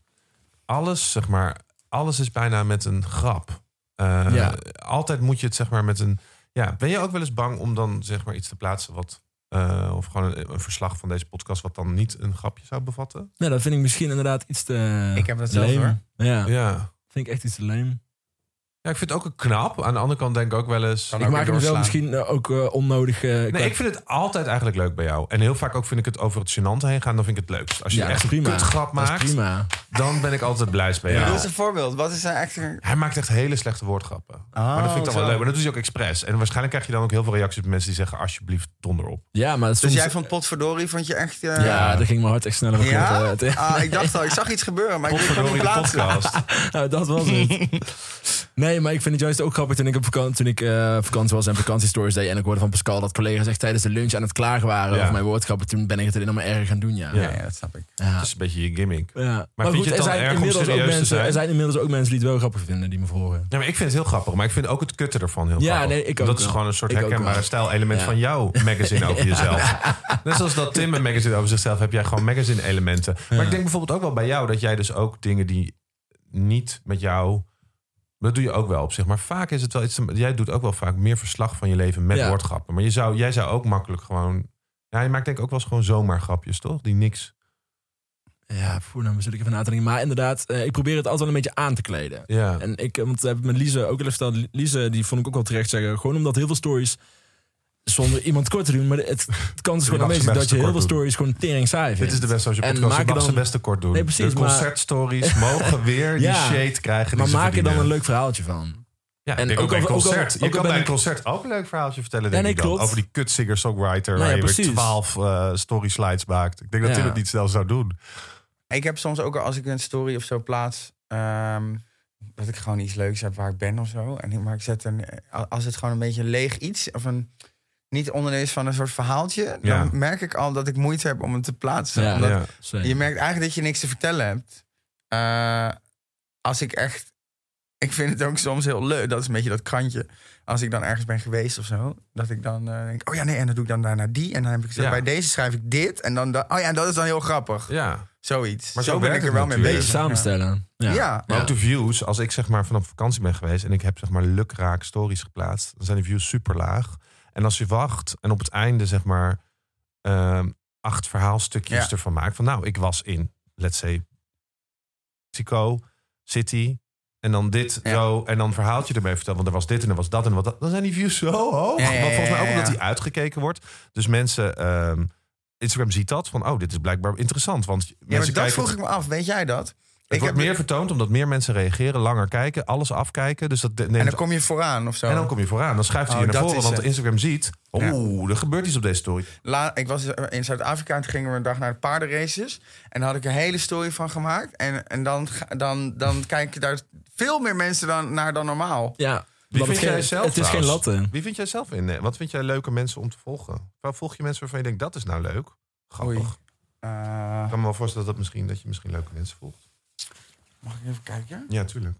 Speaker 1: Alles, zeg maar, alles is bijna met een grap. Eh,
Speaker 2: Ja.
Speaker 1: Altijd moet je het, zeg maar, met een... Ja, ben je ook wel eens bang om dan, zeg maar, iets te plaatsen wat... eh, of gewoon een, een verslag van deze podcast wat dan niet een grapje zou bevatten?
Speaker 2: Nou, dat vind ik misschien inderdaad iets te.
Speaker 3: Ik heb dat zelf,
Speaker 2: lame. Ja,
Speaker 1: Ja.
Speaker 2: vind ik echt iets te leem.
Speaker 1: Ja, ik vind het ook een knap. Aan de andere kant denk ik ook wel eens...
Speaker 3: Kan
Speaker 2: Ik
Speaker 3: ook
Speaker 2: maak
Speaker 3: weer
Speaker 2: hem wel
Speaker 3: doorslaan.
Speaker 2: misschien eh, ook eh, onnodig. eh, qua-
Speaker 1: Nee, ik vind het altijd eigenlijk leuk bij jou. En heel vaak ook vind ik het over het gênante heen gaan, dan vind ik het leukst. Als je
Speaker 2: Ja, dat
Speaker 1: echt
Speaker 2: is
Speaker 1: een
Speaker 2: prima.
Speaker 1: kutgrap
Speaker 2: Dat is
Speaker 1: maakt,
Speaker 2: prima.
Speaker 1: dan ben ik altijd blij bij jou.
Speaker 3: Dat is een voorbeeld. Wat is er Oh, echt een...
Speaker 1: Hij maakt echt hele slechte woordgrappen. maar
Speaker 2: Oh,
Speaker 1: dat vind ik dan wel leuk. Maar dat doe je ook expres. En waarschijnlijk krijg je dan ook heel veel reacties van mensen die zeggen... alsjeblieft, donder op.
Speaker 2: Ja, maar
Speaker 3: Dus
Speaker 2: soms,
Speaker 3: jij vond potverdorie, vond je echt... eh,
Speaker 2: Ja, daar ging mijn hart echt sneller op.
Speaker 3: Ja?
Speaker 2: kloppen. Het-
Speaker 3: Ah, ik dacht al, ik zag iets gebeuren, maar ik kon
Speaker 1: Potverdorie,
Speaker 3: niet
Speaker 1: de
Speaker 3: plaatsen.
Speaker 1: podcast.
Speaker 2: nou, dat was het. Nee, maar ik vind het juist ook grappig toen ik op vakantie, toen ik, eh, vakantie was en vakantiestories deed. En ik hoorde van Pascal dat collega's echt tijdens de lunch aan het klagen waren
Speaker 1: Ja.
Speaker 2: over mijn woordgrappen. Toen ben ik het alleen maar erg gaan doen, ja.
Speaker 1: Ja.
Speaker 3: Ja, ja, dat snap ik.
Speaker 1: Dat is een beetje je gimmick.
Speaker 2: Ja. Maar,
Speaker 1: vind je het dan erg om
Speaker 2: ook
Speaker 1: serieus te
Speaker 2: mensen,
Speaker 1: zijn?
Speaker 2: er zijn inmiddels ook mensen die het wel grappig vinden, die me volgen.
Speaker 1: Ja, maar ik vind het heel grappig. Maar ik vind ook het kutten ervan heel
Speaker 2: Ja,
Speaker 1: grappig.
Speaker 2: nee, ik ook
Speaker 1: dat is
Speaker 2: wel.
Speaker 1: gewoon een soort
Speaker 2: Ik ook
Speaker 1: herkenbare
Speaker 2: wel.
Speaker 1: stijlelement
Speaker 2: Ja.
Speaker 1: van jouw magazine over jezelf. Net zoals dat Tim een magazine over zichzelf... heb jij gewoon magazine elementen. Maar ik denk bijvoorbeeld ook wel bij jou... dat jij dus ook dingen die niet met jou... Dat doe je ook wel op zich. Maar vaak is het wel iets... Jij doet ook wel vaak meer verslag van je leven met
Speaker 2: Ja.
Speaker 1: woordgrappen. Maar je zou, jij zou ook makkelijk gewoon... Ja, je maakt denk ik ook wel eens gewoon zomaar grapjes, toch? Die niks...
Speaker 2: Ja, voor nou zit ik even na te denken. Maar inderdaad, eh, ik probeer het altijd wel een beetje aan te kleden.
Speaker 1: Ja.
Speaker 2: En ik, eh, want dat heb ik met Lise ook al even verteld. Lise, die vond ik ook wel terecht zeggen. Gewoon omdat heel veel stories, zonder iemand kort te doen. Maar het, het kan dus gewoon
Speaker 1: mag ze
Speaker 2: aanwezig
Speaker 1: best
Speaker 2: zijn dat je
Speaker 1: te
Speaker 2: heel
Speaker 1: kort
Speaker 2: veel stories gewoon tering saai
Speaker 1: Dit
Speaker 2: vindt.
Speaker 1: is de beste als je
Speaker 2: En
Speaker 1: podcast. Je
Speaker 2: maak er
Speaker 1: mag ze
Speaker 2: dan-
Speaker 1: best te kort doen.
Speaker 2: Nee, precies,
Speaker 1: de
Speaker 2: maar-
Speaker 1: concertstories mogen weer die
Speaker 2: Ja.
Speaker 1: shade krijgen.
Speaker 2: maar
Speaker 1: die eh,
Speaker 2: maak er
Speaker 1: maken
Speaker 2: dan een leuk verhaaltje van.
Speaker 1: Ja,
Speaker 2: en
Speaker 1: en ook,
Speaker 2: ook
Speaker 1: bij een
Speaker 2: over- ook
Speaker 1: concert.
Speaker 2: over-
Speaker 1: je
Speaker 2: ook
Speaker 1: kan
Speaker 2: al
Speaker 1: bij
Speaker 2: ben
Speaker 1: een
Speaker 2: ik-
Speaker 1: concert ook een leuk verhaaltje vertellen.
Speaker 2: Ja,
Speaker 1: Denk
Speaker 2: nee,
Speaker 1: ik dan.
Speaker 2: klopt.
Speaker 1: Over die kut singer-songwriter.
Speaker 2: Nou
Speaker 1: waar
Speaker 2: ja,
Speaker 1: je weer
Speaker 2: precies.
Speaker 1: twaalf eh, story slides maakt. Ik denk dat
Speaker 2: Ja.
Speaker 1: Tim het niet snel zou doen.
Speaker 3: Ik heb soms ook al, als ik een story of zo plaats, ehm, dat ik gewoon iets leuks heb waar ik ben of zo. En, ik- maar ik zet een, als het gewoon een beetje leeg iets of een niet onderdeel is van een soort verhaaltje,
Speaker 1: Ja.
Speaker 3: dan merk ik al dat ik moeite heb om het te plaatsen.
Speaker 2: Ja.
Speaker 3: Omdat
Speaker 1: Ja.
Speaker 2: Zeker.
Speaker 3: je merkt eigenlijk dat je niks te vertellen hebt. Eh, als ik echt, ik vind het ook soms heel leuk, dat is een beetje dat krantje. Als ik dan ergens ben geweest of zo, dat ik dan eh, denk, oh ja, nee, en dan doe ik dan daarna die. En dan heb ik zo,
Speaker 1: Ja.
Speaker 3: bij deze schrijf ik dit. En dan, dat- oh ja, dat is dan heel grappig.
Speaker 1: Ja.
Speaker 3: Zoiets.
Speaker 1: Maar
Speaker 3: Maar
Speaker 1: zo
Speaker 3: zo ben
Speaker 1: werkt
Speaker 3: ik er
Speaker 1: het
Speaker 3: wel mee
Speaker 1: natuurlijk.
Speaker 3: bezig.
Speaker 2: Samenstellen. Ja.
Speaker 3: Ja.
Speaker 2: Ja.
Speaker 3: Ja.
Speaker 1: Maar ook de views. Als ik zeg maar vanaf vakantie ben geweest en ik heb zeg maar lukraak stories geplaatst, dan zijn de views super laag. En als je wacht en op het einde zeg maar ehm, acht verhaalstukjes
Speaker 3: Ja.
Speaker 1: ervan maakt. Van nou, ik was in, let's say, Mexico City. En dan dit
Speaker 3: Ja.
Speaker 1: zo. En dan verhaaltje ermee vertellen. Want er was dit en er was dat en wat dat. Dan zijn die views zo hoog.
Speaker 3: Ja, ja, ja,
Speaker 1: Want volgens mij ook
Speaker 3: ja,
Speaker 1: omdat
Speaker 3: ja.
Speaker 1: die uitgekeken wordt. Dus mensen, ehm, Instagram ziet dat. Van oh, dit is blijkbaar interessant. Want mensen
Speaker 3: maar dat
Speaker 1: kijken...
Speaker 3: vroeg ik me af. Weet jij dat?
Speaker 1: Het
Speaker 3: heb-
Speaker 1: wordt meer vertoond omdat meer mensen reageren, langer kijken, alles afkijken. Dus dat neemt
Speaker 3: En dan kom je vooraan of zo.
Speaker 1: En dan kom je vooraan. Dan schuift hij
Speaker 3: Oh,
Speaker 1: je naar
Speaker 3: dat
Speaker 1: voren.
Speaker 3: is
Speaker 1: Want
Speaker 3: het.
Speaker 1: Instagram ziet.
Speaker 3: Ja.
Speaker 1: Oeh, er gebeurt iets op deze story.
Speaker 3: La- ik was in Zuid-Afrika en toen gingen we een dag naar de paardenraces. En daar had ik een hele story van gemaakt. En, en dan, ga- dan, dan kijken daar veel meer mensen dan, naar dan normaal.
Speaker 1: Wie
Speaker 2: Ja, want
Speaker 1: vind
Speaker 2: het geen-
Speaker 1: jij zelf
Speaker 2: Het is geen
Speaker 1: trouwens?
Speaker 2: latten.
Speaker 1: Wie vind jij zelf in? eh, Wat vind jij leuke mensen om te volgen? Waar volg je mensen waarvan je denkt dat is nou leuk? Grappig.
Speaker 3: Oei.
Speaker 1: Ik
Speaker 3: Eh,
Speaker 1: kan me wel voorstellen dat, dat, misschien, dat je misschien leuke mensen volgt.
Speaker 3: mag ik even kijken?
Speaker 1: Ja, tuurlijk.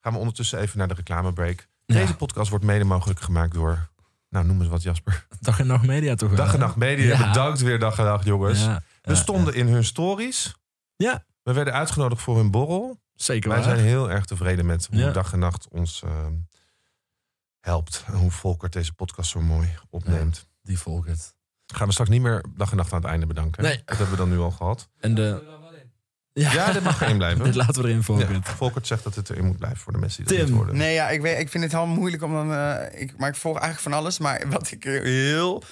Speaker 1: Gaan we ondertussen even naar de reclamebreak.
Speaker 2: Ja.
Speaker 1: Deze podcast wordt mede mogelijk gemaakt door... Nou, noem eens wat Jasper.
Speaker 2: Dag en nacht media toch wel.
Speaker 1: Dag en Nacht Media.
Speaker 2: Ja.
Speaker 1: Bedankt weer Dag en Nacht jongens.
Speaker 2: Ja,
Speaker 1: We
Speaker 2: ja,
Speaker 1: stonden in hun stories.
Speaker 2: Ja.
Speaker 1: We werden uitgenodigd voor hun borrel.
Speaker 2: ja. Zeker
Speaker 1: Wij
Speaker 2: waar.
Speaker 1: zijn heel erg tevreden met hoe
Speaker 2: Ja.
Speaker 1: dag en nacht ons eh, helpt. En hoe Volkert deze podcast zo mooi opneemt.
Speaker 2: Die volgt het.
Speaker 1: Gaan we straks niet meer dag en nacht aan het einde bedanken.
Speaker 2: Nee.
Speaker 1: Dat hebben we dan nu al gehad.
Speaker 2: En de... Ja,
Speaker 1: Ja, dit mag erin blijven.
Speaker 2: Dit laten we erin volgen.
Speaker 1: Ja, Volkert zegt dat het erin moet blijven voor de mensen die dat
Speaker 2: Tim.
Speaker 1: niet hoorden.
Speaker 3: Nee, ja, ik, weet, ik vind het heel moeilijk om dan... eh, ik, maar ik volg eigenlijk van alles. Maar wat ik heel...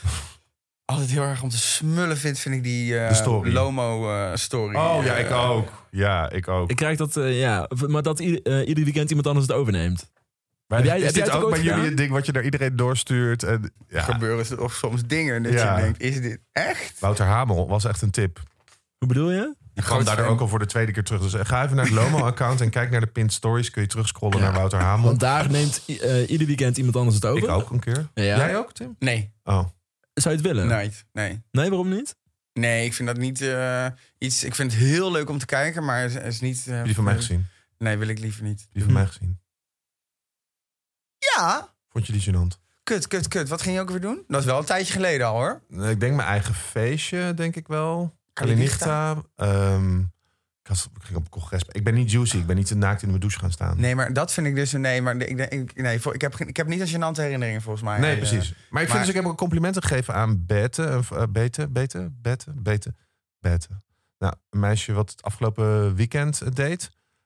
Speaker 3: Altijd heel erg om te smullen vind, vind ik die eh,
Speaker 1: De story.
Speaker 3: Lomo-story.
Speaker 1: Oh ja, ik
Speaker 3: Eh,
Speaker 1: ook. Ja, ik ook.
Speaker 2: Ik krijg dat, eh, ja, maar dat ieder, eh, ieder weekend iemand anders het overneemt.
Speaker 1: Maar
Speaker 2: Heb jij-
Speaker 1: is
Speaker 2: heb jij
Speaker 1: dit
Speaker 2: het ook
Speaker 1: ook bij
Speaker 2: ooit
Speaker 1: jullie
Speaker 2: gedaan?
Speaker 1: een ding wat je naar iedereen doorstuurt? En, ja,
Speaker 3: Gebeuren ze- of soms dingen dat
Speaker 1: Ja.
Speaker 3: je denkt, is dit echt?
Speaker 1: Wouter Hamel was echt een tip.
Speaker 2: Hoe bedoel je?
Speaker 1: Die kwam daardoor ook al voor de tweede keer terug. Dus eh, ga even naar het Lomo-account en kijk naar de pinned stories. Kun je terugscrollen naar Wouter Hamel.
Speaker 2: Want daar neemt i- eh, ieder weekend iemand anders het over.
Speaker 1: Ik ook een keer.
Speaker 2: Ja.
Speaker 1: Jij ook, Tim?
Speaker 3: Nee,
Speaker 1: Oh.
Speaker 2: Zou je het willen?
Speaker 3: nooit. Nee.
Speaker 2: Nee, waarom niet?
Speaker 3: Nee, ik vind dat niet eh, iets. Ik vind het heel leuk om te kijken, maar het is niet. eh,
Speaker 1: Heb je die van mij gezien?
Speaker 3: Nee, wil ik liever niet.
Speaker 1: Die van mij gezien.
Speaker 3: Ja,
Speaker 1: Vond je die gênant?
Speaker 3: kut, kut, kut. Wat ging je ook weer doen? Dat is wel een tijdje geleden al hoor.
Speaker 1: Nee, Ik denk mijn eigen feestje, denk ik wel.
Speaker 3: Kalinichta.
Speaker 1: Kalinichta. Ehm, ik, was- ik ging op een congres. Ik ben niet juicy. Ik ben niet te naakt in mijn douche gaan staan.
Speaker 3: Nee, maar dat vind ik dus. een Nee, maar ik, denk- ik, nee, voor- ik, heb, geen- ik heb niet een gênante herinneringen volgens mij.
Speaker 1: Nee,
Speaker 3: Eh,
Speaker 1: precies. Maar ik vind
Speaker 3: maar-
Speaker 1: dus, ik heb ook complimenten gegeven aan Bette. eh, v- eh, Bette, Bette, Bette, Bette, Bette. Nou, een meisje wat het afgelopen weekend eh, deed.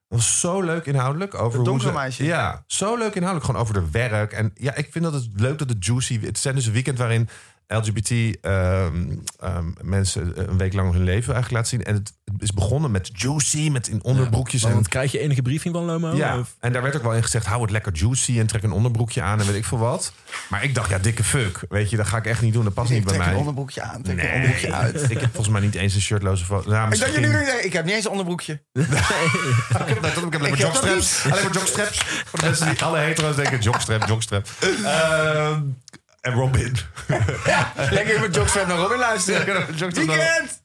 Speaker 1: Dat was zo leuk inhoudelijk. Over
Speaker 3: Een
Speaker 1: hoe
Speaker 3: donker
Speaker 1: ze-
Speaker 3: meisje.
Speaker 1: Ja, zo leuk inhoudelijk. Gewoon over de werk. En ja, ik vind dat het leuk dat het juicy... Het zijn dus een weekend waarin LGBT ehm, ehm, mensen een week lang hun leven eigenlijk laten zien. En het is begonnen met juicy, met in onderbroekjes.
Speaker 2: Want
Speaker 1: en
Speaker 2: krijg je enige briefing van Lomo?
Speaker 3: Oh,
Speaker 1: ja,
Speaker 2: Of-
Speaker 1: en daar werd ook wel in gezegd: hou het lekker juicy en trek een onderbroekje aan en weet ik veel wat. Maar ik dacht, ja, dikke fuck. Weet je, dat ga ik echt niet doen. Dat past
Speaker 3: Ik
Speaker 1: niet bij
Speaker 3: trek
Speaker 1: mij.
Speaker 3: een onderbroekje aan, trek een
Speaker 1: Nee.
Speaker 3: onderbroekje uit.
Speaker 1: Ik heb volgens mij niet eens een shirtloze foto. Nou,
Speaker 3: Ik dacht
Speaker 1: misschien-
Speaker 3: jullie nu zeggen, ik heb niet eens een onderbroekje.
Speaker 1: Ik heb, dat- ik heb alleen maar
Speaker 3: Ik heb dat
Speaker 1: jogstraps. Alleen maar jogstraps. Voor de mensen die alle hetero's denken: jogstrap, jogstrap. Ehm, en Robin.
Speaker 3: Lekker in mijn jogstrap naar Robin luisteren.
Speaker 1: Jogstrap dan-
Speaker 3: Weekend!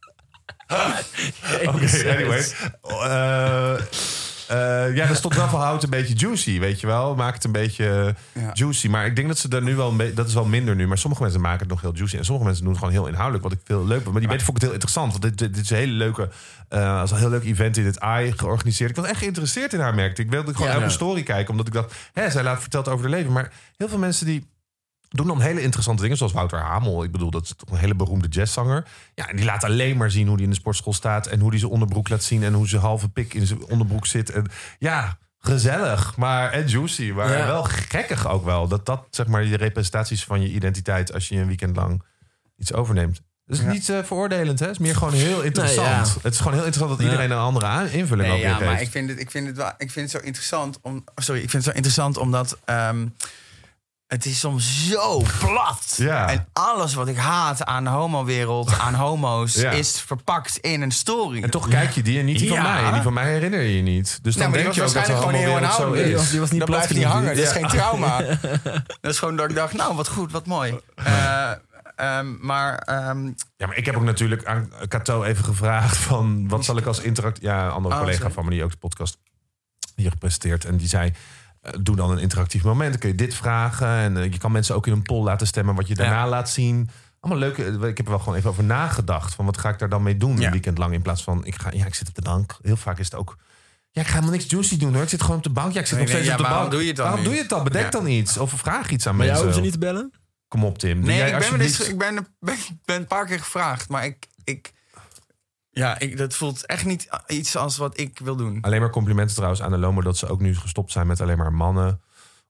Speaker 1: Oké, anyway. Eh, eh, ja, er stond wel van hout een beetje juicy, weet je wel. Maak het een beetje
Speaker 3: Ja.
Speaker 1: juicy. Maar ik denk dat ze daar nu wel een beetje... Dat is wel minder nu. Maar sommige mensen maken het nog heel juicy. En sommige mensen doen het gewoon heel inhoudelijk. Wat ik veel leuk vind. Maar die weet vond ik het heel interessant. Want dit, dit, dit is een hele leuke... eh was een heel leuk event in het AI georganiseerd. Ik was echt geïnteresseerd in haar, merkte ik. Ik wilde gewoon
Speaker 2: Ja.
Speaker 1: elke
Speaker 2: Ja.
Speaker 1: story kijken. Omdat ik dacht, hè, zij laat verteld over haar leven. Maar heel veel mensen die doen dan hele interessante dingen, zoals Wouter Hamel. Ik bedoel, dat is toch een hele beroemde jazzzanger. Ja, en die laat alleen maar zien hoe die in de sportschool staat... en hoe die zijn onderbroek laat zien... en hoe zijn halve pik in zijn onderbroek zit. En, ja, gezellig, maar en juicy. Maar
Speaker 2: Ja.
Speaker 1: wel gekkig ook wel. Dat dat, zeg maar, die representaties van je identiteit... als je een weekend lang iets overneemt. Dat is
Speaker 3: Ja.
Speaker 1: niet eh, veroordelend, hè? Het is meer gewoon heel interessant.
Speaker 2: ja.
Speaker 1: Het is gewoon heel interessant dat iedereen een andere aan- invulling ook
Speaker 3: Nee,
Speaker 1: weer
Speaker 3: ja, maar
Speaker 1: geeft.
Speaker 3: ik vind, het, ik, vind het wel, ik vind het zo interessant om. oh, Sorry, ik vind het zo interessant omdat. ehm, het is soms zo plat.
Speaker 1: Ja.
Speaker 3: En alles wat ik haat aan de homowereld, aan homo's,
Speaker 1: Ja.
Speaker 3: is verpakt in een story.
Speaker 1: En toch kijk je die en niet die van
Speaker 3: Ja.
Speaker 1: mij. Die van mij herinner je je niet. Dus dan
Speaker 3: Nou, maar
Speaker 1: denk
Speaker 3: die
Speaker 1: je ook
Speaker 3: was
Speaker 1: dat het
Speaker 3: waarschijnlijk
Speaker 1: allemaal
Speaker 3: gewoon
Speaker 1: weer
Speaker 3: heel
Speaker 1: zo
Speaker 3: inhoudelijk.
Speaker 1: is.
Speaker 2: Die was niet
Speaker 3: dat
Speaker 2: plat
Speaker 3: blijft niet
Speaker 2: genoeg,
Speaker 3: hangen. Dat is
Speaker 1: Ja.
Speaker 3: geen trauma. dat is gewoon dat ik dacht, nou, wat goed, wat mooi. Eh, ehm, maar ehm,
Speaker 1: Ja, maar ik heb ook natuurlijk aan Cato even gevraagd van wat zal ik als interact... Ja, een andere
Speaker 3: Oh,
Speaker 1: collega
Speaker 3: sorry.
Speaker 1: van me die ook de podcast hier gepresenteerd. En die zei, eh, doe dan een interactief moment. Dan kun je dit vragen. En eh, je kan mensen ook in een poll laten stemmen wat je daarna laat zien. Allemaal leuke... eh, Ik heb er wel gewoon even over nagedacht. Van wat ga ik daar dan mee doen
Speaker 3: Ja.
Speaker 1: een weekend lang? In plaats van, ik, ga, ja, ik zit op de bank. Heel vaak is het ook... Ja, ik ga helemaal niks juicy doen hoor. Ik zit gewoon op de bank. Ja, ik zit
Speaker 3: Nee,
Speaker 1: nog
Speaker 3: nee,
Speaker 1: steeds
Speaker 3: ja,
Speaker 1: op de
Speaker 3: waarom
Speaker 1: bank.
Speaker 3: doe je het dan
Speaker 1: Waarom
Speaker 3: nu?
Speaker 1: doe je het dan? Bedenk
Speaker 3: Ja.
Speaker 1: dan iets. Of vraag iets aan
Speaker 2: Maar jij
Speaker 1: mensen.
Speaker 2: hoeft ze niet te bellen?
Speaker 1: Kom op Tim. Doe
Speaker 3: Nee,
Speaker 1: jij
Speaker 3: ik ben, me
Speaker 1: alsjeblieft-
Speaker 3: dus, ik ben, ben, ben een paar keer gevraagd, maar ik. ik ja, ik, dat voelt echt niet iets als wat ik wil doen.
Speaker 1: Alleen maar complimenten trouwens aan de Lomo dat ze ook nu gestopt zijn met alleen maar mannen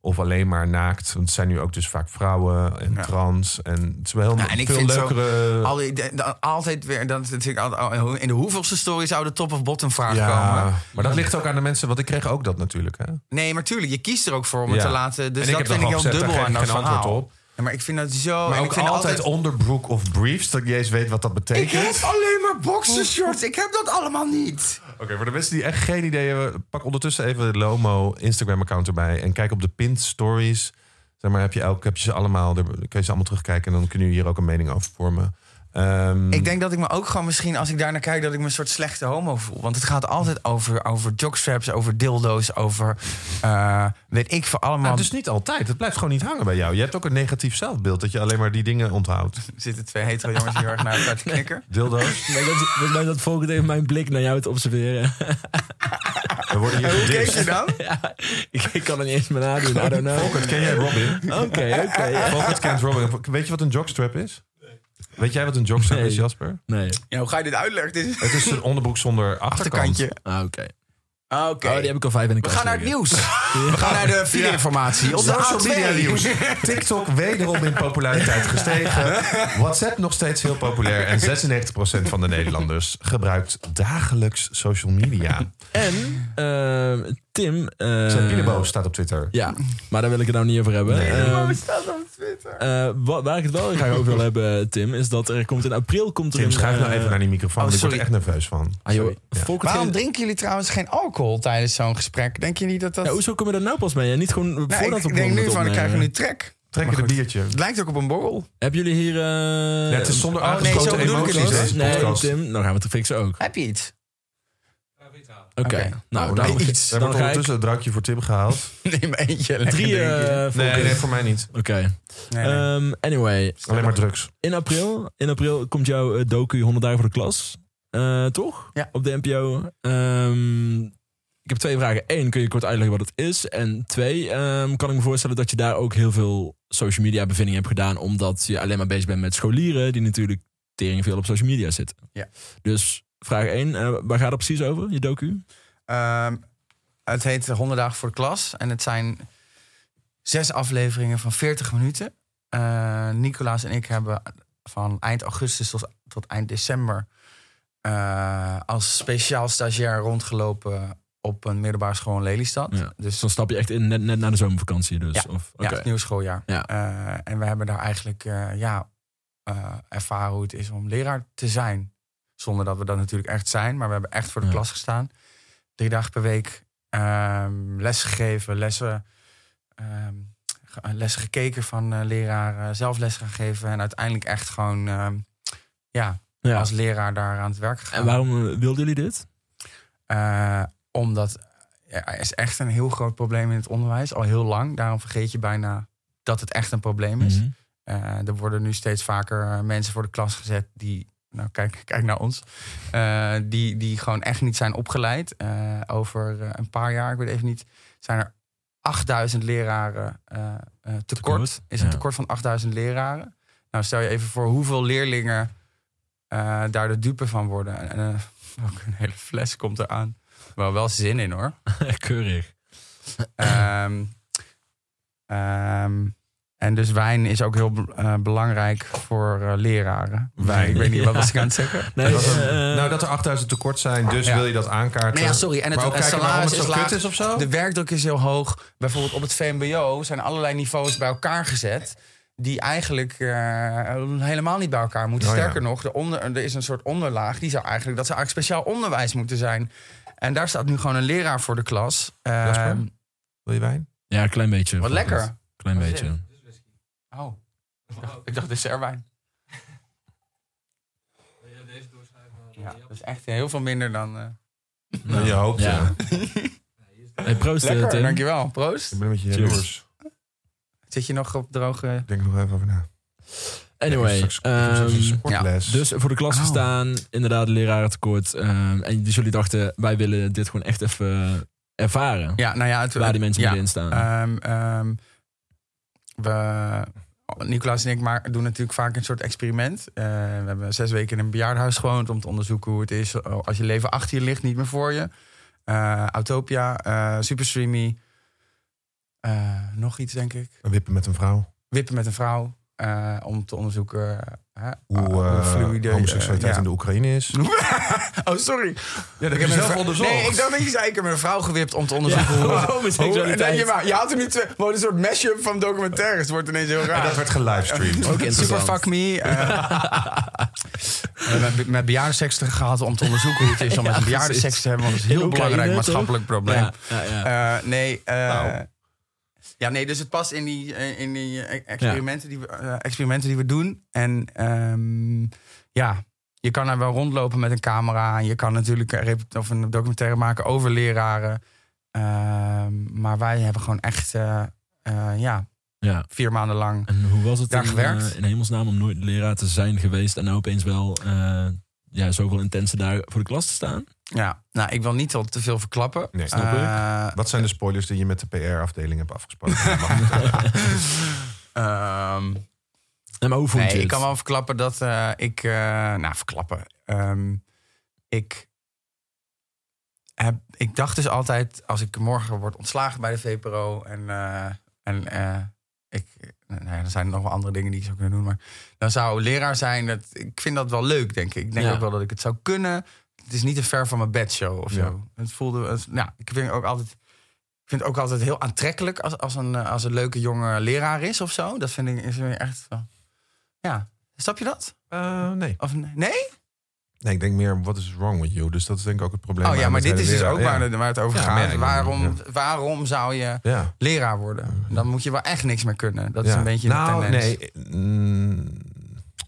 Speaker 1: Of alleen maar naakt. Want het zijn nu ook dus vaak vrouwen en
Speaker 3: Ja.
Speaker 1: trans. En het is wel heel
Speaker 3: Ja, Nou, en ik
Speaker 1: veel
Speaker 3: vind zo-
Speaker 1: leukere...
Speaker 3: Al die- de- de- altijd weer, dat is natuurlijk altijd, oh, in de hoeveelste story zou de top of bottom vraag
Speaker 1: ja,
Speaker 3: komen.
Speaker 1: maar dat ligt ook aan de mensen. Want ik kreeg ook dat natuurlijk. Hè?
Speaker 3: Nee, maar tuurlijk, je kiest er ook voor om
Speaker 1: Ja.
Speaker 3: het te laten. Dus
Speaker 1: En ik heb
Speaker 3: dat vind
Speaker 1: dan
Speaker 3: ik heel
Speaker 1: gezegd, daar
Speaker 3: dubbel
Speaker 1: geef
Speaker 3: aan
Speaker 1: ik geen
Speaker 3: dat
Speaker 1: antwoord
Speaker 3: verhaal.
Speaker 1: op.
Speaker 3: Ja, maar ik vind dat zo...
Speaker 1: Maar
Speaker 3: en
Speaker 1: ook
Speaker 3: ik vind
Speaker 1: altijd onderbroek of briefs. Dat ik niet eens weet wat dat
Speaker 3: Ik
Speaker 1: betekent.
Speaker 3: heb alleen maar boxershorts. Ik heb dat allemaal niet.
Speaker 1: Oké, voor de mensen die echt geen idee hebben, pak ondertussen even de Lomo Instagram-account erbij en kijk op de pinned stories. Zeg maar, heb je, elk, heb je ze allemaal, daar kun je ze allemaal terugkijken en dan kun je hier ook een mening over vormen. Ehm,
Speaker 3: Ik denk dat ik me ook gewoon misschien, als ik daar naar kijk, dat ik me een soort slechte homo voel. Want het gaat altijd over, over jockstraps, over dildo's, over eh, weet ik voor allemaal.
Speaker 1: nou, dus niet altijd. Het blijft gewoon niet hangen bij jou. Je hebt ook een negatief zelfbeeld dat je alleen maar die dingen onthoudt.
Speaker 3: zitten twee hetero jongens heel erg naar elkaar te knikken.
Speaker 1: Dildo's.
Speaker 2: Ik denk dat, volgens mij dat Volkert even mijn blik naar jou te observeren.
Speaker 1: We worden hier
Speaker 3: En hoe keek
Speaker 1: gedist.
Speaker 3: je nou? dan?
Speaker 2: ja, ik, ik kan er niet eens meer nadoen. I don't know.
Speaker 1: Volkert, ken jij Robin?
Speaker 2: Oké, oké.
Speaker 1: Volkert kent Robin. Weet je wat een jockstrap is? Weet jij wat een jockstrap
Speaker 2: Nee.
Speaker 1: is, Jasper?
Speaker 2: Nee.
Speaker 3: Ja, hoe ga je dit uitleggen? Dit is een
Speaker 1: Het is een onderbroek zonder achterkant.
Speaker 3: achterkantje.
Speaker 2: Ah, oké.
Speaker 3: Ah, Oké.
Speaker 2: Oh, die heb ik al vijf in de
Speaker 3: We
Speaker 2: kast
Speaker 3: gaan naar het
Speaker 2: liggen.
Speaker 3: nieuws. We gaan naar de videoinformatie. Op de
Speaker 1: Social
Speaker 3: A2.
Speaker 1: media nieuws. TikTok wederom in populariteit gestegen. WhatsApp nog steeds heel populair. En 96% van de Nederlanders gebruikt dagelijks social media.
Speaker 2: En ehm, Tim... eh,
Speaker 1: Zijn Pinebo staat op Twitter.
Speaker 2: Ja, maar daar wil ik het nou niet over hebben. Ehm,
Speaker 3: Wat staat op Twitter?
Speaker 2: eh, wa- waar ik het wel graag over wil hebben, Tim, is dat er komt in april komt er
Speaker 1: Tim,
Speaker 2: een...
Speaker 1: schuif nou
Speaker 2: eh,
Speaker 1: even naar die microfoon.
Speaker 3: oh,
Speaker 1: want ik word er
Speaker 3: sorry.
Speaker 1: echt nerveus van.
Speaker 2: ah, joh,
Speaker 1: Sorry. Ja.
Speaker 2: Volkert
Speaker 3: Waarom
Speaker 2: geen-
Speaker 3: drinken jullie trouwens geen alcohol tijdens zo'n gesprek? Denk je niet dat dat...
Speaker 2: Ja, hoezo komen we daar nou pas mee? En niet gewoon
Speaker 3: Nou,
Speaker 2: voordat we
Speaker 3: ik denk
Speaker 2: begonnen
Speaker 3: nu
Speaker 2: met
Speaker 3: van, ik krijg je
Speaker 2: opnemen?
Speaker 3: nu trek.
Speaker 1: Trek je een biertje.
Speaker 3: Het lijkt ook op een borrel.
Speaker 2: Hebben jullie hier... eh,
Speaker 1: Ja, het is zonder
Speaker 3: Oh, nee,
Speaker 1: aangeschoten
Speaker 3: zo bedoel ik het
Speaker 1: emoties
Speaker 3: ook.
Speaker 1: deze
Speaker 2: nee,
Speaker 1: podcast.
Speaker 2: Tim, nou gaan we het fixen ook.
Speaker 3: Heb je iets?
Speaker 2: Oké,
Speaker 3: Oké.
Speaker 2: nou,
Speaker 1: Oh,
Speaker 2: dan,
Speaker 1: nou,
Speaker 2: iets.
Speaker 1: Er
Speaker 2: dan
Speaker 1: wordt
Speaker 2: ga ik
Speaker 1: ondertussen een drankje voor Tim gehaald.
Speaker 3: Neem eentje. lekker
Speaker 2: drie
Speaker 3: drinken.
Speaker 2: eh
Speaker 1: Nee,
Speaker 2: Volkert.
Speaker 1: nee, voor mij niet.
Speaker 2: Oké,
Speaker 3: eh,
Speaker 2: Ehm, anyway.
Speaker 1: Alleen maar drugs.
Speaker 2: In april, in april komt jouw eh, docu 100 dagen voor de klas. Eh, toch?
Speaker 3: Ja.
Speaker 2: Op de NPO. Ehm, ik heb twee vragen. Eén, kun je kort uitleggen wat het is? En twee, ehm, kan ik me voorstellen dat je daar ook heel veel social media bevindingen hebt gedaan. Omdat je alleen maar bezig bent met scholieren die natuurlijk tering veel op social media zitten.
Speaker 3: Ja.
Speaker 2: Dus vraag één, eh, waar gaat het precies over, je docu?
Speaker 3: Ehm, het heet 100 dagen voor de klas. En het zijn zes afleveringen van 40 minuten. Eh, Nicolaas en ik hebben van eind augustus tot, tot eind december... eh, als speciaal stagiair rondgelopen op een middelbare school in Lelystad.
Speaker 2: Ja. Dus
Speaker 3: Dus
Speaker 2: dan stap je echt in net, net na de zomervakantie dus. Of, oké.
Speaker 3: Ja, het nieuwe schooljaar.
Speaker 2: Ja.
Speaker 3: Eh, en we hebben daar eigenlijk eh, ja, eh, ervaren hoe het is om leraar te zijn. Zonder dat we dat natuurlijk echt zijn, maar we hebben echt voor de
Speaker 2: Ja.
Speaker 3: klas gestaan. Drie dagen per week ehm lessen gegeven, lessen, ehm, ge- eh, lessen gekeken van eh, leraren, zelf les gaan geven. En uiteindelijk echt gewoon ehm, ja,
Speaker 2: Ja.
Speaker 3: als leraar daar aan het werk gegaan.
Speaker 2: En waarom eh, wilden jullie dit?
Speaker 3: Eh, omdat ja, er is echt een heel groot probleem in het onderwijs, al heel lang. Daarom vergeet je bijna dat het echt een probleem is.
Speaker 2: Mhm.
Speaker 3: Eh, er worden nu steeds vaker eh, mensen voor de klas gezet die, nou kijk, kijk naar ons, eh, die, die gewoon echt niet zijn opgeleid. Eh, over eh, een paar jaar, ik weet even niet, zijn er 8000 leraren eh, eh, tekort.
Speaker 2: Tekort,
Speaker 3: Is een
Speaker 2: ja.
Speaker 3: tekort van 8000 leraren. Nou, stel je even voor hoeveel leerlingen eh, daar de dupe van worden. En, en, eh, ook een hele fles komt eraan. Wel, wel zin in hoor.
Speaker 2: Keurig.
Speaker 3: Ehm, ehm, en dus wijn is ook heel be- eh, belangrijk voor eh, leraren.
Speaker 1: Wijn.
Speaker 3: Ik weet niet, wat
Speaker 2: Ja.
Speaker 3: was ik aan het zeggen?
Speaker 2: Nee,
Speaker 1: Dat was een-
Speaker 2: eh,
Speaker 1: nou, dat er 8000 tekort zijn, dus
Speaker 3: Ja.
Speaker 1: wil je dat aankaarten.
Speaker 3: Nee, ja, sorry. En het,
Speaker 1: maar ook
Speaker 3: het
Speaker 1: kijken waarom
Speaker 3: salaris
Speaker 1: het
Speaker 3: is
Speaker 1: zo
Speaker 3: laag.
Speaker 1: kut is of zo?
Speaker 3: De werkdruk is heel hoog. Bijvoorbeeld op het VMBO zijn allerlei niveaus bij elkaar gezet. Die eigenlijk eh, helemaal niet bij elkaar moeten.
Speaker 1: Oh ja.
Speaker 3: Sterker nog, de onder, er is een soort onderlaag. Die zou eigenlijk, dat zou eigenlijk speciaal onderwijs moeten zijn. En daar staat nu gewoon een leraar voor de klas. Ehm,
Speaker 1: Jasper? Wil je wijn?
Speaker 2: ja, klein beetje.
Speaker 3: wat
Speaker 2: Volgens-
Speaker 3: lekker.
Speaker 2: Klein
Speaker 3: Wat is
Speaker 2: beetje.
Speaker 3: Oh, ik dacht, ik dacht dessertwijn. Ja, dat is echt heel veel minder dan... eh
Speaker 1: Nou, je hoopt, ja.
Speaker 2: Hey, proost, eh,
Speaker 3: Lekker,
Speaker 2: Tim.
Speaker 3: dankjewel. Proost.
Speaker 1: Ik ben een beetje
Speaker 2: Cheers.
Speaker 1: jaloers.
Speaker 3: Zit je nog op droge...
Speaker 1: Ik denk er nog even over na.
Speaker 2: Anyway,
Speaker 1: Straks- straks
Speaker 2: ehm,
Speaker 1: is een sportles.
Speaker 2: dus voor de klas
Speaker 3: Oh.
Speaker 2: gestaan, inderdaad lerarentekort. ehm, en dus jullie dachten, wij willen dit gewoon echt even ervaren.
Speaker 3: Ja, nou ja. Het,
Speaker 2: Waar die mensen
Speaker 3: ja.
Speaker 2: middenin staan.
Speaker 3: Ehm, ehm, we, Nicolaas en ik maar, doen natuurlijk vaak een soort experiment. Eh, we hebben zes weken in een bejaardenhuis gewoond om te onderzoeken hoe het is eh, als je leven achter je ligt, niet meer voor je. Eh Autopia, eh Superstreamy. Eh, nog iets, denk ik.
Speaker 1: Een wippen met een vrouw.
Speaker 3: Wippen met een vrouw. eh, om te onderzoeken hè,
Speaker 1: Hoe,
Speaker 3: eh, hoe
Speaker 1: eh,
Speaker 3: fluïde, eh,
Speaker 1: homoseksualiteit
Speaker 3: ja.
Speaker 1: in de Oekraïne is.
Speaker 3: Oh, sorry.
Speaker 1: Ja,
Speaker 3: Ik heb met een vrou- Nee, ik dacht dat je zei, ik heb mijn vrouw gewipt om te onderzoeken
Speaker 2: Ja,
Speaker 3: hoe... hoe- en dan je,
Speaker 2: homoseksualiteit.
Speaker 3: maar, je had er nu twee, gewoon een soort mashup van documentaires. Het wordt ineens heel raar.
Speaker 1: dat werd gelivestreamd.
Speaker 2: Ook
Speaker 3: Super
Speaker 2: interessant.
Speaker 3: fuck me. eh. Eh, met, met bejaardenseks te- gehad om te onderzoeken hoe het is om
Speaker 2: Ja,
Speaker 3: met een
Speaker 2: precies.
Speaker 3: bejaardenseks te hebben. Want dat is een heel
Speaker 2: In Oekraïne,
Speaker 3: belangrijk
Speaker 2: toch?
Speaker 3: maatschappelijk probleem.
Speaker 2: Ja, ja, ja.
Speaker 3: Eh, nee, eh,
Speaker 1: Nou.
Speaker 3: ja, nee, dus het past in die, eh, in die eh, experimenten, die we, eh, experimenten die we doen. En ehm, ja, je kan er wel rondlopen met een camera. En je kan natuurlijk een, rep- of een documentaire maken over leraren. Ehm, maar wij hebben gewoon echt eh, eh, ja,
Speaker 2: ja.
Speaker 3: vier maanden lang.
Speaker 2: En hoe was het
Speaker 3: Daar
Speaker 2: in,
Speaker 3: gewerkt?
Speaker 2: eh, in hemelsnaam om nooit leraar te zijn geweest en nou opeens wel eh, ja, zoveel intense daar voor de klas te staan?
Speaker 3: Ja, nou, ik wil niet al te veel verklappen.
Speaker 1: Nee, snap ik.
Speaker 3: Eh,
Speaker 1: Wat zijn de spoilers die je met de PR-afdeling hebt afgesproken? Dat mag niet.
Speaker 3: ehm,
Speaker 2: En maar hoe vond je
Speaker 3: nee,
Speaker 2: het?
Speaker 3: ik kan wel verklappen dat eh, ik... eh, nou, verklappen. Ehm, ik, heb, ik dacht dus altijd, als ik morgen word ontslagen bij de VPRO... en, eh, en eh, ik, nou ja, er zijn nog wel andere dingen die ik zou kunnen doen... maar dan zou leraar zijn, dat, ik vind dat wel leuk, denk ik. Ik denk
Speaker 2: Ja.
Speaker 3: ook wel dat ik het zou kunnen. Het is niet te ver van mijn bedshow of zo. Het voelde... het- nou, ik vind ook altijd... Ik vind het ook altijd heel aantrekkelijk als, als, een, eh, als een leuke jonge leraar is of zo. Dat vind ik is weer echt wel. Ja, snap je dat?
Speaker 1: Eh, nee.
Speaker 3: Of nee? nee?
Speaker 1: nee, ik denk meer, what is wrong with you? Dus dat is denk ik ook het probleem.
Speaker 3: oh ja,
Speaker 1: aan
Speaker 3: maar
Speaker 1: het
Speaker 3: dit is
Speaker 1: hele
Speaker 3: dus
Speaker 1: leraar-
Speaker 3: ook
Speaker 1: ja.
Speaker 3: waar, het- waar het over
Speaker 1: Ja, maar
Speaker 3: gaat.
Speaker 1: ja, ik-
Speaker 3: waarom, waarom zou je
Speaker 1: Ja.
Speaker 3: leraar worden? Dan moet je wel echt niks meer kunnen. Dat is
Speaker 1: Ja.
Speaker 3: een beetje
Speaker 1: nou,
Speaker 3: de tendens.
Speaker 1: nee. mm,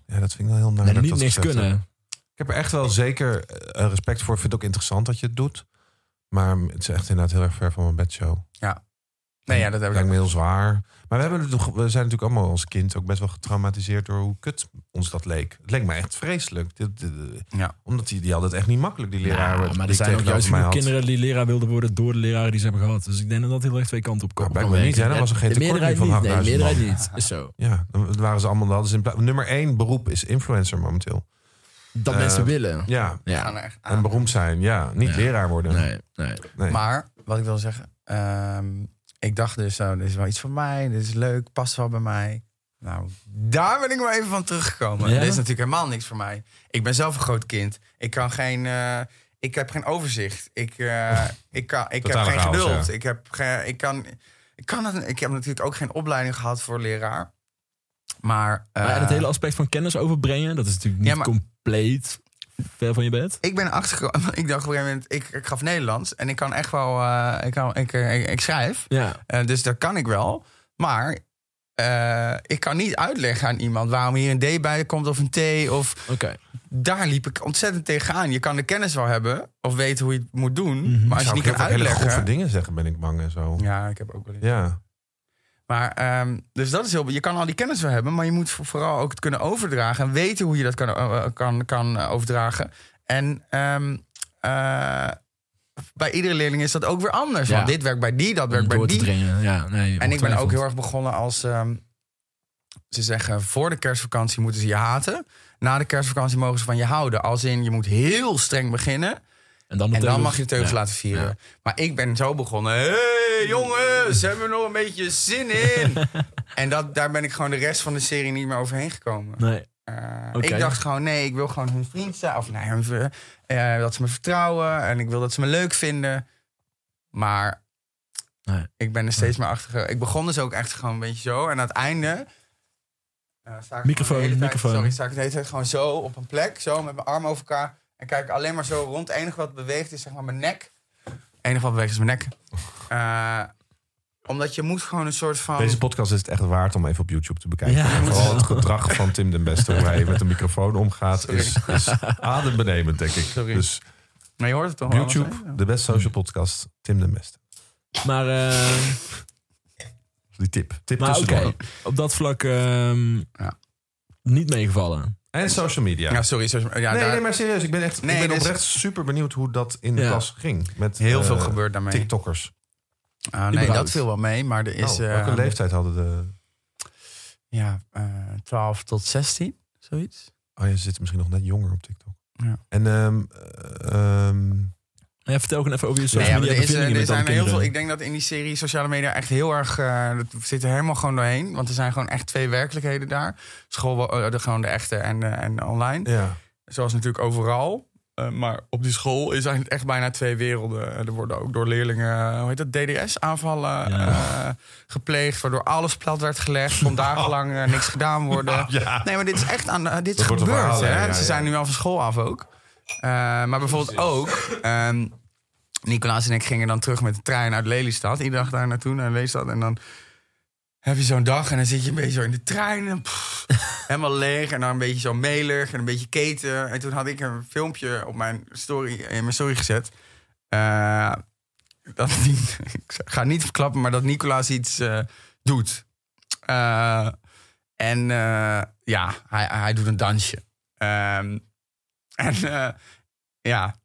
Speaker 1: ja, dat vind ik wel heel naar.
Speaker 2: Nee,
Speaker 1: dat ik
Speaker 2: niet
Speaker 1: dat
Speaker 2: niks
Speaker 1: gezegd
Speaker 2: kunnen.
Speaker 1: heb. Ik heb er echt wel zeker eh, respect voor. Ik vind het ook interessant dat je het doet. Maar het is echt inderdaad heel erg ver van mijn bedshow.
Speaker 3: Nee, ja, dat heb ik
Speaker 1: Lijkt
Speaker 3: ook.
Speaker 1: me heel zwaar. Maar we, hebben, het toch- we zijn natuurlijk allemaal als kind ook best wel getraumatiseerd door hoe kut ons dat leek. Het leek me echt vreselijk. Dit- dit-
Speaker 3: Ja. Nou,
Speaker 1: Omdat die, die hadden het echt niet makkelijk, die leraar.
Speaker 2: Ja, maar er zijn ook juist veel kinderen die leraar wilden worden door de leraren die ze hebben gehad. Dus ik denk dat dat heel erg twee kanten op
Speaker 1: Nou,
Speaker 2: komt.
Speaker 1: blijkbaar niet, hè? Dan was er geen
Speaker 2: de
Speaker 1: tekort
Speaker 2: meerderheid
Speaker 1: meer van
Speaker 2: niet. Nee, de
Speaker 1: 8000
Speaker 2: meerderheid niet. Is zo.
Speaker 1: Ja, dan waren ze allemaal. Hadden ze in pla- nummer één beroep is influencer momenteel.
Speaker 2: Dat
Speaker 1: Eh,
Speaker 2: mensen willen.
Speaker 1: Ja,
Speaker 3: We gaan
Speaker 2: Ja.
Speaker 3: er echt aan.
Speaker 1: en beroemd zijn. Ja, niet
Speaker 2: Ja.
Speaker 1: leraar worden.
Speaker 2: Nee, nee.
Speaker 1: Nee.
Speaker 3: Maar wat ik wil zeggen, ehm, ik dacht dus, zo, dit is wel iets voor mij, dit is leuk, past wel bij mij. Nou, daar ben ik wel even van teruggekomen.
Speaker 2: Ja?
Speaker 3: Dit is natuurlijk helemaal niks voor mij. Ik ben zelf een groot kind. Ik kan geen, eh, ik heb geen overzicht. Ik, eh, ik, kan, ik heb
Speaker 1: Totale
Speaker 3: geen
Speaker 1: chaos,
Speaker 3: geduld.
Speaker 1: ja.
Speaker 3: Ik heb, ge- ik kan, ik kan het, ik heb natuurlijk ook geen opleiding gehad voor leraar. Maar, eh,
Speaker 2: Maar ja, dat hele aspect van kennis overbrengen, dat is natuurlijk niet
Speaker 3: Ja, maar-
Speaker 2: compleet ver van je bed.
Speaker 3: ik ben achtergekomen. Ik dacht op een gegeven moment, ik, ik gaf Nederlands en ik kan echt wel, eh, ik, kan, ik, eh, ik, ik schrijf.
Speaker 2: Ja.
Speaker 3: Eh, dus dat kan ik wel. Maar eh, ik kan niet uitleggen aan iemand waarom hier een D bij komt of een T. Of
Speaker 2: Oké.
Speaker 3: daar liep ik ontzettend tegenaan. Je kan de kennis wel hebben of weten hoe je het moet doen.
Speaker 2: Mhm.
Speaker 3: Maar als je
Speaker 1: Zou
Speaker 3: niet
Speaker 1: ik heel veel
Speaker 3: kan
Speaker 1: hele grove
Speaker 3: uitleggen.
Speaker 1: dingen zeggen, ben ik bang en zo.
Speaker 3: Ja, ik heb ook wel eens.
Speaker 1: Ja.
Speaker 3: Maar ehm, dus dat is heel. Je kan al die kennis wel hebben, maar je moet voor- vooral ook het kunnen overdragen en weten hoe je dat kan, eh, eh, kan, kan eh, overdragen. En ehm, eh, bij iedere leerling is dat ook weer anders.
Speaker 2: Ja.
Speaker 3: Want dit werkt bij die, dat
Speaker 2: Om
Speaker 3: werkt bij
Speaker 2: door te
Speaker 3: die.
Speaker 2: dringen. Ja, nee,
Speaker 3: En ik ben ook
Speaker 2: ongetwijfeld.
Speaker 3: heel erg begonnen als. ehm, ze zeggen voor de kerstvakantie moeten ze je haten. Na de kerstvakantie mogen ze van je houden. Als in je moet heel streng beginnen.
Speaker 2: En dan, de
Speaker 3: En dan
Speaker 2: teugels.
Speaker 3: mag je de teugels
Speaker 2: Ja.
Speaker 3: laten vieren.
Speaker 2: Ja.
Speaker 3: Maar ik ben zo begonnen. Hé hey, jongens, hebben we nog een beetje zin in? en dat, daar ben ik gewoon de rest van de serie niet meer overheen gekomen.
Speaker 2: Nee.
Speaker 3: Eh,
Speaker 2: Oké.
Speaker 3: Ik dacht gewoon, nee, ik wil gewoon hun vriend zijn. Of nee, hun ver- eh, dat ze me vertrouwen en ik wil dat ze me leuk vinden. Maar
Speaker 2: Nee.
Speaker 3: ik ben er steeds meer achter. ge- Ik begon dus ook echt gewoon een beetje zo. En aan het einde... eh, sta ik
Speaker 2: Microfoon,
Speaker 3: gewoon de hele tijd-
Speaker 2: microfoon.
Speaker 3: Sorry, sta ik de hele tijd gewoon zo op een plek. Zo met mijn armen over elkaar. En kijk alleen maar zo rond. Het enige wat beweegt is zeg maar mijn nek. Het enige wat beweegt is mijn nek. Eh, omdat je moet gewoon een soort van...
Speaker 1: Deze podcast is het echt waard om even op YouTube te bekijken.
Speaker 2: Ja.
Speaker 1: En vooral het gedrag van Tim den Beste, hoe hij met een microfoon omgaat, is, is adembenemend, denk ik.
Speaker 3: Sorry.
Speaker 1: Dus
Speaker 3: Maar je hoort het toch
Speaker 1: op
Speaker 3: wel, hè?
Speaker 1: YouTube, de best social podcast, Tim den Beste.
Speaker 2: Maar, eh,
Speaker 1: Die tip. Tip
Speaker 2: maar oké,
Speaker 1: tussendoor.
Speaker 2: op dat vlak ehm,
Speaker 3: Ja.
Speaker 2: niet meegevallen.
Speaker 1: En social media.
Speaker 3: Ja, sorry. sorry. Ja,
Speaker 1: nee,
Speaker 3: daar-
Speaker 1: nee, maar serieus. Ik ben, echt,
Speaker 3: Nee,
Speaker 1: ik ben
Speaker 3: dit is-
Speaker 1: oprecht super benieuwd hoe dat in de
Speaker 2: Ja.
Speaker 1: klas ging. Met
Speaker 3: Heel
Speaker 1: eh,
Speaker 3: veel gebeurt daarmee.
Speaker 1: TikTokkers.
Speaker 3: Ah, nee,
Speaker 2: Überhaupt.
Speaker 3: dat viel wel mee, maar er is...
Speaker 1: Is,
Speaker 3: eh,
Speaker 1: welke leeftijd hadden de...
Speaker 3: Ja, eh 12 tot 16, zoiets.
Speaker 1: Oh, je zit misschien nog net jonger op TikTok.
Speaker 3: Ja.
Speaker 1: En ehm, eh, ehm,
Speaker 2: Ja, vertel gewoon even over je social
Speaker 3: Nee, ja,
Speaker 2: media
Speaker 3: maar er is- eh,
Speaker 2: bevindingen
Speaker 3: er
Speaker 2: met
Speaker 3: zijn
Speaker 2: alle
Speaker 3: heel veel.
Speaker 2: kinderen.
Speaker 3: Ik denk dat in die serie sociale media echt heel erg. eh dat zit er helemaal gewoon doorheen. Want er zijn gewoon echt twee werkelijkheden daar: school, eh, de, gewoon de echte en, eh, en online.
Speaker 1: Ja.
Speaker 3: Zoals natuurlijk overal. Eh, maar op die school is eigenlijk echt bijna twee werelden. Eh, Er worden ook door leerlingen, eh, hoe heet dat, DDS-aanvallen
Speaker 2: Ja.
Speaker 3: eh, gepleegd. Waardoor alles plat werd gelegd. Kon dagenlang eh, niks gedaan worden.
Speaker 1: Ja.
Speaker 3: Nee, maar dit is echt aan. eh, dit is
Speaker 1: Dat wordt een
Speaker 3: gebeurd.
Speaker 1: verhaal,
Speaker 3: hè?
Speaker 1: ja, ja,
Speaker 3: Ze
Speaker 1: ja.
Speaker 3: zijn nu al van school af ook. Eh, maar bijvoorbeeld ook. ehm, Nicolaas en ik gingen dan terug met de trein uit Lelystad. Iedere dag daar naartoe, naar Lelystad. En dan heb je zo'n dag en dan zit je een beetje zo in de trein. En pff, helemaal leeg en dan een beetje zo melig en een beetje keten. En toen had ik een filmpje op mijn story, in mijn story gezet. Eh, dat niet, ik ga niet verklappen, maar dat Nicolaas iets eh, doet. Eh, en eh, ja, hij, hij doet een dansje. Ehm, en eh, ja,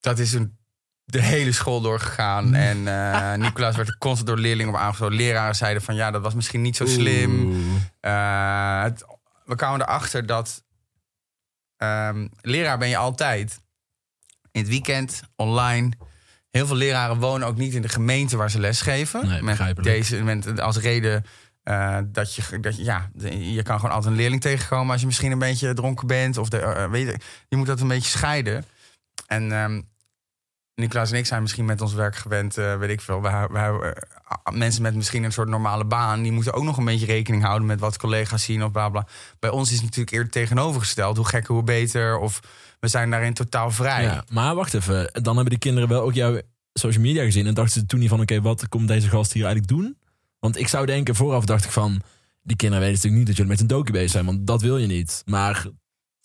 Speaker 3: dat is een, de hele school doorgegaan. En eh, Nicolaas werd er constant door leerlingen op aangesproken. Leraren zeiden van ja, dat was misschien niet zo slim.
Speaker 2: Oeh.
Speaker 3: Eh, het- we kwamen erachter dat ehm, leraar ben je altijd. In het weekend, online. Heel veel leraren wonen ook niet in de gemeente waar ze lesgeven.
Speaker 2: Nee,
Speaker 3: met
Speaker 2: begrijpelijk.
Speaker 3: deze met als reden eh, dat je dat je- ja, de- je kan gewoon altijd een leerling tegenkomen als je misschien een beetje dronken bent of de, eh, weet je, je moet dat een beetje scheiden. En ehm Nicolaas en ik zijn misschien met ons werk gewend, eh, weet ik veel. We, we, eh, mensen met misschien een soort normale baan, die moeten ook nog een beetje rekening houden met wat collega's zien of bla bla. Bij ons is het natuurlijk eerder tegenovergesteld. Hoe gekker, hoe beter. Of we zijn daarin totaal vrij.
Speaker 2: Ja, maar wacht even. Dan hebben die kinderen wel ook jouw social media gezien. En dachten ze toen niet van, oké, wat komt deze gast hier eigenlijk doen? Want ik zou denken, vooraf dacht ik van... Die kinderen weten natuurlijk niet dat jullie met een docu bezig zijn. Want dat wil je niet. Maar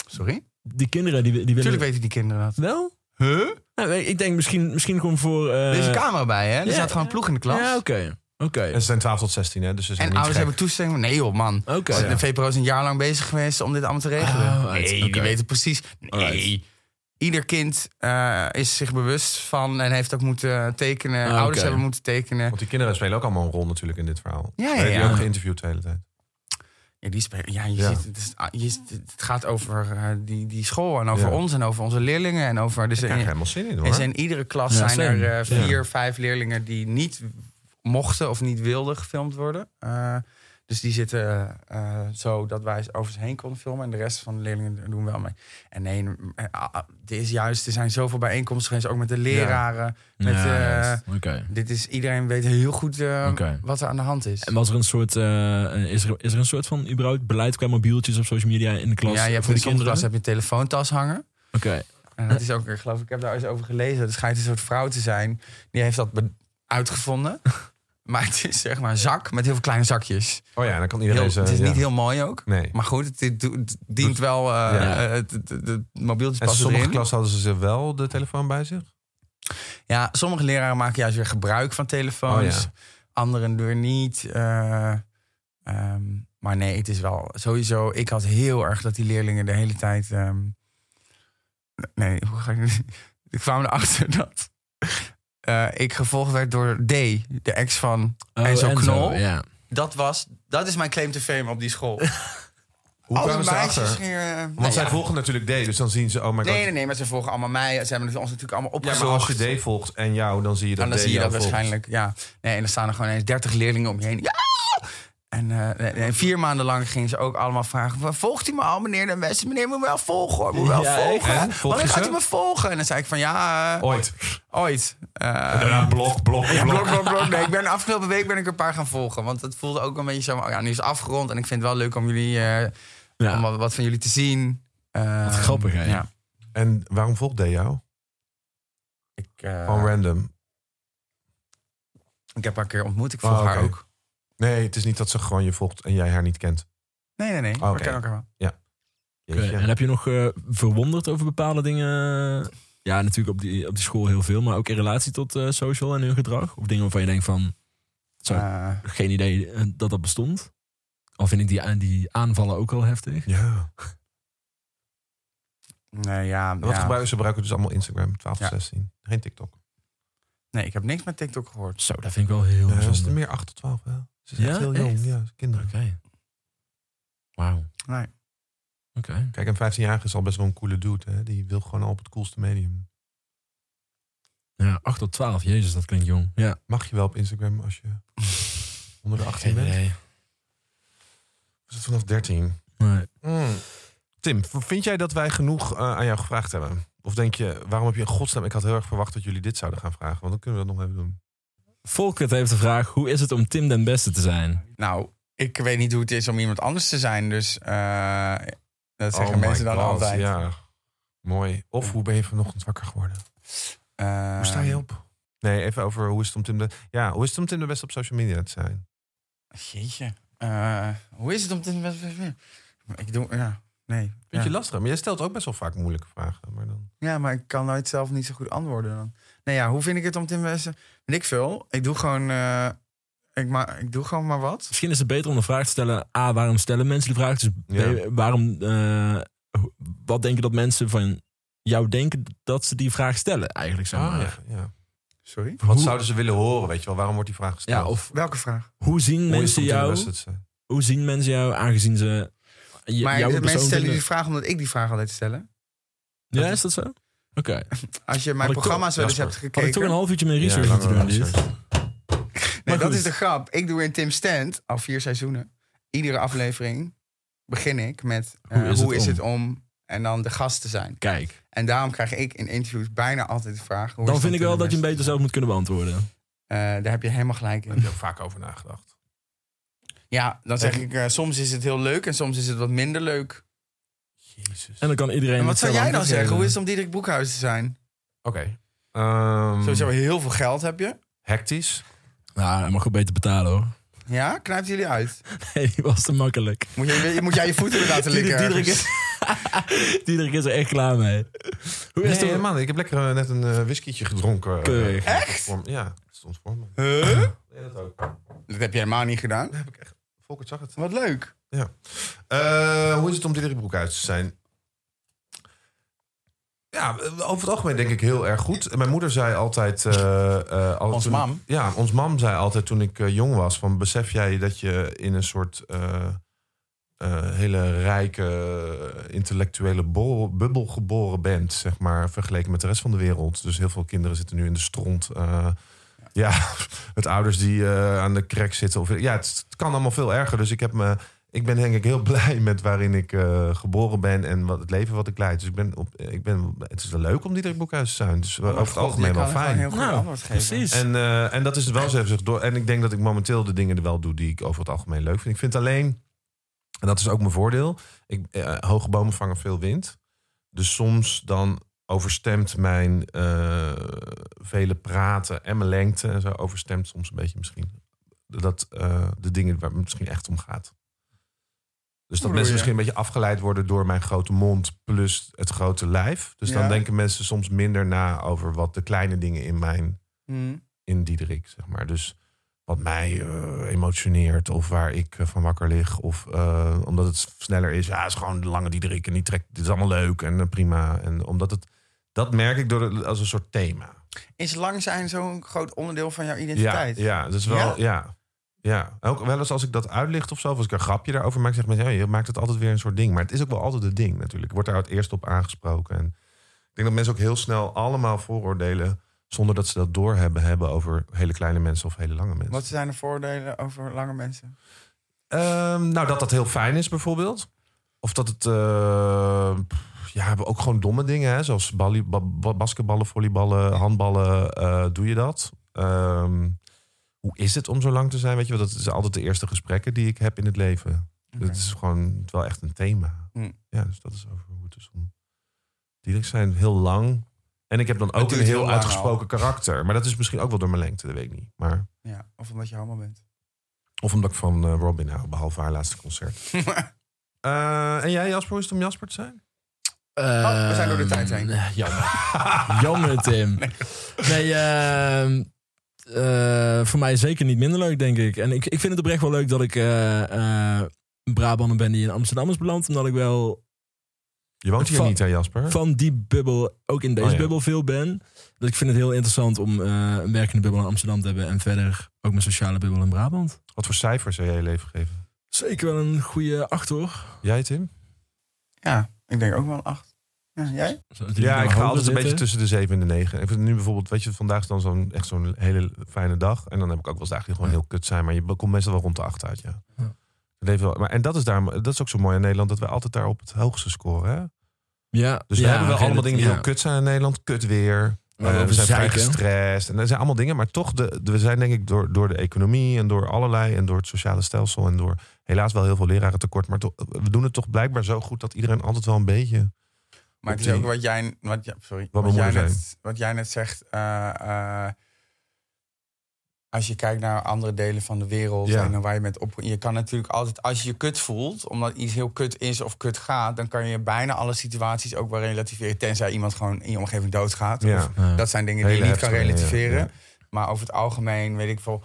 Speaker 3: Sorry?
Speaker 2: die kinderen, die, die willen...
Speaker 3: Natuurlijk weten die kinderen dat.
Speaker 2: Wel?
Speaker 3: Huh?
Speaker 2: Nou, ik denk misschien, misschien gewoon voor... eh,
Speaker 3: Er is een camera bij, hè? Er
Speaker 2: ja.
Speaker 3: staat gewoon een ploeg in de klas.
Speaker 2: Ja, oké. Oké.
Speaker 1: En ze zijn 12 tot 16, hè? Dus ze zijn
Speaker 3: En
Speaker 1: niet
Speaker 3: ouders
Speaker 1: gek.
Speaker 3: hebben toestemming. Nee joh, man.
Speaker 2: Oké.
Speaker 3: De VPRO is een jaar lang bezig geweest om dit allemaal te regelen.
Speaker 2: Oh, right.
Speaker 3: nee,
Speaker 2: Oké.
Speaker 3: die weten precies. Nee.
Speaker 2: Alright.
Speaker 3: Ieder kind eh, is zich bewust van en heeft ook moeten tekenen.
Speaker 2: Ah,
Speaker 3: Ouders
Speaker 2: oké.
Speaker 3: hebben moeten tekenen.
Speaker 1: Want die kinderen spelen ook allemaal een rol natuurlijk in dit verhaal.
Speaker 3: Ja, ja,
Speaker 1: We hebben die
Speaker 3: ja.
Speaker 1: ook geïnterviewd de hele tijd.
Speaker 3: Ja, die spe- ja, je
Speaker 1: Ja.
Speaker 3: Ziet, het, is- ah, je ziet- het gaat over eh, die, die school en over
Speaker 1: Ja.
Speaker 3: ons en over onze leerlingen. En over, dus
Speaker 1: Ik krijg er
Speaker 3: in,
Speaker 1: helemaal zin in,
Speaker 3: dus
Speaker 1: hoor.
Speaker 3: in iedere klas
Speaker 2: Ja,
Speaker 3: zijn
Speaker 2: same.
Speaker 3: er
Speaker 2: Ja.
Speaker 3: eh, vier, vijf leerlingen die niet mochten of niet wilden gefilmd worden. Eh, dus die zitten eh, zo dat wij over ze heen konden filmen. En de rest van de leerlingen doen wel mee. En nee, eh, ah, ah, dit is juist, er zijn zoveel bijeenkomsten geweest. Ook met de leraren. Met,
Speaker 2: Ja,
Speaker 3: eh,
Speaker 2: juist. Oké.
Speaker 3: dit is, iedereen weet heel goed eh,
Speaker 2: Oké.
Speaker 3: wat er aan de hand is.
Speaker 2: En was er een soort, eh, is, er, is er een soort van überhaupt beleid qua mobieltjes op social media in de klas?
Speaker 3: ja, je hebt
Speaker 2: voor
Speaker 3: in de
Speaker 2: die kinderen?
Speaker 3: kinderklas heb je een telefoontas hangen.
Speaker 2: Oké.
Speaker 3: En dat is ook, ik geloof ik, heb daar eens over gelezen. Het schijnt een soort vrouw te zijn. Die heeft dat be- uitgevonden. Maar het is zeg maar een zak met heel veel kleine zakjes.
Speaker 1: Oh ja, dan kan
Speaker 3: Heel-
Speaker 1: iedereen ze...
Speaker 3: het is
Speaker 1: ja.
Speaker 3: niet heel mooi ook.
Speaker 1: Nee.
Speaker 3: Maar goed, het, het do- het dient wel... eh,
Speaker 1: Ja.
Speaker 3: eh, het- het- het- het mobieltjes
Speaker 1: En
Speaker 3: passen
Speaker 1: sommige
Speaker 3: erin.
Speaker 1: klassen hadden ze wel de telefoon bij zich?
Speaker 3: Ja, sommige leraren maken juist weer gebruik van telefoons.
Speaker 1: Oh ja.
Speaker 3: Anderen weer niet. eh, ehm, maar nee, het is wel sowieso... Ik had heel erg dat die leerlingen de hele tijd... ehm, nee, hoe ga ik nu... Ik kwam erachter dat eh, ik gevolgd werd door D, de ex van...
Speaker 2: Oh,
Speaker 3: En zo'n
Speaker 2: Enzo,
Speaker 3: knol?
Speaker 2: Ja.
Speaker 3: Dat was... Dat is mijn claim to fame op die school.
Speaker 1: Hoe
Speaker 3: Alle
Speaker 1: kwamen ze erachter?
Speaker 3: meisjes gingen... Want
Speaker 1: Want zij volgen natuurlijk D, dus dan zien ze... Oh my god.
Speaker 3: Nee, nee, nee, maar ze volgen allemaal mij. Ze hebben dus ons natuurlijk allemaal
Speaker 1: Ja,
Speaker 3: opgezocht.
Speaker 1: maar als je D volgt en jou, dan zie je dat
Speaker 3: En Nou, dan
Speaker 1: D
Speaker 3: zie je dat
Speaker 1: jou volgt.
Speaker 3: waarschijnlijk. Ja. Nee, en dan staan er gewoon eens 30 leerlingen om je heen. Ja! En eh, nee, vier maanden lang gingen ze ook allemaal vragen: van, Volgt u me al, meneer Den Westen? Meneer moet me wel volgen hoor. Moet me wel
Speaker 2: Ja,
Speaker 1: echt?
Speaker 3: volgen.
Speaker 1: Volg
Speaker 3: Wanneer
Speaker 1: je
Speaker 3: gaat
Speaker 1: ze?
Speaker 3: u me volgen? En dan zei ik: Van ja, eh,
Speaker 1: Ooit.
Speaker 3: ooit. Eh,
Speaker 1: Daarna blok, blok,
Speaker 3: blok,
Speaker 1: blok.
Speaker 3: blok, blok. Nee, ik ben afgelopen week ben ik een paar gaan volgen. Want het voelde ook een beetje zo. oh Ja, nu is het afgerond. En ik vind het wel leuk om jullie. eh,
Speaker 2: Ja.
Speaker 3: om wat, wat van jullie te zien. Eh,
Speaker 2: Wat grappig, hè?
Speaker 3: Ja.
Speaker 1: En waarom volgt D jou?
Speaker 3: Ik, eh,
Speaker 1: Gewoon random.
Speaker 3: ik heb haar een keer ontmoet. Ik
Speaker 1: Oh,
Speaker 3: volg haar
Speaker 1: oké.
Speaker 3: ook.
Speaker 1: Nee, het is niet dat ze gewoon je volgt en jij haar niet kent.
Speaker 3: Nee, nee, nee. We
Speaker 1: Oh, Oké.
Speaker 3: kennen elkaar wel.
Speaker 2: Oké,
Speaker 1: Jeetje.
Speaker 2: En heb je nog eh, verwonderd over bepaalde dingen? Ja, natuurlijk op die, op die school heel veel, maar ook in relatie tot eh, social en hun gedrag? Of dingen waarvan je denkt van, Zo.
Speaker 3: Eh,
Speaker 2: geen idee eh, dat dat bestond? Al vind ik die, die aanvallen ook al heftig.
Speaker 1: Ja.
Speaker 3: Nee, ja,
Speaker 1: Wat
Speaker 3: ja.
Speaker 1: gebruiken ze? gebruiken dus allemaal Instagram, 12 tot
Speaker 3: Ja.
Speaker 1: 16. Geen TikTok.
Speaker 3: nee, ik heb niks met TikTok gehoord.
Speaker 2: Zo, dat vind ik wel
Speaker 1: Nee,
Speaker 2: heel
Speaker 1: ze Eh, is
Speaker 2: bijzonder.
Speaker 1: er meer 8 tot 12. Hè? Ze is
Speaker 2: Ja,
Speaker 1: echt heel jong.
Speaker 2: echt?
Speaker 1: Ja, kinderen.
Speaker 2: Oké. Wauw.
Speaker 3: Nee.
Speaker 2: Oké.
Speaker 1: Kijk, een 15-jarige is al best wel een coole dude. Hè? Die wil gewoon al op het coolste medium.
Speaker 2: Ja, 8 tot 12. Jezus, dat klinkt jong. Ja.
Speaker 1: Mag je wel op Instagram als je onder de 18 bent?
Speaker 2: idee.
Speaker 1: Is het vanaf 13?
Speaker 2: Nee.
Speaker 1: Mm. Tim, v- vind jij dat wij genoeg eh, aan jou gevraagd hebben? Of denk je, waarom heb je in godsnaam... Ik had heel erg verwacht dat jullie dit zouden gaan vragen. Want dan kunnen we dat nog even doen.
Speaker 2: Volkert heeft de vraag: hoe is het om Tim den Beste te zijn?
Speaker 3: Nou, ik weet niet hoe het is om iemand anders te zijn. Dus eh, dat zeggen
Speaker 1: Oh my
Speaker 3: mensen dan
Speaker 1: God,
Speaker 3: altijd.
Speaker 1: Ja, mooi. Of hoe ben je vanochtend wakker geworden?
Speaker 3: Eh,
Speaker 1: Hoe sta je op? Ehm, Nee, even over hoe is het om Tim de... Ja, hoe is het om Tim de Beste op social media te zijn?
Speaker 3: Jeetje. Eh, hoe is het om te... Ik doe... Ja, nee.
Speaker 1: Vind
Speaker 3: ja.
Speaker 1: je lastig? Maar jij stelt ook best wel vaak moeilijke vragen. Maar dan...
Speaker 3: Ja, maar ik kan nooit zelf niet zo goed antwoorden dan. Nou ja, hoe vind ik het om te investeren? Weet ik veel. Ik doe gewoon, eh, ik, ma ik doe gewoon maar wat.
Speaker 2: Misschien is het beter om de vraag te stellen: A, waarom stellen mensen die vraag? Dus B,
Speaker 1: Ja.
Speaker 2: waarom, eh, ho- wat denken dat mensen van jou denken dat ze die vraag stellen? Eigenlijk zeg maar.
Speaker 1: Ah, ja. ja.
Speaker 3: Sorry?
Speaker 1: Wat
Speaker 2: Hoe-
Speaker 1: zouden ze willen horen, weet je wel? Waarom wordt die vraag gesteld?
Speaker 2: ja, of
Speaker 3: Welke vraag?
Speaker 2: hoe zien,
Speaker 1: Hoe is het
Speaker 2: mensen
Speaker 1: om Tim de
Speaker 2: jou,
Speaker 1: Beste te zijn?
Speaker 2: hoe zien mensen jou aangezien ze. j- jouw
Speaker 3: maar de
Speaker 2: persoon
Speaker 3: mensen stellen
Speaker 2: vinden?
Speaker 3: die vraag omdat ik die vraag altijd stel.
Speaker 2: Ja, is dat zo? Oké.
Speaker 3: Als je
Speaker 2: Had
Speaker 3: mijn
Speaker 2: ik toch-
Speaker 3: programma's wel eens
Speaker 1: Jasper,
Speaker 3: hebt
Speaker 2: Had ik toch een
Speaker 3: gekeken.
Speaker 2: half uurtje meer research
Speaker 1: Ja,
Speaker 2: moeten doen? dus.
Speaker 1: langer
Speaker 2: Dit.
Speaker 1: research.
Speaker 3: Nee,
Speaker 2: Maar
Speaker 3: dat
Speaker 2: goed.
Speaker 3: is de grap. Ik doe in Tim Stand al vier seizoenen. Iedere aflevering begin ik met eh,
Speaker 2: Hoe is
Speaker 3: hoe
Speaker 2: het
Speaker 3: is
Speaker 2: om?
Speaker 3: het om en dan de gast te zijn.
Speaker 2: Kijk,
Speaker 3: En daarom krijg ik in interviews bijna altijd de vraag. Hoe
Speaker 2: dan
Speaker 3: is het
Speaker 2: vind ik
Speaker 3: om
Speaker 2: wel
Speaker 3: te
Speaker 2: dat je hem beter
Speaker 3: investeren?
Speaker 2: zelf moet kunnen beantwoorden.
Speaker 3: Eh, daar heb je helemaal gelijk
Speaker 1: Daar
Speaker 3: in.
Speaker 1: heb je ook vaak over nagedacht.
Speaker 3: Ja, dan zeg ik, eh, soms is het heel leuk en soms is het wat minder leuk.
Speaker 1: Jezus.
Speaker 2: En dan kan iedereen.
Speaker 3: En wat zou
Speaker 2: hetzelfde
Speaker 3: jij dan
Speaker 2: antwoord
Speaker 3: zeggen?
Speaker 2: geven.
Speaker 3: Hoe is het om Diederik Boekhuis te zijn?
Speaker 2: Hmm.
Speaker 1: Oké. Ehm,
Speaker 3: Sowieso heel veel geld heb je.
Speaker 1: Hectisch.
Speaker 2: Nou, hij mag goed beter betalen hoor.
Speaker 3: Ja, knijpt jullie uit.
Speaker 2: Nee, die was te makkelijk.
Speaker 3: Moet, je, moet jij je voeten weer laten likken?
Speaker 2: Diederik, Diederik
Speaker 3: ergens?
Speaker 2: is, Diederik is er echt klaar mee. Hoe is
Speaker 1: Nee,
Speaker 2: het om-
Speaker 1: helemaal niet. Ik heb lekker eh, net een eh, whiskietje gedronken. eh,
Speaker 2: Keurig.
Speaker 3: Echt?
Speaker 1: voor me. ja, het stond voor me.
Speaker 3: Huh?
Speaker 1: Ja, dat ook. Dat
Speaker 3: Dat heb je helemaal niet gedaan.
Speaker 1: heb ik echt. Volkert zag het.
Speaker 3: Wat leuk.
Speaker 1: Eh, hoe is het om Diederik Broekhuis te zijn? Ja, over het algemeen denk ik heel erg goed. Mijn moeder zei altijd... eh, eh, altijd
Speaker 3: Ons
Speaker 1: toen-
Speaker 3: mam.
Speaker 1: Ja, ons mam zei altijd toen ik eh, jong was... van besef jij dat je in een soort eh, eh, hele rijke eh, intellectuele bol- bubbel geboren bent... zeg maar, vergeleken met de rest van de wereld. Dus heel veel kinderen zitten nu in de stront... eh, ja, het ouders die eh, aan de krek zitten. Of, ja, het, het kan allemaal veel erger. Dus ik, heb me, ik ben denk ik heel blij met waarin ik eh, geboren ben en wat, het leven wat ik leid. Dus ik ben op, ik ben, het is wel leuk om Diederik Boekhuis te zijn.
Speaker 3: Oh,
Speaker 1: Dus over het algemeen wel fijn.
Speaker 3: heel goed
Speaker 2: Nou,
Speaker 3: antwoord geven.
Speaker 2: Precies.
Speaker 1: En, eh, en dat is wel zo door. En ik denk dat ik momenteel de dingen er wel doe die ik over het algemeen leuk vind. Ik vind alleen, en dat is ook mijn voordeel, ik, eh, hoge bomen vangen veel wind. Dus soms dan overstemt mijn eh, vele praten en mijn lengte en zo overstemt soms een beetje misschien dat eh, de dingen waar het misschien echt om gaat. Dus dat
Speaker 3: bedoel
Speaker 1: mensen
Speaker 3: je?
Speaker 1: misschien een beetje afgeleid worden door mijn grote mond plus het grote lijf. Dus dan
Speaker 3: Ja.
Speaker 1: denken mensen soms minder na over wat de kleine dingen in mijn
Speaker 3: Hm.
Speaker 1: in Diederik, zeg maar. Dus wat mij eh, emotioneert of waar ik eh, van wakker lig. Of eh, omdat het sneller is. Ja, het is gewoon de lange Diederik en die trekt. Dit is allemaal leuk en eh, prima. En omdat het, dat merk ik door, de- als een soort thema.
Speaker 3: Is lang zijn zo'n groot onderdeel van jouw
Speaker 1: Ja,
Speaker 3: identiteit?
Speaker 1: ja, dat is wel, ja.
Speaker 3: Ja?
Speaker 1: ja. ook wel eens als ik dat uitlicht of zo, of als ik een grapje daarover maak, zeg maar, ja, je maakt het altijd weer een soort ding. Maar het is ook wel altijd het ding natuurlijk. Ik word daar het eerst op aangesproken. En ik denk dat mensen ook heel snel allemaal vooroordelen, zonder dat ze dat doorhebben, hebben over hele kleine mensen of hele lange mensen.
Speaker 3: Wat zijn de voordelen over lange mensen?
Speaker 1: Ehm, nou, dat dat heel fijn is bijvoorbeeld. Of dat het... eh, pff, ja, ook gewoon domme dingen, hè? zoals balli- ba- ba- basketballen, volleyballen, handballen. eh, doe je dat? Ehm, hoe is het om zo lang te zijn? Weet je, wel? dat is altijd de eerste gesprekken die ik heb in het leven.
Speaker 3: Oké.
Speaker 1: Dat is gewoon wel echt een thema.
Speaker 3: Hm.
Speaker 1: Ja, dus dat is over hoe het is om... Die zijn heel lang. En ik heb dan ook
Speaker 3: duurt
Speaker 1: een heel,
Speaker 3: heel lang
Speaker 1: uitgesproken karakter. Maar dat is misschien ook wel door mijn lengte, dat weet ik niet. Maar,
Speaker 3: Ja, of omdat je homo bent.
Speaker 1: of omdat ik van eh, Robin hou, behalve haar laatste concert. Eh, en jij, Jasper, hoe is het om Jasper te zijn?
Speaker 3: Oh, we zijn door de tijd heen.
Speaker 2: Ehm, Jammer. jammer, Tim. Nee, ehm, eh, voor mij zeker niet minder leuk, denk ik. En ik, ik vind het oprecht wel leuk dat ik eh eh Brabander ben die in Amsterdam is beland. Omdat ik wel
Speaker 1: Je woont hier
Speaker 2: Van-
Speaker 1: niet, hè, Jasper?
Speaker 2: van die bubbel, ook in deze
Speaker 1: Oh ja.
Speaker 2: bubbel veel ben. Dus ik vind het heel interessant om eh, een werkende bubbel in Amsterdam te hebben. En verder ook mijn sociale bubbel in Brabant.
Speaker 1: Wat voor cijfers zou jij je leven geven?
Speaker 2: Zeker wel een goede acht hoor.
Speaker 1: Jij, Tim?
Speaker 3: ja, ik denk ook wel een acht. Ja, jij?
Speaker 2: Zo, die
Speaker 1: Ja,
Speaker 2: in
Speaker 1: ik ga
Speaker 2: mijn hoofd
Speaker 1: altijd een beetje
Speaker 2: zitten.
Speaker 1: tussen de 7 en de 9. En ik vind nu bijvoorbeeld, weet je, vandaag is dan zo'n, echt zo'n hele fijne dag. En dan heb ik ook wel eens dagen die gewoon heel kut zijn. Maar je komt meestal wel rond de 8 uit, ja.
Speaker 2: Ja.
Speaker 1: Het heeft wel- Maar, en dat is, daar, dat is ook zo mooi aan Nederland, dat wij altijd daar op het hoogste scoren. Hè?
Speaker 2: Ja,
Speaker 1: Dus we
Speaker 2: ja,
Speaker 1: hebben wel allemaal
Speaker 2: relatief,
Speaker 1: dingen die
Speaker 2: ja.
Speaker 1: heel kut zijn in Nederland. Kut weer.
Speaker 2: Maar
Speaker 1: Eh,
Speaker 2: wel
Speaker 1: we zijn vrij
Speaker 2: zeiken.
Speaker 1: gestrest. En dat zijn allemaal dingen. Maar toch, de, de- we zijn denk ik door, door de economie en door allerlei... en door het sociale stelsel en door helaas wel heel veel leraren tekort. Maar toch- we doen het toch blijkbaar zo goed dat iedereen altijd wel een beetje...
Speaker 3: Maar het is
Speaker 1: die-
Speaker 3: ook wat jij, wat, ja, sorry,
Speaker 1: Wat
Speaker 3: wat,
Speaker 1: mijn
Speaker 3: jij,
Speaker 1: moeder
Speaker 3: net, wat jij net zegt. eh, eh, als je kijkt naar andere delen van de wereld
Speaker 1: Ja.
Speaker 3: en waar je bent op. Je kan natuurlijk altijd, als je je kut voelt, omdat iets heel kut is of kut gaat, dan kan je bijna alle situaties ook wel relativeren. Tenzij iemand gewoon in je omgeving doodgaat.
Speaker 1: Ja.
Speaker 3: Of, dat zijn dingen die
Speaker 1: Hele
Speaker 3: je niet kan
Speaker 1: heftige dingen,
Speaker 3: relativeren.
Speaker 1: ja.
Speaker 3: Maar over het algemeen weet ik veel.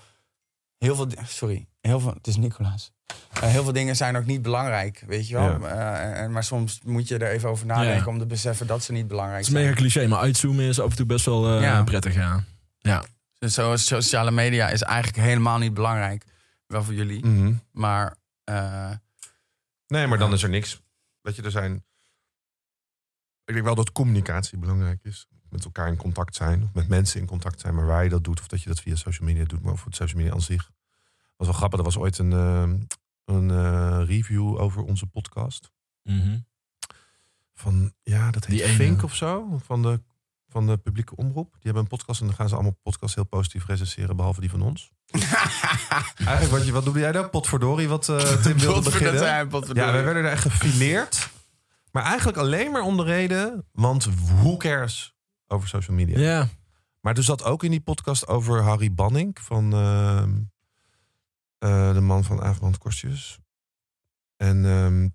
Speaker 3: Heel veel. di- Sorry, heel veel. Het is Nicolaas. Eh, heel veel dingen zijn ook niet belangrijk, weet je wel.
Speaker 1: Ja.
Speaker 3: Eh, en, maar soms moet je er even over nadenken om te beseffen dat ze niet belangrijk
Speaker 2: Het is mega
Speaker 3: zijn.
Speaker 2: cliché, maar uitzoomen is af en toe best wel eh,
Speaker 3: Ja.
Speaker 2: prettig, ja.
Speaker 3: Dus zo, sociale media is eigenlijk helemaal niet belangrijk. Wel voor jullie.
Speaker 1: Mhm.
Speaker 3: Maar eh,
Speaker 1: Nee, maar dan is er niks. Dat je er zijn. Ik denk wel dat communicatie belangrijk is. Met elkaar in contact zijn, of met mensen in contact zijn, maar waar je dat doet, of dat je dat via social media doet, maar over het social media aan zich. Was wel grappig, er was ooit een, eh, een eh, review over onze podcast.
Speaker 2: Mhm.
Speaker 1: Van ja, dat heet
Speaker 2: Die ene.
Speaker 1: Fink of zo, van de, van de publieke omroep. Die hebben een podcast en dan gaan ze allemaal podcasts heel positief recenseren, behalve die van ons. Eigenlijk, wat, je, wat doe jij nou? Potverdorie, wat eh, Tim wilde beginnen.
Speaker 3: dat zijn, wat we
Speaker 1: Ja,
Speaker 3: doen.
Speaker 1: wij werden daar echt gefileerd. Maar eigenlijk alleen maar om de reden, want who cares over social media.
Speaker 2: Ja. ja.
Speaker 1: Maar er zat ook in die podcast over Harry Banning van ehm, eh, de man van Averland Kostjes. En ehm,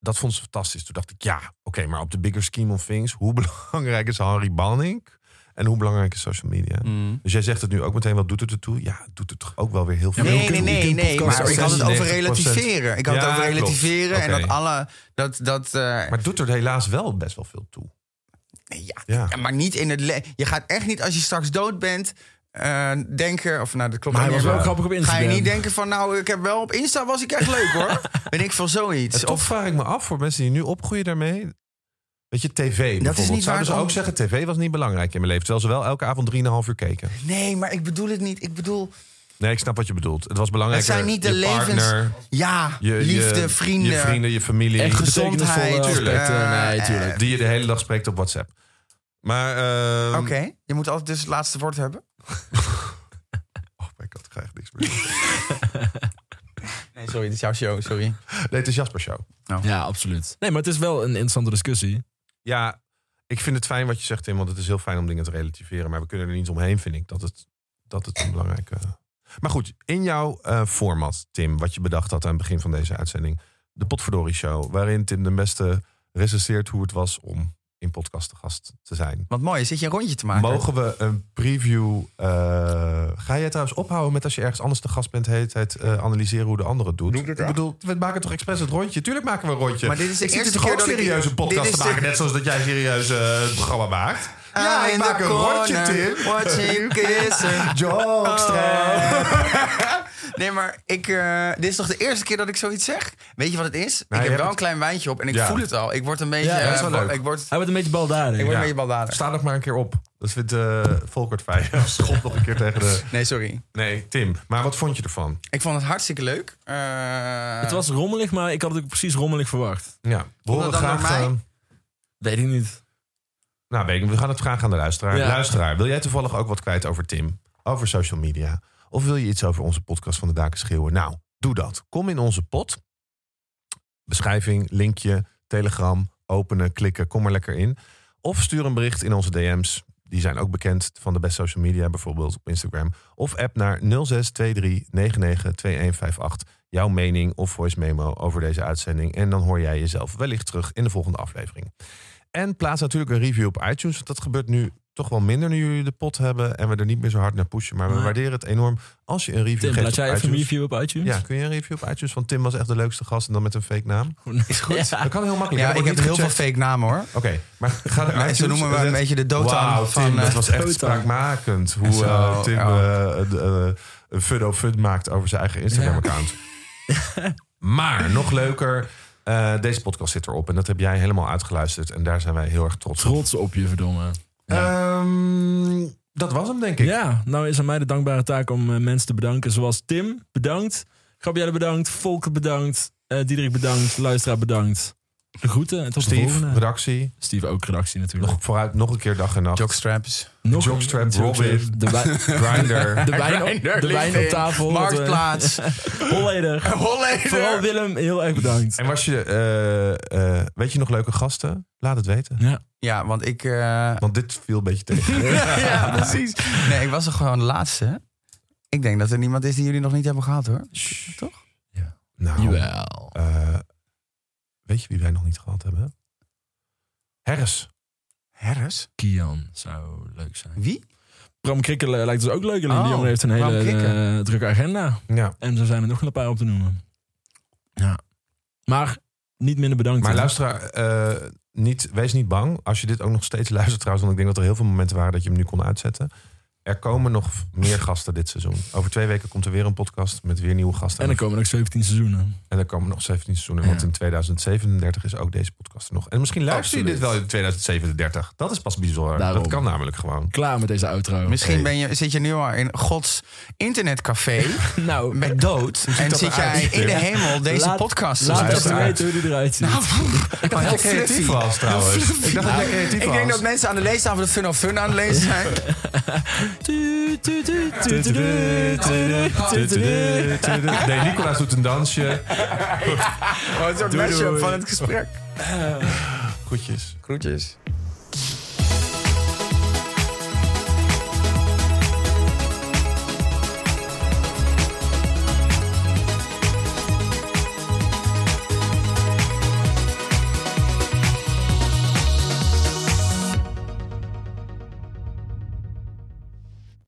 Speaker 1: dat vond ze fantastisch. Toen dacht ik, ja, oké, maar op de bigger scheme of things, hoe belangrijk is Harry Banning? En hoe belangrijk is social media?
Speaker 3: Mm.
Speaker 1: Dus jij zegt het nu ook meteen, wat doet het ertoe? Ja, het doet het toch ook wel weer heel veel.
Speaker 2: maar je
Speaker 3: nee,
Speaker 2: kunt-
Speaker 3: nee,
Speaker 2: je
Speaker 3: nee,
Speaker 2: kunt
Speaker 3: nee.
Speaker 2: podcasts
Speaker 3: Maar ik had het over
Speaker 1: 96%.
Speaker 3: relativeren. Ik had
Speaker 1: Ja,
Speaker 3: het over
Speaker 1: klopt.
Speaker 3: relativeren en
Speaker 1: Oké.
Speaker 3: dat alle. Dat, dat, eh,
Speaker 1: Maar het doet er helaas wel best wel veel toe.
Speaker 3: nee, ja,
Speaker 1: Ja.
Speaker 3: Ja, maar niet in het le- Je gaat echt niet als je straks dood bent eh, denken. Of nou, dat klopt
Speaker 2: Maar hij
Speaker 3: niet
Speaker 2: was
Speaker 3: meer,
Speaker 2: wel grappig op
Speaker 3: Ga
Speaker 2: Instagram.
Speaker 1: dus
Speaker 3: je niet denken van, nou, ik heb wel op Insta was ik echt leuk hoor. Ben ik van zoiets.
Speaker 1: Ja, toch
Speaker 3: Of
Speaker 1: vraag ik me af voor mensen die nu opgroeien daarmee. Weet je, tv bijvoorbeeld.
Speaker 3: niet waar
Speaker 1: Zouden ze
Speaker 3: het om-
Speaker 1: ook zeggen, tv was niet belangrijk in mijn leven. Terwijl ze wel elke avond 3,5 uur keken.
Speaker 3: nee, maar ik bedoel het niet. Ik bedoel,
Speaker 1: Nee, ik snap wat je bedoelt. Het was belangrijk.
Speaker 3: Het zijn niet de
Speaker 1: je partner,
Speaker 3: ja,
Speaker 1: je, je-
Speaker 3: liefde, vrienden.
Speaker 1: Je vrienden, je familie.
Speaker 2: Echt
Speaker 3: gezondheid,
Speaker 2: gezondheid.
Speaker 3: eh,
Speaker 2: nee, tuurlijk.
Speaker 1: Die je de hele dag spreekt op WhatsApp. Maar, ehm,
Speaker 3: Oké, je moet altijd dus het laatste woord hebben.
Speaker 1: Oh my god, ik ga echt niks meer.
Speaker 3: Nee, sorry, dit is jouw show, sorry.
Speaker 1: nee, het is Jasper Show.
Speaker 2: Ja, absoluut. Nee, maar het is wel een interessante discussie.
Speaker 1: Ja, ik vind het fijn wat je zegt, Tim. Want het is heel fijn om dingen te relativeren. Maar we kunnen er niet omheen, vind ik. Dat het, dat het een belangrijke... Maar goed, in jouw eh, format, Tim... wat je bedacht had aan het begin van deze uitzending... de Potverdorie Show... waarin Tim de beste recenseert hoe het was... om in podcast te gast te zijn.
Speaker 3: Wat mooi, zit je een rondje te maken?
Speaker 1: Mogen we een preview... eh, ga jij trouwens ophouden met als je ergens anders te gast bent... heet het eh, analyseren hoe de ander het doet?
Speaker 3: Doe ik het, ja.
Speaker 1: bedoel, we maken toch expres het rondje? Tuurlijk maken we een rondje.
Speaker 3: Maar dit is de
Speaker 1: ik zit hier
Speaker 3: eerste
Speaker 1: toch ook
Speaker 3: keer dat ik-
Speaker 1: serieus een podcast
Speaker 3: Dit
Speaker 1: te
Speaker 3: is de-
Speaker 1: maken... net zoals dat jij serieus eh, het programma maakt. ja, ik
Speaker 3: Ah, in
Speaker 1: maak
Speaker 3: the
Speaker 1: een rondje,
Speaker 3: corner,
Speaker 1: Tim.
Speaker 3: Watching kissing.
Speaker 1: Jokestrap.
Speaker 3: nee, maar ik, eh, dit is toch de eerste keer dat ik zoiets zeg? Weet je wat het is?
Speaker 1: Nou, je
Speaker 3: ik heb
Speaker 1: hebt
Speaker 3: wel
Speaker 1: het-
Speaker 3: een klein wijntje op en ik
Speaker 1: Ja.
Speaker 3: voel het al. Ik word een beetje...
Speaker 2: Ja, dat is
Speaker 3: eh,
Speaker 1: wel
Speaker 3: ba-
Speaker 1: leuk.
Speaker 3: Ik word, ik
Speaker 2: Hij wordt een beetje baldadig.
Speaker 3: word
Speaker 1: Ja.
Speaker 3: een beetje baldadig.
Speaker 1: Sta nog maar een keer op. Dat vindt eh Volkert fijn. Schop nog een keer tegen de...
Speaker 3: Nee, sorry.
Speaker 1: Nee, Tim. Maar wat vond je ervan?
Speaker 3: Ik vond het hartstikke leuk. Eh,
Speaker 2: Het was rommelig, maar ik had het ook precies rommelig verwacht.
Speaker 1: Ja, we horen
Speaker 3: dat dan
Speaker 1: graag...
Speaker 3: door mij?
Speaker 1: eh,
Speaker 2: Weet ik niet.
Speaker 1: nou, weet ik, we gaan het vragen aan de luisteraar.
Speaker 2: Ja.
Speaker 1: Luisteraar, wil jij toevallig ook wat kwijt over Tim? Over social media? Of wil je iets over onze podcast van de daken schreeuwen? Nou, doe dat. Kom in onze pot. Beschrijving, linkje, telegram, openen, klikken. Kom er lekker in. Of stuur een bericht in onze DM's. Die zijn ook bekend van de best social media, bijvoorbeeld op Instagram. Of app naar 0623992158. Jouw mening of voice memo over deze uitzending. En dan hoor jij jezelf wellicht terug in de volgende aflevering. En plaats natuurlijk een review op iTunes. Want dat gebeurt nu toch wel minder nu jullie de pot hebben. En we er niet meer zo hard naar pushen. Maar we
Speaker 2: Ja.
Speaker 1: waarderen het enorm als je een review
Speaker 2: Tim,
Speaker 1: geeft
Speaker 2: laat
Speaker 1: op
Speaker 2: jij even een
Speaker 1: iTunes.
Speaker 2: review op iTunes?
Speaker 1: Ja, kun je een review op iTunes? Want Tim was echt de leukste gast en dan met een fake naam.
Speaker 2: is goed.
Speaker 1: Dat kan heel makkelijk. hè?
Speaker 3: ja, ik heb
Speaker 1: Wordt
Speaker 3: heel
Speaker 1: niet
Speaker 3: veel
Speaker 1: gecheckt.
Speaker 3: fake namen hoor.
Speaker 1: Oké, maar ga naar
Speaker 3: Mensen
Speaker 1: iTunes
Speaker 3: noemen
Speaker 1: en
Speaker 3: me een
Speaker 1: zet-
Speaker 3: beetje de doodaan
Speaker 1: Wauw,
Speaker 3: van...
Speaker 1: Tim,
Speaker 3: eh,
Speaker 1: dat was echt
Speaker 2: Doodaan.
Speaker 1: spraakmakend. Hoe
Speaker 3: Zo,
Speaker 1: eh, Tim
Speaker 3: ja.
Speaker 1: eh, de, eh, een fun of fun maakt over zijn eigen Instagram-account. maar nog leuker, eh, Eh, deze podcast zit erop en dat heb jij helemaal uitgeluisterd. En daar zijn wij heel erg trots op.
Speaker 2: Trots op je, verdomme.
Speaker 1: Ehm, dat was hem, denk ik.
Speaker 2: Ja, nou is aan mij de dankbare taak om eh, mensen te bedanken. Zoals Tim, bedankt. Gabrielle bedankt. Volker bedankt. eh Diederik bedankt. Luisteraar bedankt. De groeten en tot de
Speaker 1: Steve,
Speaker 2: volgende.
Speaker 1: redactie.
Speaker 2: Steve ook redactie natuurlijk.
Speaker 1: Nog vooruit, nog een keer dag en nacht.
Speaker 3: Jockstraps.
Speaker 2: Nog
Speaker 1: Jockstrap,
Speaker 2: een-
Speaker 1: Robin.
Speaker 2: De, wij-
Speaker 1: Grinder.
Speaker 2: de wijn, op, de wijn op tafel.
Speaker 3: Marktplaats.
Speaker 2: Holleder. Vooral
Speaker 3: Holleder.
Speaker 2: Willem, heel erg bedankt.
Speaker 1: En was je, eh, eh, weet je nog leuke gasten? Laat het weten.
Speaker 2: Ja.
Speaker 3: Ja, want ik... eh,
Speaker 1: Want dit viel een beetje tegen.
Speaker 3: ja, precies. Nee, ik was er gewoon de laatste. Ik denk dat er niemand is die jullie nog niet hebben gehad, hoor. Toch?
Speaker 1: Nou,
Speaker 2: Jawel.
Speaker 1: eh, weet je wie wij nog niet gehad hebben? Harris.
Speaker 3: Harris?
Speaker 2: Kian zou leuk zijn.
Speaker 3: Wie?
Speaker 2: Bram Krikkelen lijkt dus ook leuk. Alleen
Speaker 3: Oh,
Speaker 2: die jongen heeft een
Speaker 3: Bram
Speaker 2: hele
Speaker 3: Krikke.
Speaker 2: eh, drukke agenda.
Speaker 1: Ja.
Speaker 2: En zo zijn er nog een paar op te noemen. Ja. Maar niet minder bedankt.
Speaker 1: Maar
Speaker 2: hè?
Speaker 1: luisteraar, eh, niet, wees niet bang. Als je dit ook nog steeds luistert trouwens... want ik denk dat er heel veel momenten waren dat je hem nu kon uitzetten. Er komen nog meer gasten dit seizoen. Over twee weken komt er weer een podcast met weer nieuwe gasten.
Speaker 2: En er komen nog 17 seizoenen.
Speaker 1: En er komen nog 17 seizoenen, want
Speaker 2: Ja.
Speaker 1: in 2037 is ook deze podcast er nog. En misschien luister je dit
Speaker 2: Absoluut.
Speaker 1: wel in 2037. Dat is pas bizar.
Speaker 2: Daarom.
Speaker 1: Dat kan namelijk gewoon.
Speaker 2: Klaar met deze outro.
Speaker 3: Misschien ben je, zit je nu al in Gods internetcafé
Speaker 2: Nou,
Speaker 3: met dood. en
Speaker 1: dat
Speaker 3: zit jij
Speaker 1: eruit,
Speaker 3: in de
Speaker 1: Tim?
Speaker 3: hemel deze
Speaker 2: Laat-
Speaker 3: podcast te
Speaker 2: laat even
Speaker 3: luisteren.
Speaker 2: weten hoe die eruit ziet.
Speaker 3: Nou, ik
Speaker 1: Dat
Speaker 3: was
Speaker 1: jij
Speaker 3: heel
Speaker 1: creatief
Speaker 3: fluffy.
Speaker 1: was trouwens. Ah, Ik dacht dat jij creatief
Speaker 3: Ik
Speaker 1: was.
Speaker 3: denk dat mensen aan de leestafel de Fun of Fun aan het lezen zijn. Oh,
Speaker 2: Tu, tu, tu, tu, tu, tu, tu, tu, tu, tu.
Speaker 1: Nee, Nicolaas doet een dansje.
Speaker 3: Oh, een soort
Speaker 2: Doei,
Speaker 3: mashup
Speaker 2: doei.
Speaker 3: van het gesprek.
Speaker 1: Goedjes.
Speaker 3: Groetjes.